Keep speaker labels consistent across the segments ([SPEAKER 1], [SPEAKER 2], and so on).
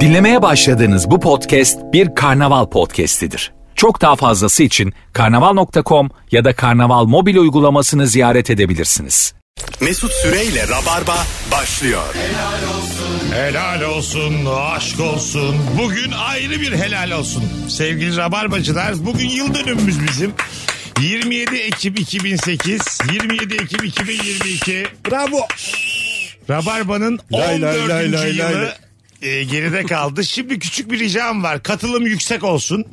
[SPEAKER 1] Dinlemeye başladığınız bu podcast bir karnaval podcastidir. Çok daha fazlası için karnaval.com ya da karnaval mobil uygulamasını ziyaret edebilirsiniz.
[SPEAKER 2] Mesut Süreyle Rabarba başlıyor.
[SPEAKER 3] Helal olsun, aşk olsun. Bugün ayrı bir helal olsun. Sevgili Rabarbacılar, bugün yıl dönümümüz bizim. 27 Ekim 2008, 27 Ekim 2022. Bravo. Rabarba'nın 14.
[SPEAKER 4] Lay lay lay lay
[SPEAKER 3] yılı
[SPEAKER 4] lay.
[SPEAKER 3] e, geride kaldı. Şimdi küçük bir ricam var. Katılım yüksek olsun.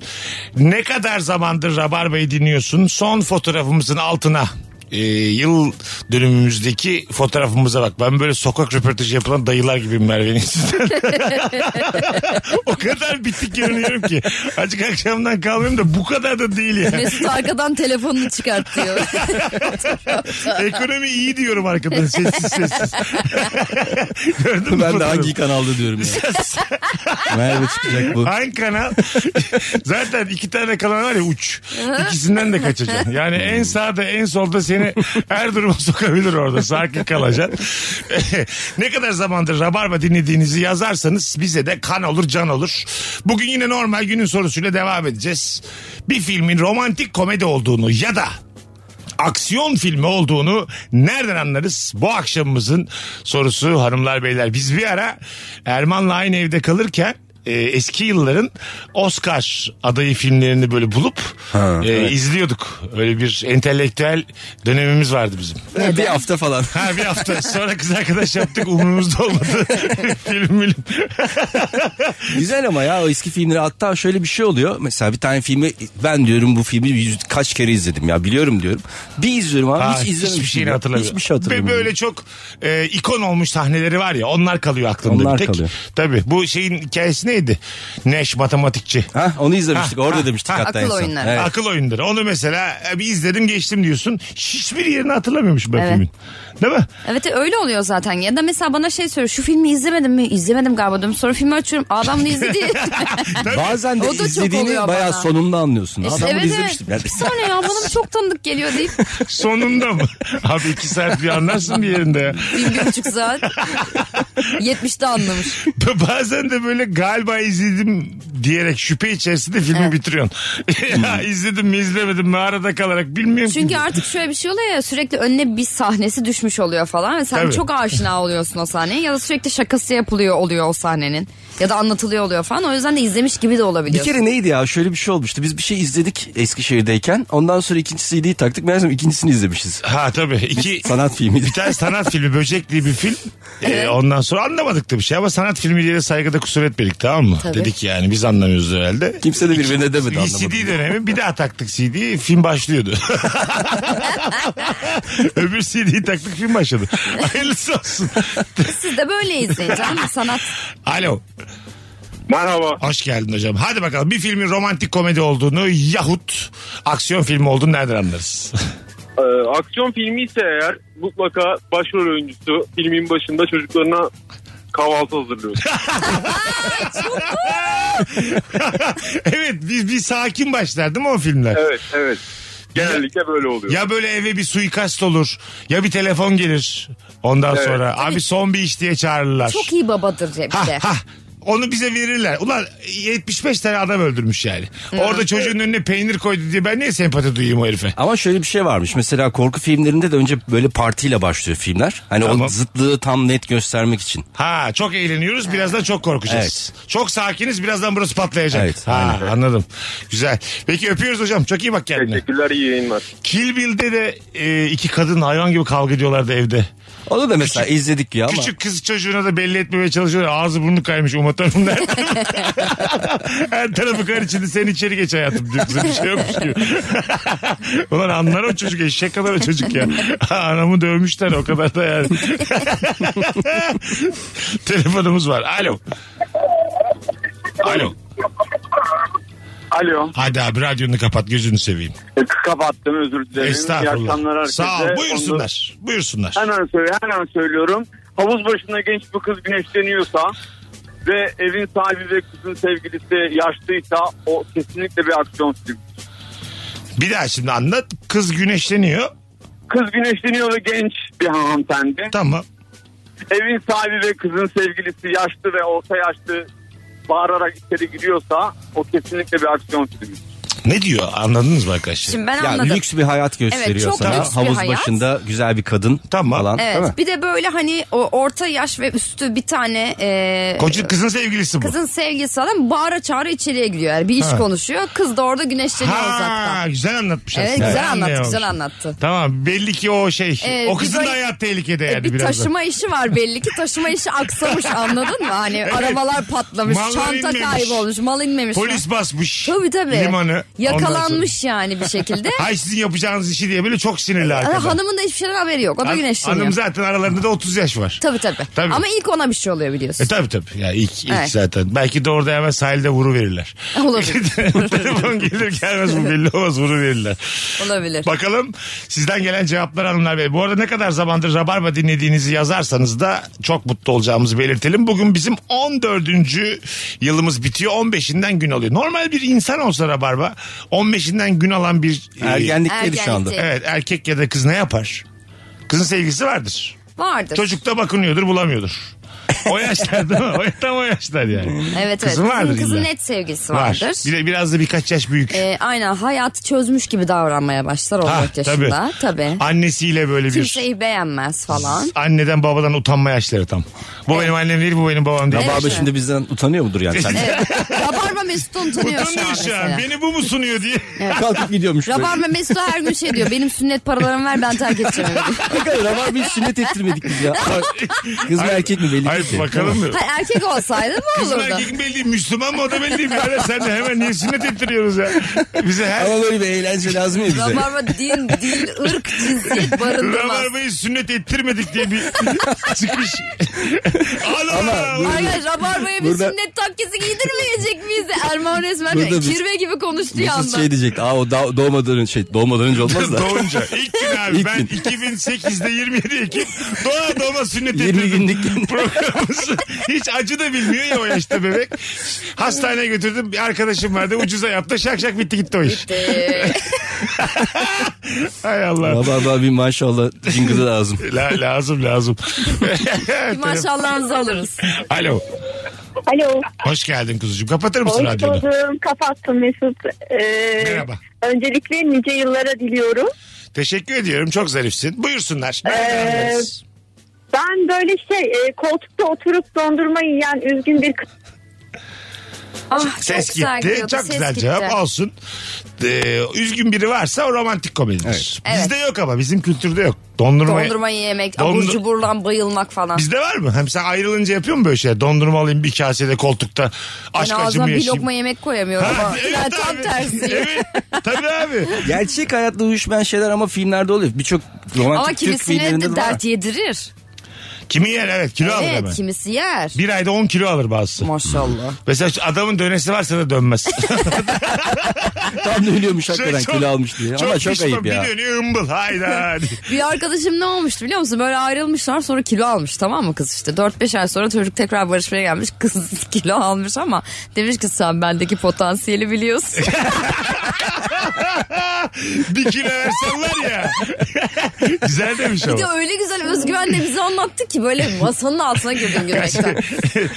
[SPEAKER 3] Ne kadar zamandır Rabarba'yı dinliyorsun? Son fotoğrafımızın altına e, yıl dönümümüzdeki fotoğrafımıza bak. Ben böyle sokak röportajı yapılan dayılar gibiyim Merve'nin yüzünden. o kadar bitik görünüyorum ki. Azıcık akşamdan kalmıyorum da bu kadar da değil yani.
[SPEAKER 5] Mesut arkadan telefonunu çıkartıyor.
[SPEAKER 3] Ekonomi iyi diyorum arkadan sessiz sessiz. Gördün mü?
[SPEAKER 4] Ben de
[SPEAKER 3] fotoğrafı?
[SPEAKER 4] hangi kanalda diyorum ya. Merve çıkacak bu.
[SPEAKER 3] Hangi kanal? Zaten iki tane kanal var ya uç. İkisinden de kaçacaksın. Yani en sağda en solda seni her duruma sokabilir orada. Sakin kalacaksın. ne kadar zamandır Rabarba dinlediğinizi yazarsanız bize de kan olur can olur. Bugün yine normal günün sorusuyla devam edeceğiz. Bir filmin romantik komedi olduğunu ya da aksiyon filmi olduğunu nereden anlarız? Bu akşamımızın sorusu hanımlar beyler. Biz bir ara Erman'la aynı evde kalırken e, eski yılların Oscar adayı filmlerini böyle bulup e, izliyorduk. Öyle bir entelektüel dönemimiz vardı bizim.
[SPEAKER 4] bir hafta falan.
[SPEAKER 3] Ha bir hafta sonra kız arkadaş yaptık umurumuzda olmadı. film film.
[SPEAKER 4] Güzel ama ya o eski filmleri hatta şöyle bir şey oluyor. Mesela bir tane filmi ben diyorum bu filmi yüz, kaç kere izledim ya biliyorum diyorum. Bir izliyorum abi
[SPEAKER 3] Ha,
[SPEAKER 4] hiç izlememişim.
[SPEAKER 3] Ah, Hiçbir şeyini
[SPEAKER 4] ya.
[SPEAKER 3] hatırlamıyorum.
[SPEAKER 4] Hiçbir şey hatırlamıyorum.
[SPEAKER 3] Ve böyle çok e, ikon olmuş sahneleri var ya onlar kalıyor aklımda
[SPEAKER 4] Onlar
[SPEAKER 3] bir tek.
[SPEAKER 4] kalıyor.
[SPEAKER 3] Tabii bu şeyin hikayesi neydi? Neş matematikçi.
[SPEAKER 4] Ha, onu izlemiştik
[SPEAKER 3] Ha,
[SPEAKER 4] orada
[SPEAKER 3] ha,
[SPEAKER 4] demiştik
[SPEAKER 3] ha.
[SPEAKER 4] hatta
[SPEAKER 5] Akıl
[SPEAKER 4] en son.
[SPEAKER 5] oyunları.
[SPEAKER 4] Evet.
[SPEAKER 3] Akıl oyunları. Onu mesela e, bir izledim geçtim diyorsun. Hiçbir yerini hatırlamıyormuş ben
[SPEAKER 5] Evet.
[SPEAKER 3] filmin. Değil mi?
[SPEAKER 5] evet öyle oluyor zaten. Ya da mesela bana şey soruyor. Şu filmi izlemedim mi? İzlemedim galiba diyorum. Sonra filmi açıyorum. Aa ben bunu izledim.
[SPEAKER 4] Bazen de
[SPEAKER 5] O da çok
[SPEAKER 4] izlediğini
[SPEAKER 5] oluyor
[SPEAKER 4] bayağı
[SPEAKER 5] bana.
[SPEAKER 4] sonunda anlıyorsun. Ha,
[SPEAKER 5] İşte
[SPEAKER 4] ben bunu
[SPEAKER 5] evet evet.
[SPEAKER 4] izlemiştim. Yani.
[SPEAKER 5] Bir saniye ya bana bu çok tanıdık geliyor deyip.
[SPEAKER 3] Sonunda mı? Abi iki saat bir anlarsın bir yerinde ya.
[SPEAKER 5] Bir, bir buçuk saat. 70'te anlamış.
[SPEAKER 3] Bazen de böyle galiba izledim diyerek şüphe içerisinde filmi bitiriyorsun. ya
[SPEAKER 4] Hmm.
[SPEAKER 3] izledim mi izlemedim mi arada kalarak bilmiyorum. ki.
[SPEAKER 5] Çünkü artık şöyle bir şey oluyor ya sürekli önüne bir sahnesi düşmüş oluyor falan. Ve sen
[SPEAKER 3] Tabii.
[SPEAKER 5] çok aşina oluyorsun o sahneye. Ya da sürekli şakası yapılıyor oluyor o sahnenin. Ya da anlatılıyor oluyor falan. O yüzden de izlemiş gibi de
[SPEAKER 4] Bir
[SPEAKER 5] olabiliyorsun.
[SPEAKER 4] kere neydi ya şöyle bir şey olmuştu. Biz bir şey izledik Eskişehir'deyken. Ondan sonra ikinci CD'yi taktık. Meğersem ikincisini izlemişiz.
[SPEAKER 3] Ha tabii. İki,
[SPEAKER 4] Sanat filmiydi.
[SPEAKER 3] bir tane sanat filmi Böcek diye bir film. Ee, ondan sonra anlamadık da bir şey ama sanat filmi diye de saygıda kusur etmedik tamam mı?
[SPEAKER 5] Tabii.
[SPEAKER 3] Dedik yani biz anlamıyoruz herhalde.
[SPEAKER 4] Kimse de birbirine demedi anlamadım.
[SPEAKER 3] CD dönemi bir daha taktık CD'yi film başlıyordu. Öbür CD'yi taktık film başladı. Hayırlısı olsun.
[SPEAKER 5] Siz de böyle izleyin canım. Sanat
[SPEAKER 3] Alo.
[SPEAKER 6] Merhaba.
[SPEAKER 3] Hoş geldin hocam. Hadi bakalım bir filmin romantik komedi olduğunu yahut aksiyon filmi olduğunu nereden anlarız?
[SPEAKER 6] Ee, aksiyon filmi ise eğer mutlaka başrol oyuncusu filmin başında çocuklarına kahvaltı hazırlıyor.
[SPEAKER 3] evet bir, bir sakin başlar değil mi o filmler?
[SPEAKER 6] evet evet. Genellikle böyle oluyor.
[SPEAKER 3] Ya böyle eve bir suikast olur ya bir telefon gelir ondan
[SPEAKER 6] Evet.
[SPEAKER 3] sonra. Abi son bir iş diye çağırırlar.
[SPEAKER 5] çok iyi babadır hep
[SPEAKER 3] Ha,
[SPEAKER 5] de.
[SPEAKER 3] ha. Onu bize verirler. Ulan 75 tane adam öldürmüş yani. Orada çocuğun önüne peynir koydu diye ben niye sempati duyayım o herife?
[SPEAKER 4] Ama şöyle bir şey varmış. Mesela korku filmlerinde de önce böyle partiyle başlıyor filmler. Hani
[SPEAKER 3] Tamam.
[SPEAKER 4] o zıtlığı tam net göstermek için.
[SPEAKER 3] Ha çok eğleniyoruz birazdan çok korkacağız. Çok sakiniz birazdan burası patlayacak.
[SPEAKER 4] Evet,
[SPEAKER 3] ha, anladım. Güzel. Peki öpüyoruz hocam çok iyi bak kendine.
[SPEAKER 6] Teşekkürler iyi yayınlar.
[SPEAKER 3] Kill Bill'de de e, iki kadın hayvan gibi kavga ediyorlardı evde.
[SPEAKER 4] Onu da mesela izledik ya ama.
[SPEAKER 3] Küçük kız çocuğuna da belli etmemeye çalışıyorlar. Ağzı burnu kaymış Umut Hanım'ın her Her tarafı kar içinde sen içeri geç hayatım diyor kıza bir şey yokmuş gibi. Ulan anlar o çocuk eşek kadar o çocuk ya. Anamı dövmüşler o kadar da yani. Telefonumuz var. Alo. Alo.
[SPEAKER 6] Alo.
[SPEAKER 3] Hadi abi radyonu kapat gözünü seveyim.
[SPEAKER 6] E, Kapattım özür dilerim. İyi
[SPEAKER 3] Estağfurullah.
[SPEAKER 6] akşamlar herkese.
[SPEAKER 3] Sağ ol.
[SPEAKER 6] Onu-
[SPEAKER 3] Buyursunlar. Buyursunlar.
[SPEAKER 6] Hemen, söyle, hemen söylüyorum. Havuz başında genç bir kız güneşleniyorsa ve evin sahibi ve kızın sevgilisi yaşlıysa o kesinlikle bir aksiyon filmi.
[SPEAKER 3] Bir daha şimdi anlat. Kız güneşleniyor.
[SPEAKER 6] Kız güneşleniyor ve genç bir hanımefendi.
[SPEAKER 3] Tamam.
[SPEAKER 6] evin sahibi ve kızın sevgilisi yaşlı ve orta yaşlı bağırarak içeri giriyorsa o kesinlikle bir aksiyon filmi.
[SPEAKER 3] Ne diyor anladınız mı arkadaşlar?
[SPEAKER 5] Şimdi ben
[SPEAKER 4] Ya
[SPEAKER 5] anladım.
[SPEAKER 4] lüks bir hayat gösteriyor
[SPEAKER 5] çok
[SPEAKER 4] sana.
[SPEAKER 5] lüks bir
[SPEAKER 4] Havuz
[SPEAKER 5] hayat.
[SPEAKER 4] başında güzel bir kadın
[SPEAKER 3] Tamam.
[SPEAKER 4] falan.
[SPEAKER 5] Evet.
[SPEAKER 4] Değil mi?
[SPEAKER 5] Bir de böyle hani o orta yaş ve üstü bir tane e,
[SPEAKER 3] Koçun kızın sevgilisi bu.
[SPEAKER 5] kızın sevgilisi falan bağıra çağıra içeriye giriyor. Yani bir iş
[SPEAKER 3] Ha.
[SPEAKER 5] konuşuyor. Kız da orada güneşleniyor uzaktan.
[SPEAKER 3] ha, güzel anlatmış
[SPEAKER 5] Evet,
[SPEAKER 3] aslında.
[SPEAKER 5] güzel
[SPEAKER 3] Ben
[SPEAKER 5] anlattı, güzel
[SPEAKER 3] anlayamamışım.
[SPEAKER 5] anlattı.
[SPEAKER 3] Tamam belli ki o şey
[SPEAKER 5] Ee,
[SPEAKER 3] o
[SPEAKER 5] bir
[SPEAKER 3] kızın da
[SPEAKER 5] böyle-
[SPEAKER 3] hayat tehlikede
[SPEAKER 5] E,
[SPEAKER 3] yani
[SPEAKER 5] bir
[SPEAKER 3] biraz da.
[SPEAKER 5] taşıma işi var belli ki taşıma işi aksamış anladın mı? Hani arabalar patlamış,
[SPEAKER 3] Mallar
[SPEAKER 5] çanta
[SPEAKER 3] inmemiş.
[SPEAKER 5] kaybolmuş, mal inmemiş.
[SPEAKER 3] Polis basmış
[SPEAKER 5] Tabii tabii.
[SPEAKER 3] limanı. Ondan
[SPEAKER 5] Yakalanmış Ee, yani bir şekilde.
[SPEAKER 3] sonra, Hay sizin yapacağınız işi diye böyle çok sinirli
[SPEAKER 5] Ama
[SPEAKER 3] arkada.
[SPEAKER 5] hanımın da hiçbir şeyden haberi yok. O da
[SPEAKER 3] Han-
[SPEAKER 5] güneşleniyor.
[SPEAKER 3] Hanım zaten aralarında da 30 yaş var.
[SPEAKER 5] Tabii, tabii
[SPEAKER 3] Tabii.
[SPEAKER 5] Ama ilk ona bir şey oluyor biliyorsun.
[SPEAKER 3] E tabii tabii. Ya ilk, ilk
[SPEAKER 5] Evet.
[SPEAKER 3] zaten. Belki de orada hemen sahilde vuru verirler.
[SPEAKER 5] Olabilir.
[SPEAKER 3] Telefon gelir gelmez bu belli olmaz vuru verirler.
[SPEAKER 5] Olabilir.
[SPEAKER 3] Bakalım sizden gelen cevaplar hanımlar bey. Bu arada ne kadar zamandır Rabarba dinlediğinizi yazarsanız da çok mutlu olacağımızı belirtelim. Bugün bizim 14. yılımız bitiyor. 15'inden gün alıyor. Normal bir insan olsa Rabarba 15'inden gün alan bir... e,
[SPEAKER 4] Ergenlikteydi şu anda.
[SPEAKER 5] Ergenlikte.
[SPEAKER 3] Evet erkek ya da kız ne yapar? Kızın sevgilisi vardır.
[SPEAKER 5] Vardır.
[SPEAKER 3] Çocuk da bakınıyordur bulamıyordur. O yaşlar değil mi? O, tam o yaşlar yani.
[SPEAKER 5] Evet evet.
[SPEAKER 3] Kızı vardır
[SPEAKER 5] Kızın, kızın
[SPEAKER 3] illa.
[SPEAKER 5] net sevgisi
[SPEAKER 3] Var.
[SPEAKER 5] vardır.
[SPEAKER 3] Bir de biraz da birkaç yaş büyük.
[SPEAKER 5] E, aynen hayatı çözmüş gibi davranmaya başlar 14 yaşında. Tabii.
[SPEAKER 3] Annesiyle böyle bir...
[SPEAKER 5] Kimseyi beğenmez falan.
[SPEAKER 3] Anneden babadan utanma yaşları tam. Bu benim annem değil bu benim babam değil.
[SPEAKER 4] Rabarba
[SPEAKER 5] Evet.
[SPEAKER 4] şimdi bizden utanıyor mudur yani sen?
[SPEAKER 5] Rabarba Mesut'u utanıyor şu an
[SPEAKER 3] Utanıyor şu an.
[SPEAKER 5] mesela.
[SPEAKER 3] Beni bu mu sunuyor diye.
[SPEAKER 4] Kalkıp gidiyormuş. böyle.
[SPEAKER 5] Rabarba Mesut'u her gün şey diyor. Benim sünnet paralarımı ver ben terk edeceğim. evi."
[SPEAKER 4] Hakikaten Rabarba'yı sünnet ettirmedik biz ya. Kız mı erkek mi belli değil.
[SPEAKER 3] Hayır bakalım mı?
[SPEAKER 5] Hayır, erkek olsaydı ne
[SPEAKER 3] Kızın
[SPEAKER 5] olurdu?
[SPEAKER 3] erkek mi belli değil, Müslüman mı o da belli değil. Böyle sen de hemen niye sünnet ettiriyoruz ya? Bize her...
[SPEAKER 4] Ama böyle bir eğlence lazım ya bize.
[SPEAKER 5] Rabarba din, dil, ırk, cinsiyet barındırmaz.
[SPEAKER 3] Rabarbayı sünnet ettirmedik diye bir çıkmış. Ana!
[SPEAKER 4] Ama-
[SPEAKER 5] Arkadaş Rabarba'ya bir
[SPEAKER 4] Burada-
[SPEAKER 5] sünnet takkesi giydirmeyecek miyiz? Erman resmen
[SPEAKER 4] Burada biz-
[SPEAKER 5] kirve gibi konuştu
[SPEAKER 4] Mesut
[SPEAKER 5] yanda.
[SPEAKER 4] şey diyecek. Aa o da- doğmadan önce şey doğmadan önce olmaz da.
[SPEAKER 3] Doğunca. İlk gün abi
[SPEAKER 4] İlk
[SPEAKER 3] ben
[SPEAKER 4] gün.
[SPEAKER 3] 2008'de 27 Ekim doğa doğma sünnet
[SPEAKER 4] 20
[SPEAKER 3] ettirdim.
[SPEAKER 4] günlük gün.
[SPEAKER 3] Programımızı. Hiç acı da bilmiyor ya o yaşta bebek. Hastaneye götürdüm. Bir arkadaşım vardı ucuza yaptı. Şak şak bitti gitti o iş.
[SPEAKER 5] Ee,
[SPEAKER 3] Hay Allah.
[SPEAKER 4] Rabarba bir maşallah cingılı lazım.
[SPEAKER 3] La, lazım lazım.
[SPEAKER 5] maşallahınızı alırız.
[SPEAKER 3] Alo.
[SPEAKER 7] Alo.
[SPEAKER 3] Hoş geldin kuzucuğum. Kapatır mısın
[SPEAKER 7] Hoş
[SPEAKER 3] radyonu?
[SPEAKER 7] buldum. Kapattım Mesut. Ee,
[SPEAKER 3] Merhaba.
[SPEAKER 7] Öncelikle nice yıllara diliyorum.
[SPEAKER 3] Teşekkür ediyorum. Çok zarifsin. Buyursunlar.
[SPEAKER 7] Ee,
[SPEAKER 3] Ee...
[SPEAKER 7] Ben böyle şey e, koltukta oturup dondurma yiyen üzgün bir kız.
[SPEAKER 5] Ah,
[SPEAKER 3] Ses
[SPEAKER 5] çok
[SPEAKER 3] gitti.
[SPEAKER 5] güzel gidiyordu,
[SPEAKER 3] Çok
[SPEAKER 5] ses
[SPEAKER 3] güzel
[SPEAKER 5] gitti.
[SPEAKER 3] cevap olsun. Ee, üzgün biri varsa o romantik komedidir.
[SPEAKER 5] Evet.
[SPEAKER 3] Bizde yok ama bizim kültürde yok. Dondurma.
[SPEAKER 5] Dondurma yemek,
[SPEAKER 3] Dondur-
[SPEAKER 5] abur cuburdan bayılmak falan.
[SPEAKER 3] Bizde var mı? Hem sen ayrılınca yapıyor mu böyle şeyler? Dondurma alayım bir kasede koltukta.
[SPEAKER 5] Ben
[SPEAKER 3] Aşk
[SPEAKER 5] ağzıma
[SPEAKER 3] acımı
[SPEAKER 5] bir
[SPEAKER 3] yaşayayım.
[SPEAKER 5] lokma yemek koyamıyorum
[SPEAKER 3] Ha,
[SPEAKER 5] ama. ben tam
[SPEAKER 3] abi.
[SPEAKER 5] tersi.
[SPEAKER 3] Evet, tabii abi.
[SPEAKER 4] Gerçek hayatla uyuşmayan şeyler ama filmlerde oluyor. Birçok romantik
[SPEAKER 5] Ama
[SPEAKER 4] Türk
[SPEAKER 5] kimisine
[SPEAKER 4] filmlerinde
[SPEAKER 5] de
[SPEAKER 4] de var.
[SPEAKER 5] dert yedirir.
[SPEAKER 3] Kimi yer evet kilo alır hemen.
[SPEAKER 5] Evet kimisi yer.
[SPEAKER 3] Bir ayda 10 kilo alır bazısı.
[SPEAKER 5] Maşallah.
[SPEAKER 3] Mesela şu adamın dönesi varsa da dönmez.
[SPEAKER 4] Tam da ölüyormuş
[SPEAKER 3] Çok-
[SPEAKER 4] hakikaten
[SPEAKER 3] Şey, çok-
[SPEAKER 4] kilo almış diye. Ama çok
[SPEAKER 3] pişman.
[SPEAKER 4] ayıp ya.
[SPEAKER 3] Bir dönüyor ımbıl hayda.
[SPEAKER 5] Bir arkadaşım ne olmuştu biliyor musun? Böyle ayrılmışlar sonra kilo almış tamam mı kız işte. 4-5 ay sonra çocuk tekrar barışmaya gelmiş. Kız kilo almış ama demiş ki sen bendeki potansiyeli biliyorsun.
[SPEAKER 3] bir kilo versen var ya. Güzel demiş
[SPEAKER 5] Bir de
[SPEAKER 3] ama.
[SPEAKER 5] öyle güzel özgüvenle bize anlattı ki böyle masanın altına girdim gülmekten.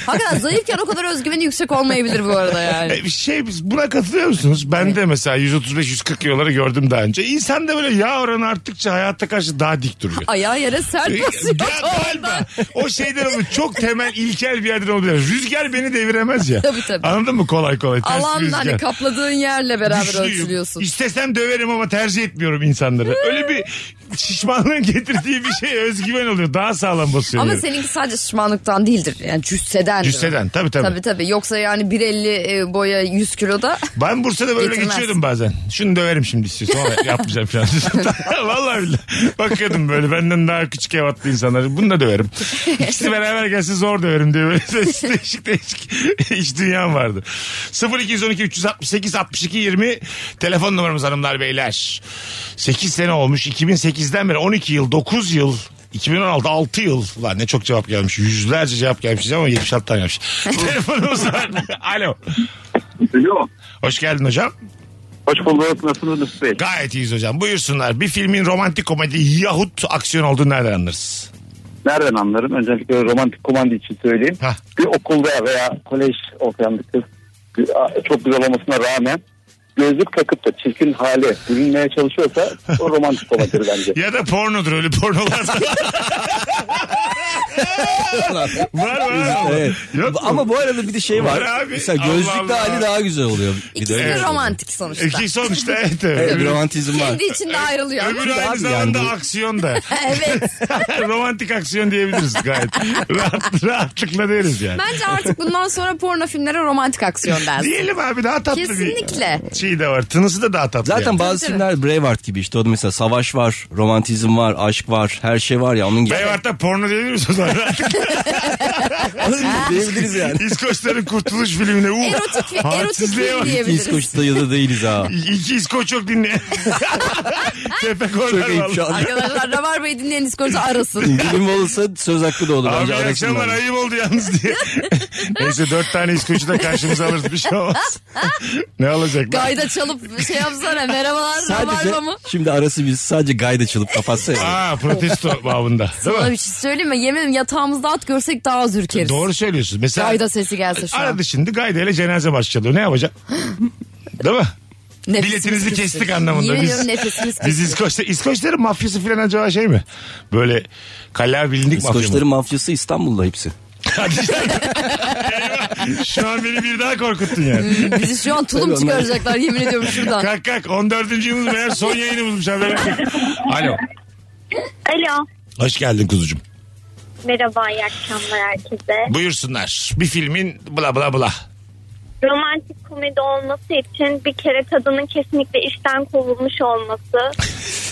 [SPEAKER 5] Hakikaten zayıfken o kadar özgüveni yüksek olmayabilir bu arada yani.
[SPEAKER 3] E, bir şey biz buna katılıyor musunuz? Ben de mesela 135-140 kiloları gördüm daha önce. İnsan da böyle yağ oranı arttıkça hayata karşı daha dik duruyor.
[SPEAKER 5] Ayağı yere sert basıyor.
[SPEAKER 3] Ya galiba o şeyden olur. Çok temel ilkel bir yerden olabilir. Rüzgar beni deviremez ya.
[SPEAKER 5] Tabii, tabii.
[SPEAKER 3] Anladın mı kolay kolay. Ters
[SPEAKER 5] Alan
[SPEAKER 3] rüzgar.
[SPEAKER 5] hani kapladığın yerle beraber
[SPEAKER 3] Güçlüyüm.
[SPEAKER 5] ölçülüyorsun.
[SPEAKER 3] İstesem döverim ama tercih etmiyorum insanları. Öyle bir şişmanlığın getirdiği bir şey özgüven oluyor. Daha sağlam basıyor.
[SPEAKER 5] Ama
[SPEAKER 3] yani.
[SPEAKER 5] seninki sadece şişmanlıktan değildir. Yani cüsseden.
[SPEAKER 3] Cüsseden, tabii, tabii.
[SPEAKER 5] Tabii tabii. Yoksa yani 1.50 e, boya 100 kiloda
[SPEAKER 3] Ben Bursa'da böyle
[SPEAKER 5] Getirmez.
[SPEAKER 3] geçiyordum bazen. Şunu döverim şimdi istiyorsun ama yapmayacağım falan. Vallahi billahi. Bakıyordum böyle benden daha küçük ev attı insanlar. Bunu da döverim. İkisi beraber gelse zor döverim diye böyle ses- değişik değişik iş dünyam vardı. 0212 368 62 20 telefon numaramız hanımlar beyler. 8 sene olmuş 2008'den beri 12 yıl 9 yıl 2016 6 yıl. Lan ne çok cevap gelmiş. Yüzlerce cevap gelmiş ama 76 tane gelmiş. Telefonumuz var. Alo.
[SPEAKER 6] Alo.
[SPEAKER 3] Hoş geldin hocam.
[SPEAKER 6] Hoş bulduk. Nasılsınız Mesut Bey?
[SPEAKER 3] Gayet iyiyiz hocam. Buyursunlar. Bir filmin romantik komedi yahut aksiyon olduğunu nereden anlarız?
[SPEAKER 6] Nereden anlarım? Öncelikle romantik komandi için söyleyeyim.
[SPEAKER 3] Hah.
[SPEAKER 6] Bir okulda veya kolej ortamında kız bir- çok güzel olmasına rağmen gözlük takıp da çirkin hale görünmeye çalışıyorsa o romantik komandır bence.
[SPEAKER 3] Ya da pornodur öyle pornolar. da- var var.
[SPEAKER 4] Evet.
[SPEAKER 3] Yok mu?
[SPEAKER 4] Ama bu arada bir de şey var.
[SPEAKER 3] Var abi.
[SPEAKER 4] Mesela
[SPEAKER 3] Allah
[SPEAKER 4] gözlüklü
[SPEAKER 3] Allah.
[SPEAKER 4] hali daha güzel oluyor. Bir
[SPEAKER 5] İkisi de
[SPEAKER 4] öyle.
[SPEAKER 5] romantik sonuçta.
[SPEAKER 3] İki sonuçta evet. evet.
[SPEAKER 4] Evet, bir
[SPEAKER 3] Öbürü-
[SPEAKER 4] romantizm var.
[SPEAKER 5] Kendi içinde ayrılıyor. ama-
[SPEAKER 3] Öbürü aynı
[SPEAKER 4] Abi
[SPEAKER 3] zamanda
[SPEAKER 4] yani bu-
[SPEAKER 3] aksiyon da.
[SPEAKER 5] evet.
[SPEAKER 3] Romantik aksiyon diyebiliriz gayet. Rahat, rahatlıkla deriz yani.
[SPEAKER 5] Bence artık bundan sonra porno filmlere romantik aksiyon dersin.
[SPEAKER 3] Diyelim abi daha tatlı
[SPEAKER 5] Kesinlikle.
[SPEAKER 3] bir şey de var. Tınısı da daha tatlı.
[SPEAKER 4] Zaten
[SPEAKER 3] yani.
[SPEAKER 4] bazı
[SPEAKER 5] Tabii,
[SPEAKER 4] filmler Braveheart gibi işte o da mesela savaş var, romantizm var, aşk var, her şey var ya onun gibi.
[SPEAKER 3] Beyvart'ta porno diyebilir miyiz o zaman?
[SPEAKER 4] Diyebiliriz yani.
[SPEAKER 3] İskoçların kurtuluş filmine. Uh,
[SPEAKER 5] Erotik fi- erotik
[SPEAKER 3] hadsizliğe
[SPEAKER 5] film
[SPEAKER 3] bak.
[SPEAKER 5] diye-
[SPEAKER 4] İki İskoç'ta ya da değiliz ha.
[SPEAKER 3] İki İskoç çok dinleyen. Tepe
[SPEAKER 4] Çok
[SPEAKER 3] korlar
[SPEAKER 4] ayıp şu
[SPEAKER 3] valla.
[SPEAKER 4] an.
[SPEAKER 5] Arkadaşlar Rabarba'yı dinleyen İskoç'u arasın.
[SPEAKER 4] Bilim olsa söz hakkı da olur.
[SPEAKER 3] Abi
[SPEAKER 4] Bence
[SPEAKER 3] iyi
[SPEAKER 4] arasınlar.
[SPEAKER 3] akşamlar ayıp oldu yalnız diye. Neyse dört tane İskoç'u da karşımıza alırız bir şey olmaz. ne olacak? lan?
[SPEAKER 5] Gayda çalıp şey yapsana merhabalar
[SPEAKER 4] Sadece
[SPEAKER 5] Rabarba mı?
[SPEAKER 4] şimdi arası biz sadece gayda çalıp kapatsa ya.
[SPEAKER 3] Aa protesto babında. Değil mi?
[SPEAKER 5] Sana bir şey söyleyeyim mi? Yemin ederim yatağımızda at görsek daha az ürkeriz.
[SPEAKER 3] Doğru söylüyorsun. Mesela
[SPEAKER 5] Gayda şey sesi gelse şu an.
[SPEAKER 3] aradı şimdi Gayda ile cenaze marşı çalıyor. Ne yapacak? Değil mi?
[SPEAKER 5] Nefesimiz
[SPEAKER 3] Biletinizi
[SPEAKER 5] kesilir.
[SPEAKER 3] kestik anlamında.
[SPEAKER 5] Yemin
[SPEAKER 3] Biz-
[SPEAKER 5] ediyorum nefesimiz
[SPEAKER 3] Biz
[SPEAKER 5] kesilir.
[SPEAKER 3] İskoç'ta, İskoçların mafyası falan acaba şey mi? Böyle kala bilindik mafya
[SPEAKER 4] İskoçların
[SPEAKER 3] mı?
[SPEAKER 4] mafyası İstanbul'da hepsi.
[SPEAKER 3] Hadi işte. Eyvah, Şu an beni bir daha korkuttun yani.
[SPEAKER 5] Bizi şu an tulum
[SPEAKER 4] Tabii onlar-
[SPEAKER 5] çıkaracaklar yemin ediyorum şuradan.
[SPEAKER 3] kalk kalk 14. yılımız meğer son yayınımızmış haberim yok. Alo.
[SPEAKER 7] Alo.
[SPEAKER 3] Hoş geldin kuzucuğum.
[SPEAKER 7] Merhaba iyi akşamlar herkese.
[SPEAKER 3] Buyursunlar. Bir filmin bla bla bla.
[SPEAKER 7] Romantik komedi olması için bir kere kadının kesinlikle işten kovulmuş olması,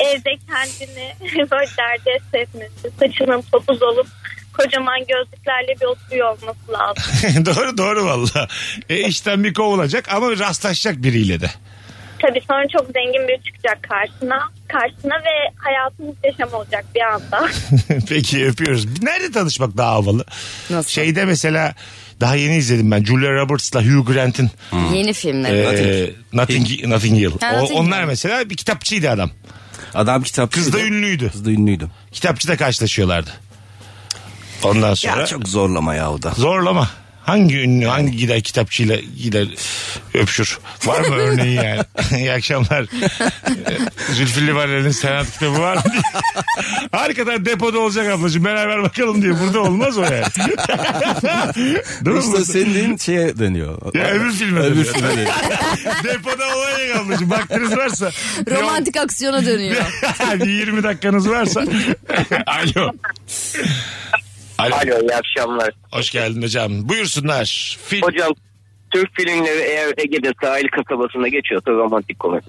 [SPEAKER 7] evde kendini böyle derde hissetmesi, saçının topuz olup kocaman gözlüklerle bir oturuyor olması lazım.
[SPEAKER 3] doğru doğru valla. E, işten bir kovulacak ama rastlaşacak biriyle de.
[SPEAKER 7] Tabii sonra çok zengin biri çıkacak karşına, karşına ve hayatın muhteşem olacak bir anda.
[SPEAKER 3] Peki öpüyoruz. Nerede tanışmak daha havalı?
[SPEAKER 5] Nasıl?
[SPEAKER 3] Şeyde mesela daha yeni izledim ben. Julia Roberts'la Hugh Grant'in
[SPEAKER 5] Yeni filmler.
[SPEAKER 3] e,
[SPEAKER 4] Ee,
[SPEAKER 3] Nothing, Nothing, Hill.
[SPEAKER 5] Ha,
[SPEAKER 3] O-
[SPEAKER 5] Notting Hill.
[SPEAKER 3] onlar mesela bir kitapçıydı adam.
[SPEAKER 4] Adam kitapçıydı.
[SPEAKER 3] Kız da ünlüydü.
[SPEAKER 4] Kız da ünlüydü.
[SPEAKER 3] Kitapçıda karşılaşıyorlardı. Ondan sonra
[SPEAKER 4] Ya çok zorlama ya o da.
[SPEAKER 3] zorlama. Hangi ünlü hangi gider kitapçıyla gider öpüşür? Var mı örneği yani? İyi akşamlar. Ee, Zülfü Livaneli'nin senat kitabı var mı diye. Arkadan depoda olacak ablacığım beraber bakalım diye. Burada olmaz o yani. Değil mi?
[SPEAKER 4] İşte senin dediğin şeye dönüyor.
[SPEAKER 3] Ya öbür filme
[SPEAKER 4] Öbür
[SPEAKER 3] dönüyor.
[SPEAKER 4] filme dönüyor.
[SPEAKER 3] Depoda olacak ablacığım. Baktınız varsa.
[SPEAKER 5] Romantik aksiyona dönüyor.
[SPEAKER 3] bir 20 dakikanız varsa. Alo. Alo.
[SPEAKER 8] Alo iyi akşamlar.
[SPEAKER 3] Hoş geldin hocam. Buyursunlar. Film.
[SPEAKER 8] Hocam Türk filmleri eğer Ege'de sahil kasabasında geçiyorsa romantik komedi.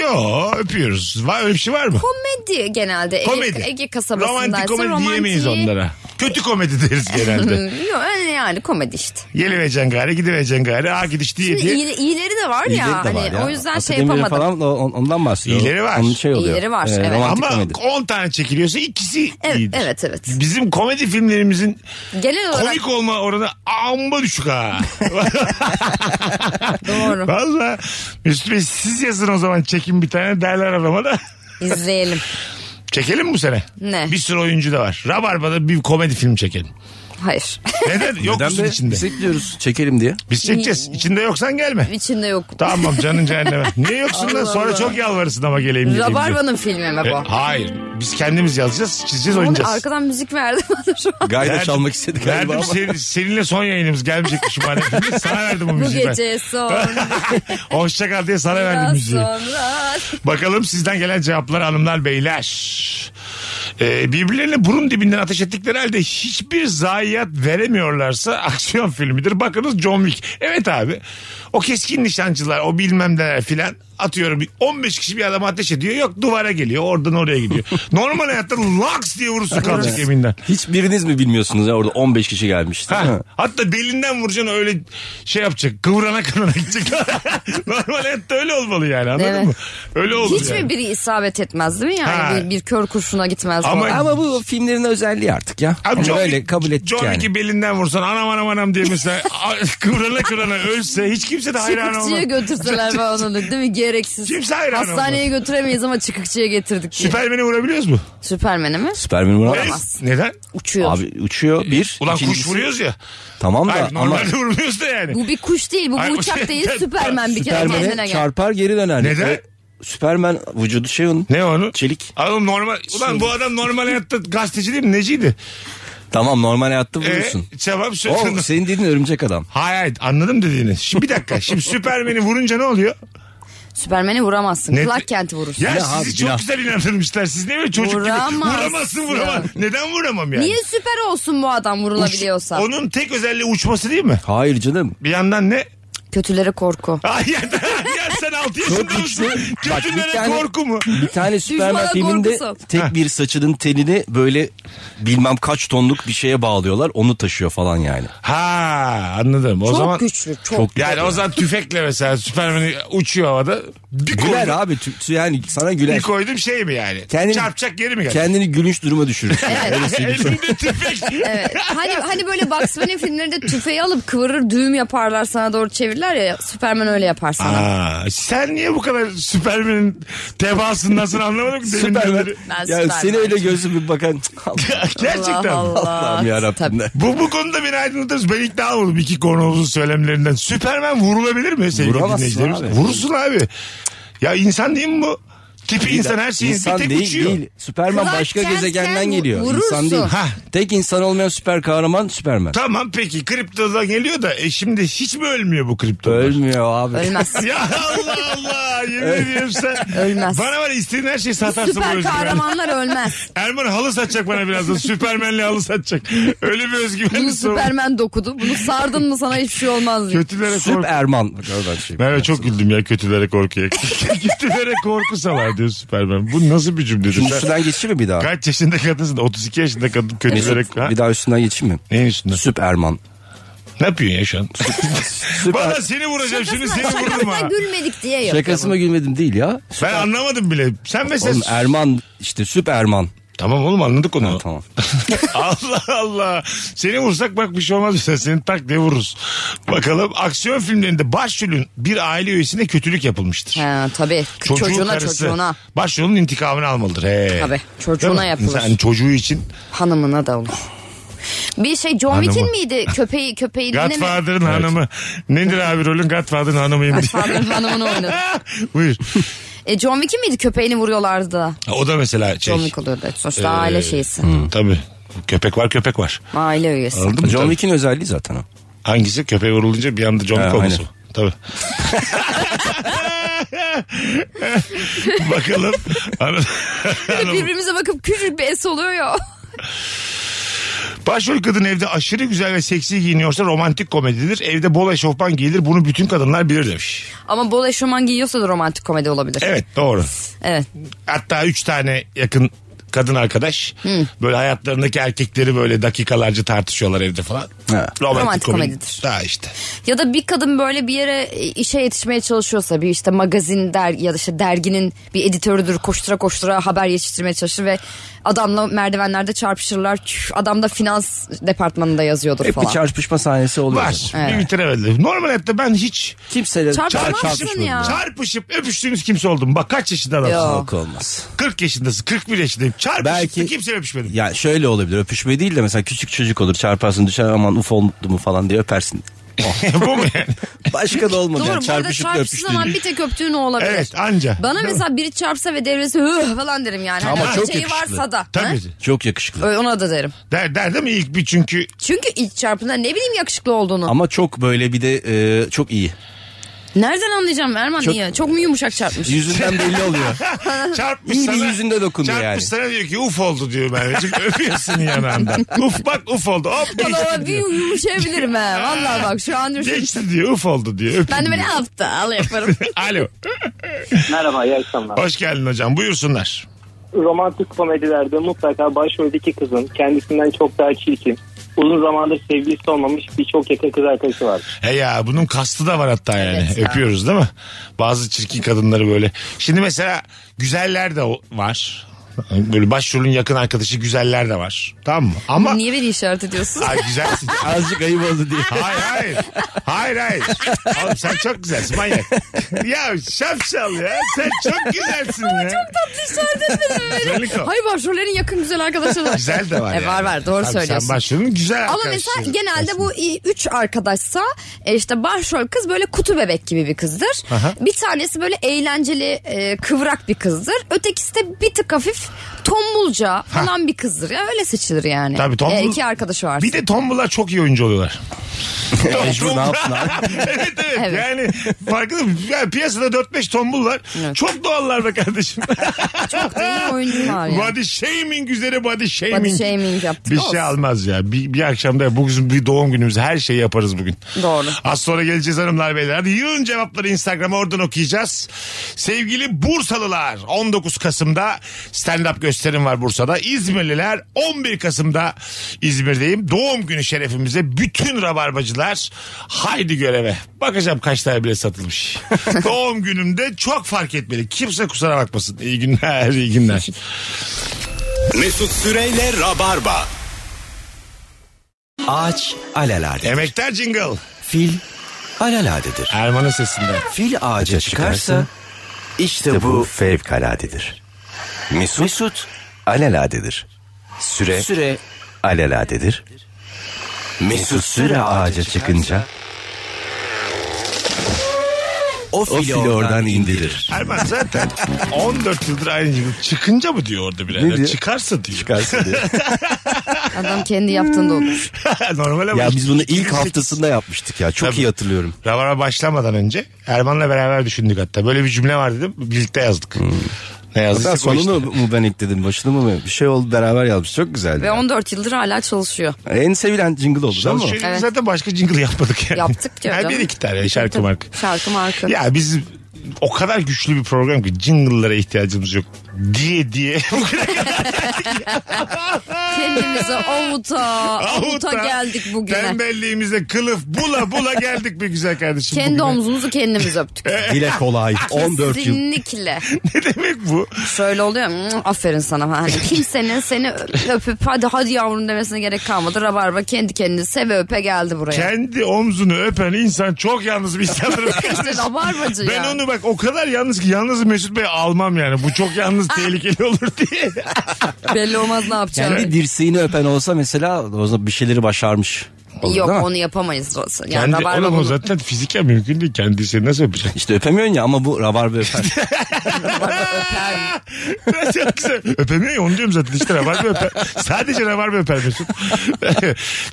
[SPEAKER 3] Yo öpüyoruz. Var öyle bir şey var mı?
[SPEAKER 5] Komedi genelde. Ege,
[SPEAKER 3] Komedi.
[SPEAKER 5] Ege kasabasındaysa
[SPEAKER 3] romantik komedi diyemeyiz
[SPEAKER 5] romantiği-
[SPEAKER 3] onlara. Kötü komedi deriz genelde.
[SPEAKER 5] Hmm, Yok öyle yani komedi işte.
[SPEAKER 3] Gelemeyeceksin gari, gidemeyeceksin gari. Aa gidiş diye
[SPEAKER 5] Şimdi
[SPEAKER 3] diye.
[SPEAKER 5] iyi- iyileri de var
[SPEAKER 4] İyileri de
[SPEAKER 5] ya.
[SPEAKER 4] var
[SPEAKER 5] hani
[SPEAKER 4] ya.
[SPEAKER 5] O yüzden
[SPEAKER 4] Atatürk
[SPEAKER 5] şey
[SPEAKER 4] Demirel
[SPEAKER 5] yapamadım.
[SPEAKER 4] Falan, o- on- ondan bahsediyor.
[SPEAKER 3] İyileri var.
[SPEAKER 4] Onun şey oluyor.
[SPEAKER 5] İyileri var, evet.
[SPEAKER 4] Romantik
[SPEAKER 3] Ama
[SPEAKER 4] komedi.
[SPEAKER 3] 10 tane çekiliyorsa ikisi
[SPEAKER 5] Evet,
[SPEAKER 3] iyidir.
[SPEAKER 5] evet, evet.
[SPEAKER 3] Bizim komedi filmlerimizin
[SPEAKER 5] Genel olarak
[SPEAKER 3] komik olma oranı amma düşük ha.
[SPEAKER 5] doğru.
[SPEAKER 3] Valla Mesut Bey siz yazın o zaman çekin bir tane derler adama da.
[SPEAKER 5] İzleyelim.
[SPEAKER 3] Çekelim mi bu sene?
[SPEAKER 5] Ne?
[SPEAKER 3] Bir sürü oyuncu da var. Rabarba'da bir komedi film çekelim.
[SPEAKER 5] Hayır.
[SPEAKER 3] Neden? Yok musun
[SPEAKER 4] be?
[SPEAKER 3] içinde.
[SPEAKER 4] Biz bekliyoruz. Çekelim diye.
[SPEAKER 3] Biz
[SPEAKER 5] Hmm.
[SPEAKER 3] çekeceğiz. İçinde yoksan gelme.
[SPEAKER 5] İçinde yok.
[SPEAKER 3] Tamam canın cehenneme. Niye yoksun lan?
[SPEAKER 5] Allah
[SPEAKER 3] Sonra
[SPEAKER 5] Allah.
[SPEAKER 3] çok yalvarırsın ama geleyim geleyim. diye.
[SPEAKER 5] Rabarba'nın filmi mi
[SPEAKER 3] E,
[SPEAKER 5] bu?
[SPEAKER 3] hayır. Biz kendimiz yazacağız, çizeceğiz,
[SPEAKER 5] Oğlum,
[SPEAKER 3] oynayacağız.
[SPEAKER 5] Arkadan müzik verdi bana şu an.
[SPEAKER 4] Gayda
[SPEAKER 3] Verdim-
[SPEAKER 4] çalmak istedik galiba
[SPEAKER 3] Verdim
[SPEAKER 4] ama.
[SPEAKER 3] senin- seninle son yayınımız gelmeyecekmiş şu an. Sana verdim bu
[SPEAKER 5] Bu
[SPEAKER 3] müziği ben.
[SPEAKER 5] gece sonra
[SPEAKER 3] Hoşça kal diye sana verdim
[SPEAKER 5] biraz
[SPEAKER 3] müziği.
[SPEAKER 5] sonra.
[SPEAKER 3] Bakalım sizden gelen cevaplar hanımlar beyler. Ee, birbirlerine burun dibinden ateş ettikleri halde hiçbir zayiat veremiyorlarsa aksiyon filmidir. Bakınız John Wick. Evet abi. O keskin nişancılar o bilmem neler filan atıyorum 15 kişi bir adama ateş ediyor. Yok duvara geliyor oradan oraya gidiyor. Normal hayatta laks diye vurursun kalacak yeminden.
[SPEAKER 4] Hiçbiriniz mi bilmiyorsunuz ya orada 15 kişi gelmiş değil
[SPEAKER 3] Ha,
[SPEAKER 4] mi?
[SPEAKER 3] hatta belinden vuracaksın öyle şey yapacak. Kıvırana kıvırana gidecek. Normal hayatta öyle olmalı yani anladın
[SPEAKER 5] Evet.
[SPEAKER 3] mı? Öyle olur
[SPEAKER 5] Hiç
[SPEAKER 3] yani.
[SPEAKER 5] mi biri isabet etmez değil mi
[SPEAKER 3] Ha.
[SPEAKER 5] yani? Bir, bir kör kurşuna gitmez
[SPEAKER 3] Ama-
[SPEAKER 5] falan.
[SPEAKER 4] Ama bu filmlerin özelliği artık ya.
[SPEAKER 3] Abi
[SPEAKER 4] Onu
[SPEAKER 3] John
[SPEAKER 4] öyle
[SPEAKER 3] Wick-
[SPEAKER 4] kabul ettik
[SPEAKER 3] John
[SPEAKER 4] yani.
[SPEAKER 3] Wick'i belinden vursan anam anam anam diye mesela a- kıvrana kıvrana ölse hiç kimse de hayran olmaz.
[SPEAKER 5] Çıkıkçıya götürseler falan onu değil mi? gereksiz.
[SPEAKER 3] Kimse hayran
[SPEAKER 5] Hastaneye götüremeyiz ama çıkıkçıya getirdik diye.
[SPEAKER 3] Süpermen'i vurabiliyoruz mu?
[SPEAKER 5] Süpermen'e mi?
[SPEAKER 4] Süpermen'i vuramaz.
[SPEAKER 5] Olamaz.
[SPEAKER 3] Neden?
[SPEAKER 5] Uçuyor.
[SPEAKER 4] Abi uçuyor bir.
[SPEAKER 3] Ee, Ulan kuş
[SPEAKER 4] ikincisi-
[SPEAKER 3] vuruyoruz ya.
[SPEAKER 4] Tamam da
[SPEAKER 3] Hayır
[SPEAKER 4] ama
[SPEAKER 3] normalde vurmuyoruz da yani.
[SPEAKER 5] Bu bir kuş değil bu,
[SPEAKER 3] Ay,
[SPEAKER 5] bir
[SPEAKER 3] bu
[SPEAKER 5] uçak
[SPEAKER 3] şey-
[SPEAKER 5] değil Süpermen bir kere kendine
[SPEAKER 4] Süpermen'e
[SPEAKER 5] gel.
[SPEAKER 4] çarpar geri döner.
[SPEAKER 3] Neden?
[SPEAKER 4] E, Süpermen vücudu şey onun.
[SPEAKER 3] Ne onu?
[SPEAKER 4] Çelik.
[SPEAKER 3] Oğlum normal. Ulan bu adam normal hayatta gazeteci değil mi? Neciydi?
[SPEAKER 4] Tamam normal hayatta
[SPEAKER 3] Ee,
[SPEAKER 4] vuruyorsun.
[SPEAKER 3] tamam
[SPEAKER 4] O
[SPEAKER 3] söyle.
[SPEAKER 4] senin dediğin örümcek adam.
[SPEAKER 3] Hayır hayır anladım dediğini. Şimdi bir dakika. Şimdi Süpermen'i vurunca ne oluyor?
[SPEAKER 5] Süpermen'i vuramazsın.
[SPEAKER 3] Ne-
[SPEAKER 5] Clark Kent'i vurursun.
[SPEAKER 3] Ya
[SPEAKER 4] Ya
[SPEAKER 3] sizi
[SPEAKER 4] abi,
[SPEAKER 3] çok
[SPEAKER 4] ya.
[SPEAKER 3] güzel inandırmışlar. Siz ne böyle çocuk
[SPEAKER 5] Vuramazsın.
[SPEAKER 3] gibi. Vuramazsın vuramaz. Neden vuramam yani?
[SPEAKER 5] Niye süper olsun bu adam vurulabiliyorsa?
[SPEAKER 3] Onun tek özelliği uçması değil mi?
[SPEAKER 4] Hayır canım.
[SPEAKER 3] Bir yandan ne?
[SPEAKER 5] Kötülere korku.
[SPEAKER 3] Ay ya, ya sen 6 yaşında mısın?
[SPEAKER 4] Bak, bir
[SPEAKER 3] Kötülere
[SPEAKER 4] tane-
[SPEAKER 3] korku mu?
[SPEAKER 4] Bir tane Süpermen
[SPEAKER 5] Düşmana
[SPEAKER 4] filminde
[SPEAKER 5] korkusu.
[SPEAKER 4] tek bir saçının tenini böyle bilmem kaç tonluk bir şeye bağlıyorlar. Onu taşıyor falan yani.
[SPEAKER 3] Ha anladım. O
[SPEAKER 5] çok
[SPEAKER 3] zaman
[SPEAKER 5] güçlü çok.
[SPEAKER 3] yani o zaman tüfekle mesela Süpermen'i uçuyor havada. Bir
[SPEAKER 4] Güler
[SPEAKER 3] koydum,
[SPEAKER 4] abi. tü- tü- yani sana
[SPEAKER 3] bir
[SPEAKER 4] güler.
[SPEAKER 3] koydum şey mi yani?
[SPEAKER 4] Kendini-
[SPEAKER 3] Çarpacak yeri mi geldi?
[SPEAKER 4] Kendini gülünç duruma düşürürsün. Öyle söyleyeyim sana.
[SPEAKER 3] Elinde tüfek.
[SPEAKER 5] Evet. Hani hani böyle Bugs Bunny filmlerinde tüfeği alıp kıvırır düğüm yaparlar sana doğru çevirirler ya Superman öyle yapar sana.
[SPEAKER 3] Aa, sen niye bu kadar Süpermen'in tebaasındasın anlamadım ki. demin
[SPEAKER 4] Süpermen.
[SPEAKER 3] beri.
[SPEAKER 5] Ben
[SPEAKER 4] Ya
[SPEAKER 5] Süpermen.
[SPEAKER 4] seni öyle gözlü bir bakan.
[SPEAKER 3] Gerçekten.
[SPEAKER 5] Allah Allah.
[SPEAKER 4] Allah'ım yarabbim.
[SPEAKER 5] Tabii.
[SPEAKER 4] de.
[SPEAKER 3] Bu, bu konuda beni aydınlatırız. Ben ikna oldum iki konumuzun söylemlerinden. Süpermen vurulabilir mi sevgili
[SPEAKER 4] Vuramazsın
[SPEAKER 3] dinleyicilerimiz?
[SPEAKER 4] abi.
[SPEAKER 3] Vursun abi. Ya insan değil mi bu? Tipi insan her şeyi
[SPEAKER 4] İnsan
[SPEAKER 3] bir tek
[SPEAKER 4] değil,
[SPEAKER 3] uçuyor.
[SPEAKER 4] değil. Süpermen
[SPEAKER 5] Clark
[SPEAKER 4] başka
[SPEAKER 5] Kent
[SPEAKER 4] gezegenden
[SPEAKER 5] sen
[SPEAKER 4] geliyor.
[SPEAKER 5] vurursun.
[SPEAKER 4] İnsan değil.
[SPEAKER 3] Ha.
[SPEAKER 4] Tek insan olmayan süper kahraman Süpermen.
[SPEAKER 3] Tamam peki kriptoda geliyor da e şimdi hiç mi ölmüyor bu kriptolar?
[SPEAKER 4] Ölmüyor abi.
[SPEAKER 5] Ölmez.
[SPEAKER 3] Ya Allah Allah yemin ediyorum sen.
[SPEAKER 5] Ölmez.
[SPEAKER 3] Bana var ya, istediğin her şeyi satarsın. bu
[SPEAKER 5] Süper
[SPEAKER 3] özgüven.
[SPEAKER 5] kahramanlar ölmez.
[SPEAKER 3] Erman halı satacak bana birazdan. Süpermenle halı satacak. Öyle bir özgüvenli
[SPEAKER 5] Bunu
[SPEAKER 3] soru.
[SPEAKER 5] Superman dokudu. Bunu sardın mı sana hiçbir şey olmaz diye.
[SPEAKER 3] Kötülere korku.
[SPEAKER 4] Süperman. Bak oradan şey.
[SPEAKER 3] Merve çok güldüm ya kötülere korkuya. kötülere korku salar diyor Süpermen. Bu nasıl bir cümledir?
[SPEAKER 4] Şunun
[SPEAKER 3] Sen
[SPEAKER 4] üstünden geçeyim mi bir daha?
[SPEAKER 3] kaç yaşında kadınsın? 32 yaşında kadın kötülere...
[SPEAKER 4] Mesut,
[SPEAKER 3] Ha?
[SPEAKER 4] bir daha üstünden geçeyim mi?
[SPEAKER 3] Neyin üstünde?
[SPEAKER 4] Süperman.
[SPEAKER 3] Ne yapıyorsun ya şu an? Bana
[SPEAKER 4] Süper.
[SPEAKER 3] seni vuracağım şimdi seni
[SPEAKER 5] Şakasına-
[SPEAKER 3] vururum ha.
[SPEAKER 5] şakasına gülmedik diye yapıyor.
[SPEAKER 4] Şakasıma gülmedim değil ya.
[SPEAKER 3] Ben anlamadım bile. Sen mesela...
[SPEAKER 4] Oğlum Erman işte Süperman.
[SPEAKER 3] Tamam oğlum anladık onu.
[SPEAKER 4] Ha, tamam.
[SPEAKER 3] Allah Allah. Seni vursak bak bir şey olmaz bize. Seni tak diye vururuz. Bakalım aksiyon filmlerinde başrolün bir aile üyesine kötülük yapılmıştır.
[SPEAKER 5] Ha, tabii.
[SPEAKER 3] Çocuğun
[SPEAKER 5] çocuğuna
[SPEAKER 3] karısı
[SPEAKER 5] çocuğuna.
[SPEAKER 3] Başrolün intikamını almalıdır. He.
[SPEAKER 5] Tabii, çocuğuna
[SPEAKER 3] Değil mi?
[SPEAKER 5] yapılır.
[SPEAKER 3] Yani çocuğu için.
[SPEAKER 5] Hanımına da olur. Bir şey John
[SPEAKER 3] Hanımı.
[SPEAKER 5] Wick'in miydi? Köpeği köpeği dinleme.
[SPEAKER 3] Godfather'ın hanımı. Nedir abi rolün Godfather'ın hanımıyım diye.
[SPEAKER 5] Godfather'ın hanımını oynadı.
[SPEAKER 3] Buyur.
[SPEAKER 5] E, John Wick'in miydi? Köpeğini vuruyorlardı da.
[SPEAKER 3] O da mesela şey.
[SPEAKER 5] John Wick oluyordu. Sonuçta aile şeysi.
[SPEAKER 3] Ee, Hı, Tabii. Köpek var köpek var.
[SPEAKER 5] Aile üyesi.
[SPEAKER 3] Anladın mı?
[SPEAKER 4] John
[SPEAKER 3] Tabii.
[SPEAKER 4] Wick'in özelliği zaten o.
[SPEAKER 3] Hangisi? Köpeğe vurulunca bir anda John Wick
[SPEAKER 4] Ha,
[SPEAKER 3] olması.
[SPEAKER 4] aynen.
[SPEAKER 3] Tabii. Bakalım. Hanım- hanım-
[SPEAKER 5] Birbirimize bakıp küçük bir es oluyor ya.
[SPEAKER 3] Başrol kadın evde aşırı güzel ve seksi giyiniyorsa romantik komedidir. Evde bol eşofman giyilir. Bunu bütün kadınlar bilir demiş.
[SPEAKER 5] Ama bol eşofman giyiyorsa da romantik komedi olabilir.
[SPEAKER 3] Evet doğru.
[SPEAKER 5] Evet.
[SPEAKER 3] Hatta üç tane yakın kadın arkadaş
[SPEAKER 5] Hmm.
[SPEAKER 3] böyle hayatlarındaki erkekleri böyle dakikalarca tartışıyorlar evde falan.
[SPEAKER 4] Ha.
[SPEAKER 3] Romantik,
[SPEAKER 5] Romantik
[SPEAKER 3] komedi.
[SPEAKER 5] komedidir.
[SPEAKER 3] Ha işte.
[SPEAKER 5] Ya da bir kadın böyle bir yere e, işe yetişmeye çalışıyorsa bir işte magazin der ya da işte derginin bir editörüdür koştura koştura haber yetiştirmeye çalışır ve adamla merdivenlerde çarpışırlar. Tüh, Adam da finans departmanında yazıyordur
[SPEAKER 4] Hep E, bir
[SPEAKER 5] falan.
[SPEAKER 4] çarpışma sahnesi oluyor.
[SPEAKER 3] Var.
[SPEAKER 4] zaten.
[SPEAKER 3] Bir
[SPEAKER 5] Evet.
[SPEAKER 3] bitiremedi. Normal hayatta ben hiç
[SPEAKER 4] Kimseyle
[SPEAKER 5] Çarpışmazsın
[SPEAKER 4] çarpışmadım.
[SPEAKER 5] ya.
[SPEAKER 3] çarpışıp öpüştüğünüz kimse oldum. Bak kaç yaşında adamsın.
[SPEAKER 5] Yo.
[SPEAKER 4] Yok olmaz.
[SPEAKER 3] 40 yaşındasın 41 yaşındayım. Çarpışıp
[SPEAKER 4] Belki-
[SPEAKER 3] da kimse öpüşmedim.
[SPEAKER 4] Ya şöyle olabilir öpüşme değil de mesela küçük çocuk olur çarparsın düşer aman uf oldu mu falan diye öpersin.
[SPEAKER 3] Bu mu yani?
[SPEAKER 4] Başka da olmadı
[SPEAKER 5] Doğru
[SPEAKER 4] yani
[SPEAKER 5] bu arada
[SPEAKER 4] çarpışıp da
[SPEAKER 5] çarpıştığı
[SPEAKER 4] öpüştüğün.
[SPEAKER 5] zaman bir tek öptüğün o olabilir.
[SPEAKER 3] Evet anca.
[SPEAKER 5] Bana mesela biri çarpsa ve devresi "Hıh!" falan derim yani.
[SPEAKER 4] Ama
[SPEAKER 5] hani
[SPEAKER 4] çok
[SPEAKER 5] şeyi
[SPEAKER 4] yakışıklı.
[SPEAKER 5] varsa da.
[SPEAKER 3] Tabii.
[SPEAKER 5] Ha?
[SPEAKER 4] Çok yakışıklı.
[SPEAKER 5] Ö- Ona da derim.
[SPEAKER 3] Der, der değil mi ilk bir çünkü
[SPEAKER 5] Çünkü ilk çarpında ne bileyim yakışıklı olduğunu.
[SPEAKER 4] Ama çok böyle bir de e, çok iyi.
[SPEAKER 5] Nereden anlayacağım Erman
[SPEAKER 4] Çok-
[SPEAKER 5] niye? Çok mu yumuşak çarpmış?
[SPEAKER 4] Yüzünden belli oluyor.
[SPEAKER 3] çarpmış
[SPEAKER 4] İyi bir
[SPEAKER 3] sana.
[SPEAKER 4] yüzünde dokundu
[SPEAKER 3] çarpmış
[SPEAKER 4] yani.
[SPEAKER 3] sana diyor ki uf oldu diyor Merveciğim. Öpüyorsun yanağından. Uf bak uf oldu. Hop geçti
[SPEAKER 5] Valla bir
[SPEAKER 3] diyor.
[SPEAKER 5] yumuşayabilirim ha. Valla bak şu an düşün.
[SPEAKER 3] Geçti diyor uf oldu diyor. Öpün
[SPEAKER 5] Ben de
[SPEAKER 3] diyor.
[SPEAKER 5] böyle aptal yaparım.
[SPEAKER 3] Alo.
[SPEAKER 9] Merhaba iyi akşamlar.
[SPEAKER 3] Hoş geldin hocam. Buyursunlar.
[SPEAKER 9] Romantik komedilerde mutlaka başroldeki kızın kendisinden çok daha çirkin, uzun zamandır sevgilisi olmamış birçok yakın kız arkadaşı var.
[SPEAKER 3] He ya bunun kastı da var hatta yani.
[SPEAKER 5] Evet ya.
[SPEAKER 3] Öpüyoruz değil mi? Bazı çirkin kadınları böyle. Şimdi mesela güzeller de o- var. Böyle başrolün yakın arkadaşı güzeller de var. Tamam mı? Ama
[SPEAKER 5] Niye beni işaret ediyorsun?
[SPEAKER 3] Ay güzelsin.
[SPEAKER 4] Azıcık ayıp oldu diye.
[SPEAKER 3] Hayır hayır. Hayır hayır. Oğlum sen çok güzelsin manyak. ya şapşal ya. Sen çok güzelsin ya.
[SPEAKER 5] İşaret etmedim
[SPEAKER 3] Güzellik o.
[SPEAKER 5] Hayır başrollerin yakın güzel arkadaşları var.
[SPEAKER 3] Güzel de var
[SPEAKER 5] E,
[SPEAKER 3] yani.
[SPEAKER 5] var var, doğru
[SPEAKER 3] Abi
[SPEAKER 5] söylüyorsun.
[SPEAKER 3] Sen başrolün güzel
[SPEAKER 5] Ama
[SPEAKER 3] arkadaşı.
[SPEAKER 5] mesela genelde bu i- üç arkadaşsa e, işte başrol kız böyle kutu bebek gibi bir kızdır.
[SPEAKER 3] Aha.
[SPEAKER 5] Bir tanesi böyle eğlenceli e, kıvrak bir kızdır. Ötekisi de bir tık hafif tombulca falan bir kızdır. Ya öyle seçilir yani.
[SPEAKER 3] Tabii tombul-
[SPEAKER 5] E, iki arkadaşı var.
[SPEAKER 3] Bir de tombular çok iyi oyuncu oluyorlar.
[SPEAKER 4] Mecbur ne yapsın abi?
[SPEAKER 3] evet, evet
[SPEAKER 5] Evet.
[SPEAKER 3] yani farkında mı? Yani piyasada 4-5 tombul var. Çok doğallar be kardeşim.
[SPEAKER 5] Çok da iyi oyuncu var yani.
[SPEAKER 3] body shaming üzere body shaming.
[SPEAKER 5] Body shaming yaptık.
[SPEAKER 3] Bir
[SPEAKER 5] Olsun.
[SPEAKER 3] şey almaz ya. Bir, bir akşamda bugün bir doğum günümüz. Her şeyi yaparız bugün.
[SPEAKER 5] Doğru.
[SPEAKER 3] Az sonra geleceğiz hanımlar beyler. Hadi yığın cevapları Instagram'a oradan okuyacağız. Sevgili Bursalılar 19 Kasım'da stand-up gösterim var Bursa'da. İzmirliler 11 Kasım'da İzmir'deyim. Doğum günü şerefimize bütün rabarbacılar haydi göreve. Bakacağım kaç tane bile satılmış. Doğum günümde çok fark etmeli. Kimse kusura bakmasın. İyi günler, iyi günler.
[SPEAKER 2] Mesut Süreyle Rabarba.
[SPEAKER 4] Ağaç alaladedir.
[SPEAKER 3] Emekler Jingle.
[SPEAKER 4] Fil alaladedir.
[SPEAKER 3] Erman'ın sesinde.
[SPEAKER 4] Fil ağaca çıkarsa işte bu fevkaladedir. Mesut, Mesut alaladedir. Süre, süre alaladedir. Mesut süre ağaca çıkınca o fili, oradan, indirir.
[SPEAKER 3] Erman zaten 14 yıldır aynı jingle. Çıkınca mı diyor orada birader?
[SPEAKER 4] Ne diyor?
[SPEAKER 3] Çıkarsa diyor.
[SPEAKER 5] Adam kendi yaptığında olur.
[SPEAKER 3] Normal ama.
[SPEAKER 4] ya biz bunu ilk
[SPEAKER 3] 2008
[SPEAKER 4] haftasında yapmıştık ya. Çok
[SPEAKER 3] Tabii.
[SPEAKER 4] iyi hatırlıyorum.
[SPEAKER 3] Rabarba başlamadan önce Erman'la beraber düşündük hatta. Böyle bir cümle var dedim. Birlikte yazdık. Ne
[SPEAKER 4] Hmm. Hatta
[SPEAKER 3] yazdık?
[SPEAKER 4] sonunu mu ben ekledim başını mı ben- bir şey oldu beraber yazmış çok güzeldi.
[SPEAKER 5] Ve 14 yıldır hala çalışıyor.
[SPEAKER 4] En sevilen jingle oldu değil mi?
[SPEAKER 3] Çalışıyoruz zaten başka jingle yapmadık yani.
[SPEAKER 5] Yaptık diyor
[SPEAKER 3] Yani bir
[SPEAKER 5] canım.
[SPEAKER 3] iki tane şarkı marka.
[SPEAKER 5] Şarkı marka.
[SPEAKER 3] Ya biz o kadar güçlü bir program ki jingle'lara ihtiyacımız yok diye diye.
[SPEAKER 5] Kendimize avuta, avuta geldik bugüne.
[SPEAKER 3] Tembelliğimize kılıf bula bula geldik bir güzel kardeşim.
[SPEAKER 5] Kendi
[SPEAKER 3] bugüne.
[SPEAKER 5] omzumuzu kendimiz öptük.
[SPEAKER 4] Dile kolay 14 yıl.
[SPEAKER 5] Kesinlikle.
[SPEAKER 3] Ne demek bu?
[SPEAKER 5] Şöyle oluyor "Hmm, aferin sana falan. Hani kimsenin seni ö- öpüp hadi hadi yavrum demesine gerek kalmadı. Rabarba kendi kendini seve öpe geldi buraya.
[SPEAKER 3] Kendi omzunu öpen insan çok yalnız bir insandır.
[SPEAKER 5] İşte rabarbacı
[SPEAKER 3] Ben
[SPEAKER 5] ya.
[SPEAKER 3] onu bak o kadar yalnız ki yalnız Mesut Bey almam yani. Bu çok yalnız tehlikeli olur diye.
[SPEAKER 5] Belli olmaz ne yapacağını.
[SPEAKER 4] Kendi dirseğini öpen olsa mesela o zaman bir şeyleri başarmış. olur,
[SPEAKER 5] Yok
[SPEAKER 4] değil mi?
[SPEAKER 5] onu yapamayız. Yani
[SPEAKER 3] Kendi,
[SPEAKER 5] Rabarba
[SPEAKER 3] oğlum o
[SPEAKER 5] bunu-
[SPEAKER 3] zaten fiziken mümkün değil. Kendi seni nasıl öpecek?
[SPEAKER 4] İşte öpemiyorsun ya ama bu rabarba öper.
[SPEAKER 3] çok güzel. Öpemiyor ya onu diyorum zaten. İşte rabarba öper. Sadece rabarba öper Mesut.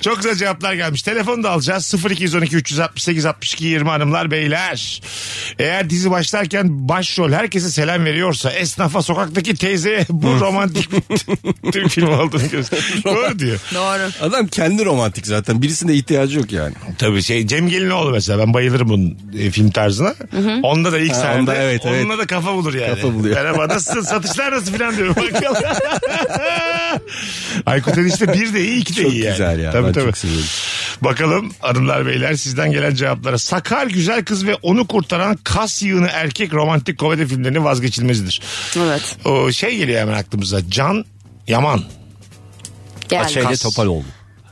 [SPEAKER 3] çok güzel cevaplar gelmiş. Telefonu da alacağız. 0212 368 62 20 hanımlar beyler. Eğer dizi başlarken başrol herkese selam veriyorsa esnafa sokaktaki teyzeye bu romantik bir Türk filmi olduğunu gösteriyor. Doğru diyor.
[SPEAKER 5] Doğru.
[SPEAKER 4] Adam kendi romantik zaten. Birisine ihtiyacı yok yani.
[SPEAKER 3] Tabii şey Cem Gelinoğlu mesela ben bayılırım bunun e, film tarzına. Onda da ilk
[SPEAKER 4] Ha,
[SPEAKER 3] sahnede
[SPEAKER 4] onda evet,
[SPEAKER 3] onunla
[SPEAKER 4] evet.
[SPEAKER 3] da kafa bulur yani.
[SPEAKER 4] Kafa buluyor.
[SPEAKER 3] Merhaba nasılsın satışlar nasıl filan diyorum. Bakalım. Aykut Enişte bir de iyi iki de
[SPEAKER 4] Çok
[SPEAKER 3] iyi yani.
[SPEAKER 4] güzel ya.
[SPEAKER 3] Tabii
[SPEAKER 4] Ben
[SPEAKER 3] tabii.
[SPEAKER 4] çok seviyorum.
[SPEAKER 3] Bakalım hanımlar beyler sizden gelen cevaplara. Sakar güzel kız ve onu kurtaran kas yığını erkek romantik komedi filmlerinin vazgeçilmezidir.
[SPEAKER 5] Evet.
[SPEAKER 3] O şey geliyor hemen aklımıza. Can Yaman.
[SPEAKER 5] Geldi.
[SPEAKER 4] Şeyde Topaloğlu.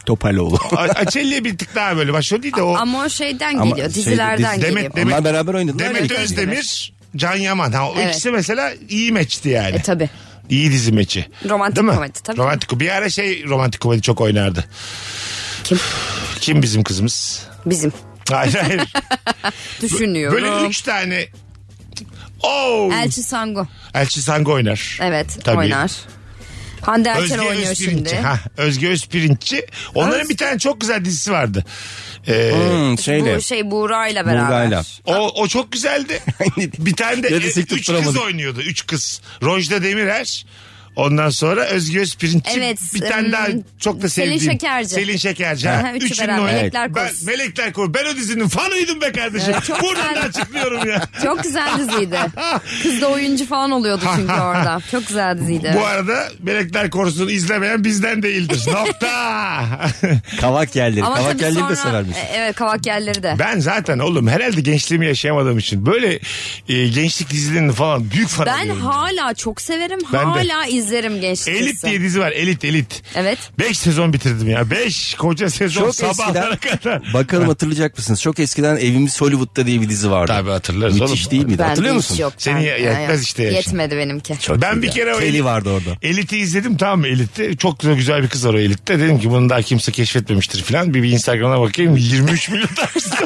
[SPEAKER 4] Topaloğlu.
[SPEAKER 3] A- Açelya bir tık daha böyle başrol değil de o.
[SPEAKER 5] Ama o şeyden
[SPEAKER 4] Ama
[SPEAKER 5] geliyor.
[SPEAKER 4] şey-
[SPEAKER 5] Dizilerden
[SPEAKER 3] Demet-
[SPEAKER 5] Hani geliyor.
[SPEAKER 3] Demet-
[SPEAKER 4] Onlar beraber oynadılar.
[SPEAKER 3] Demet
[SPEAKER 4] ya.
[SPEAKER 3] Özdemir, Can Yaman. Ha, o
[SPEAKER 5] Evet.
[SPEAKER 3] ikisi mesela iyi meçti yani.
[SPEAKER 5] E tabi.
[SPEAKER 3] iyi dizi meçi.
[SPEAKER 5] Romantik
[SPEAKER 3] Değil mi?
[SPEAKER 5] komedi, tabii.
[SPEAKER 3] Romantik Bir ara şey romantik komedi çok oynardı.
[SPEAKER 5] Kim?
[SPEAKER 3] Kim bizim kızımız?
[SPEAKER 5] Bizim.
[SPEAKER 3] Hayır hayır.
[SPEAKER 5] Düşünüyorum.
[SPEAKER 3] Böyle şey üç tane Oh! Elçi,
[SPEAKER 5] Elçi Sango.
[SPEAKER 3] Sango oynar.
[SPEAKER 5] Evet
[SPEAKER 3] Tabii.
[SPEAKER 5] oynar. Hande Erçel
[SPEAKER 3] Özge
[SPEAKER 5] oynuyor
[SPEAKER 3] Özpirinççi.
[SPEAKER 5] şimdi.
[SPEAKER 3] Ha, Özge Özpirinççi. Onların
[SPEAKER 5] Öz-
[SPEAKER 3] bir tane çok güzel dizisi vardı. Ee,
[SPEAKER 4] Hmm, şeyle.
[SPEAKER 5] Bu şey Buğra'yla beraber.
[SPEAKER 4] Buğra'yla.
[SPEAKER 3] O, o çok güzeldi. bir tane de
[SPEAKER 4] Ya desek
[SPEAKER 3] üç kız
[SPEAKER 4] tutturamadık.
[SPEAKER 3] oynuyordu. Üç kız. Rojda Demirer. Ondan sonra Özge Özpirinççi.
[SPEAKER 5] Evet,
[SPEAKER 3] Bir tane
[SPEAKER 5] ım,
[SPEAKER 3] daha çok da
[SPEAKER 5] Selin
[SPEAKER 3] sevdiğim.
[SPEAKER 5] Şekerci.
[SPEAKER 3] Selin Şekerci.
[SPEAKER 5] Aha,
[SPEAKER 3] Ha,
[SPEAKER 5] üçü
[SPEAKER 3] üçünün
[SPEAKER 5] beraber.
[SPEAKER 3] oynadı.
[SPEAKER 5] Melekler
[SPEAKER 3] ben,
[SPEAKER 5] Korusu.
[SPEAKER 3] Melekler Korusu. Ben o dizinin fanıydım be kardeşim.
[SPEAKER 5] Evet, çok
[SPEAKER 3] Buradan
[SPEAKER 5] güzel.
[SPEAKER 3] da açıklıyorum ya.
[SPEAKER 5] Çok güzel diziydi. Kız da oyuncu falan oluyordu çünkü orada. Çok güzel diziydi.
[SPEAKER 3] Bu arada Melekler Korusu'nu izlemeyen bizden değildir. Nokta.
[SPEAKER 4] Kavak yerleri.
[SPEAKER 5] Ama
[SPEAKER 4] Kavak
[SPEAKER 5] tabii
[SPEAKER 4] yerleri
[SPEAKER 5] sonra-
[SPEAKER 4] de severmiş.
[SPEAKER 5] E, Evet kavak yerleri de. Ben,
[SPEAKER 3] ben zaten oğlum herhalde gençliğimi yaşayamadığım için böyle e, gençlik dizilerinin falan büyük fan oluyorum.
[SPEAKER 5] hala çok severim.
[SPEAKER 3] Ben de.
[SPEAKER 5] hala izlerim izlerim gençlikte.
[SPEAKER 3] Elit diye dizi var. Elit elit.
[SPEAKER 5] Evet.
[SPEAKER 3] 5 sezon bitirdim ya. 5 koca sezon
[SPEAKER 4] Çok
[SPEAKER 3] sabahlara
[SPEAKER 4] eskiden-
[SPEAKER 3] kadar.
[SPEAKER 5] e-
[SPEAKER 4] Bakalım hatırlayacak mısınız? Çok eskiden Evimiz Hollywood'da diye bir dizi vardı.
[SPEAKER 3] Tabii hatırlarız
[SPEAKER 4] Müthiş
[SPEAKER 3] oğlum.
[SPEAKER 4] değil miydi?
[SPEAKER 5] Ben
[SPEAKER 4] Hatırlıyor
[SPEAKER 5] de hiç
[SPEAKER 4] musun?
[SPEAKER 5] Yok,
[SPEAKER 3] Seni
[SPEAKER 5] ben-
[SPEAKER 3] yetmez
[SPEAKER 5] Yok.
[SPEAKER 3] işte yaşın.
[SPEAKER 5] Yetmedi benimki.
[SPEAKER 3] Ben bir kere o
[SPEAKER 4] Kelly vardı orada.
[SPEAKER 3] Elit'i izledim tamam mı Elit'te? Çok güzel, güzel bir kız var o Elit'te. Dedim ki bunu daha kimse keşfetmemiştir falan. Bir, bir Instagram'a bakayım 23 milyon takipçisi.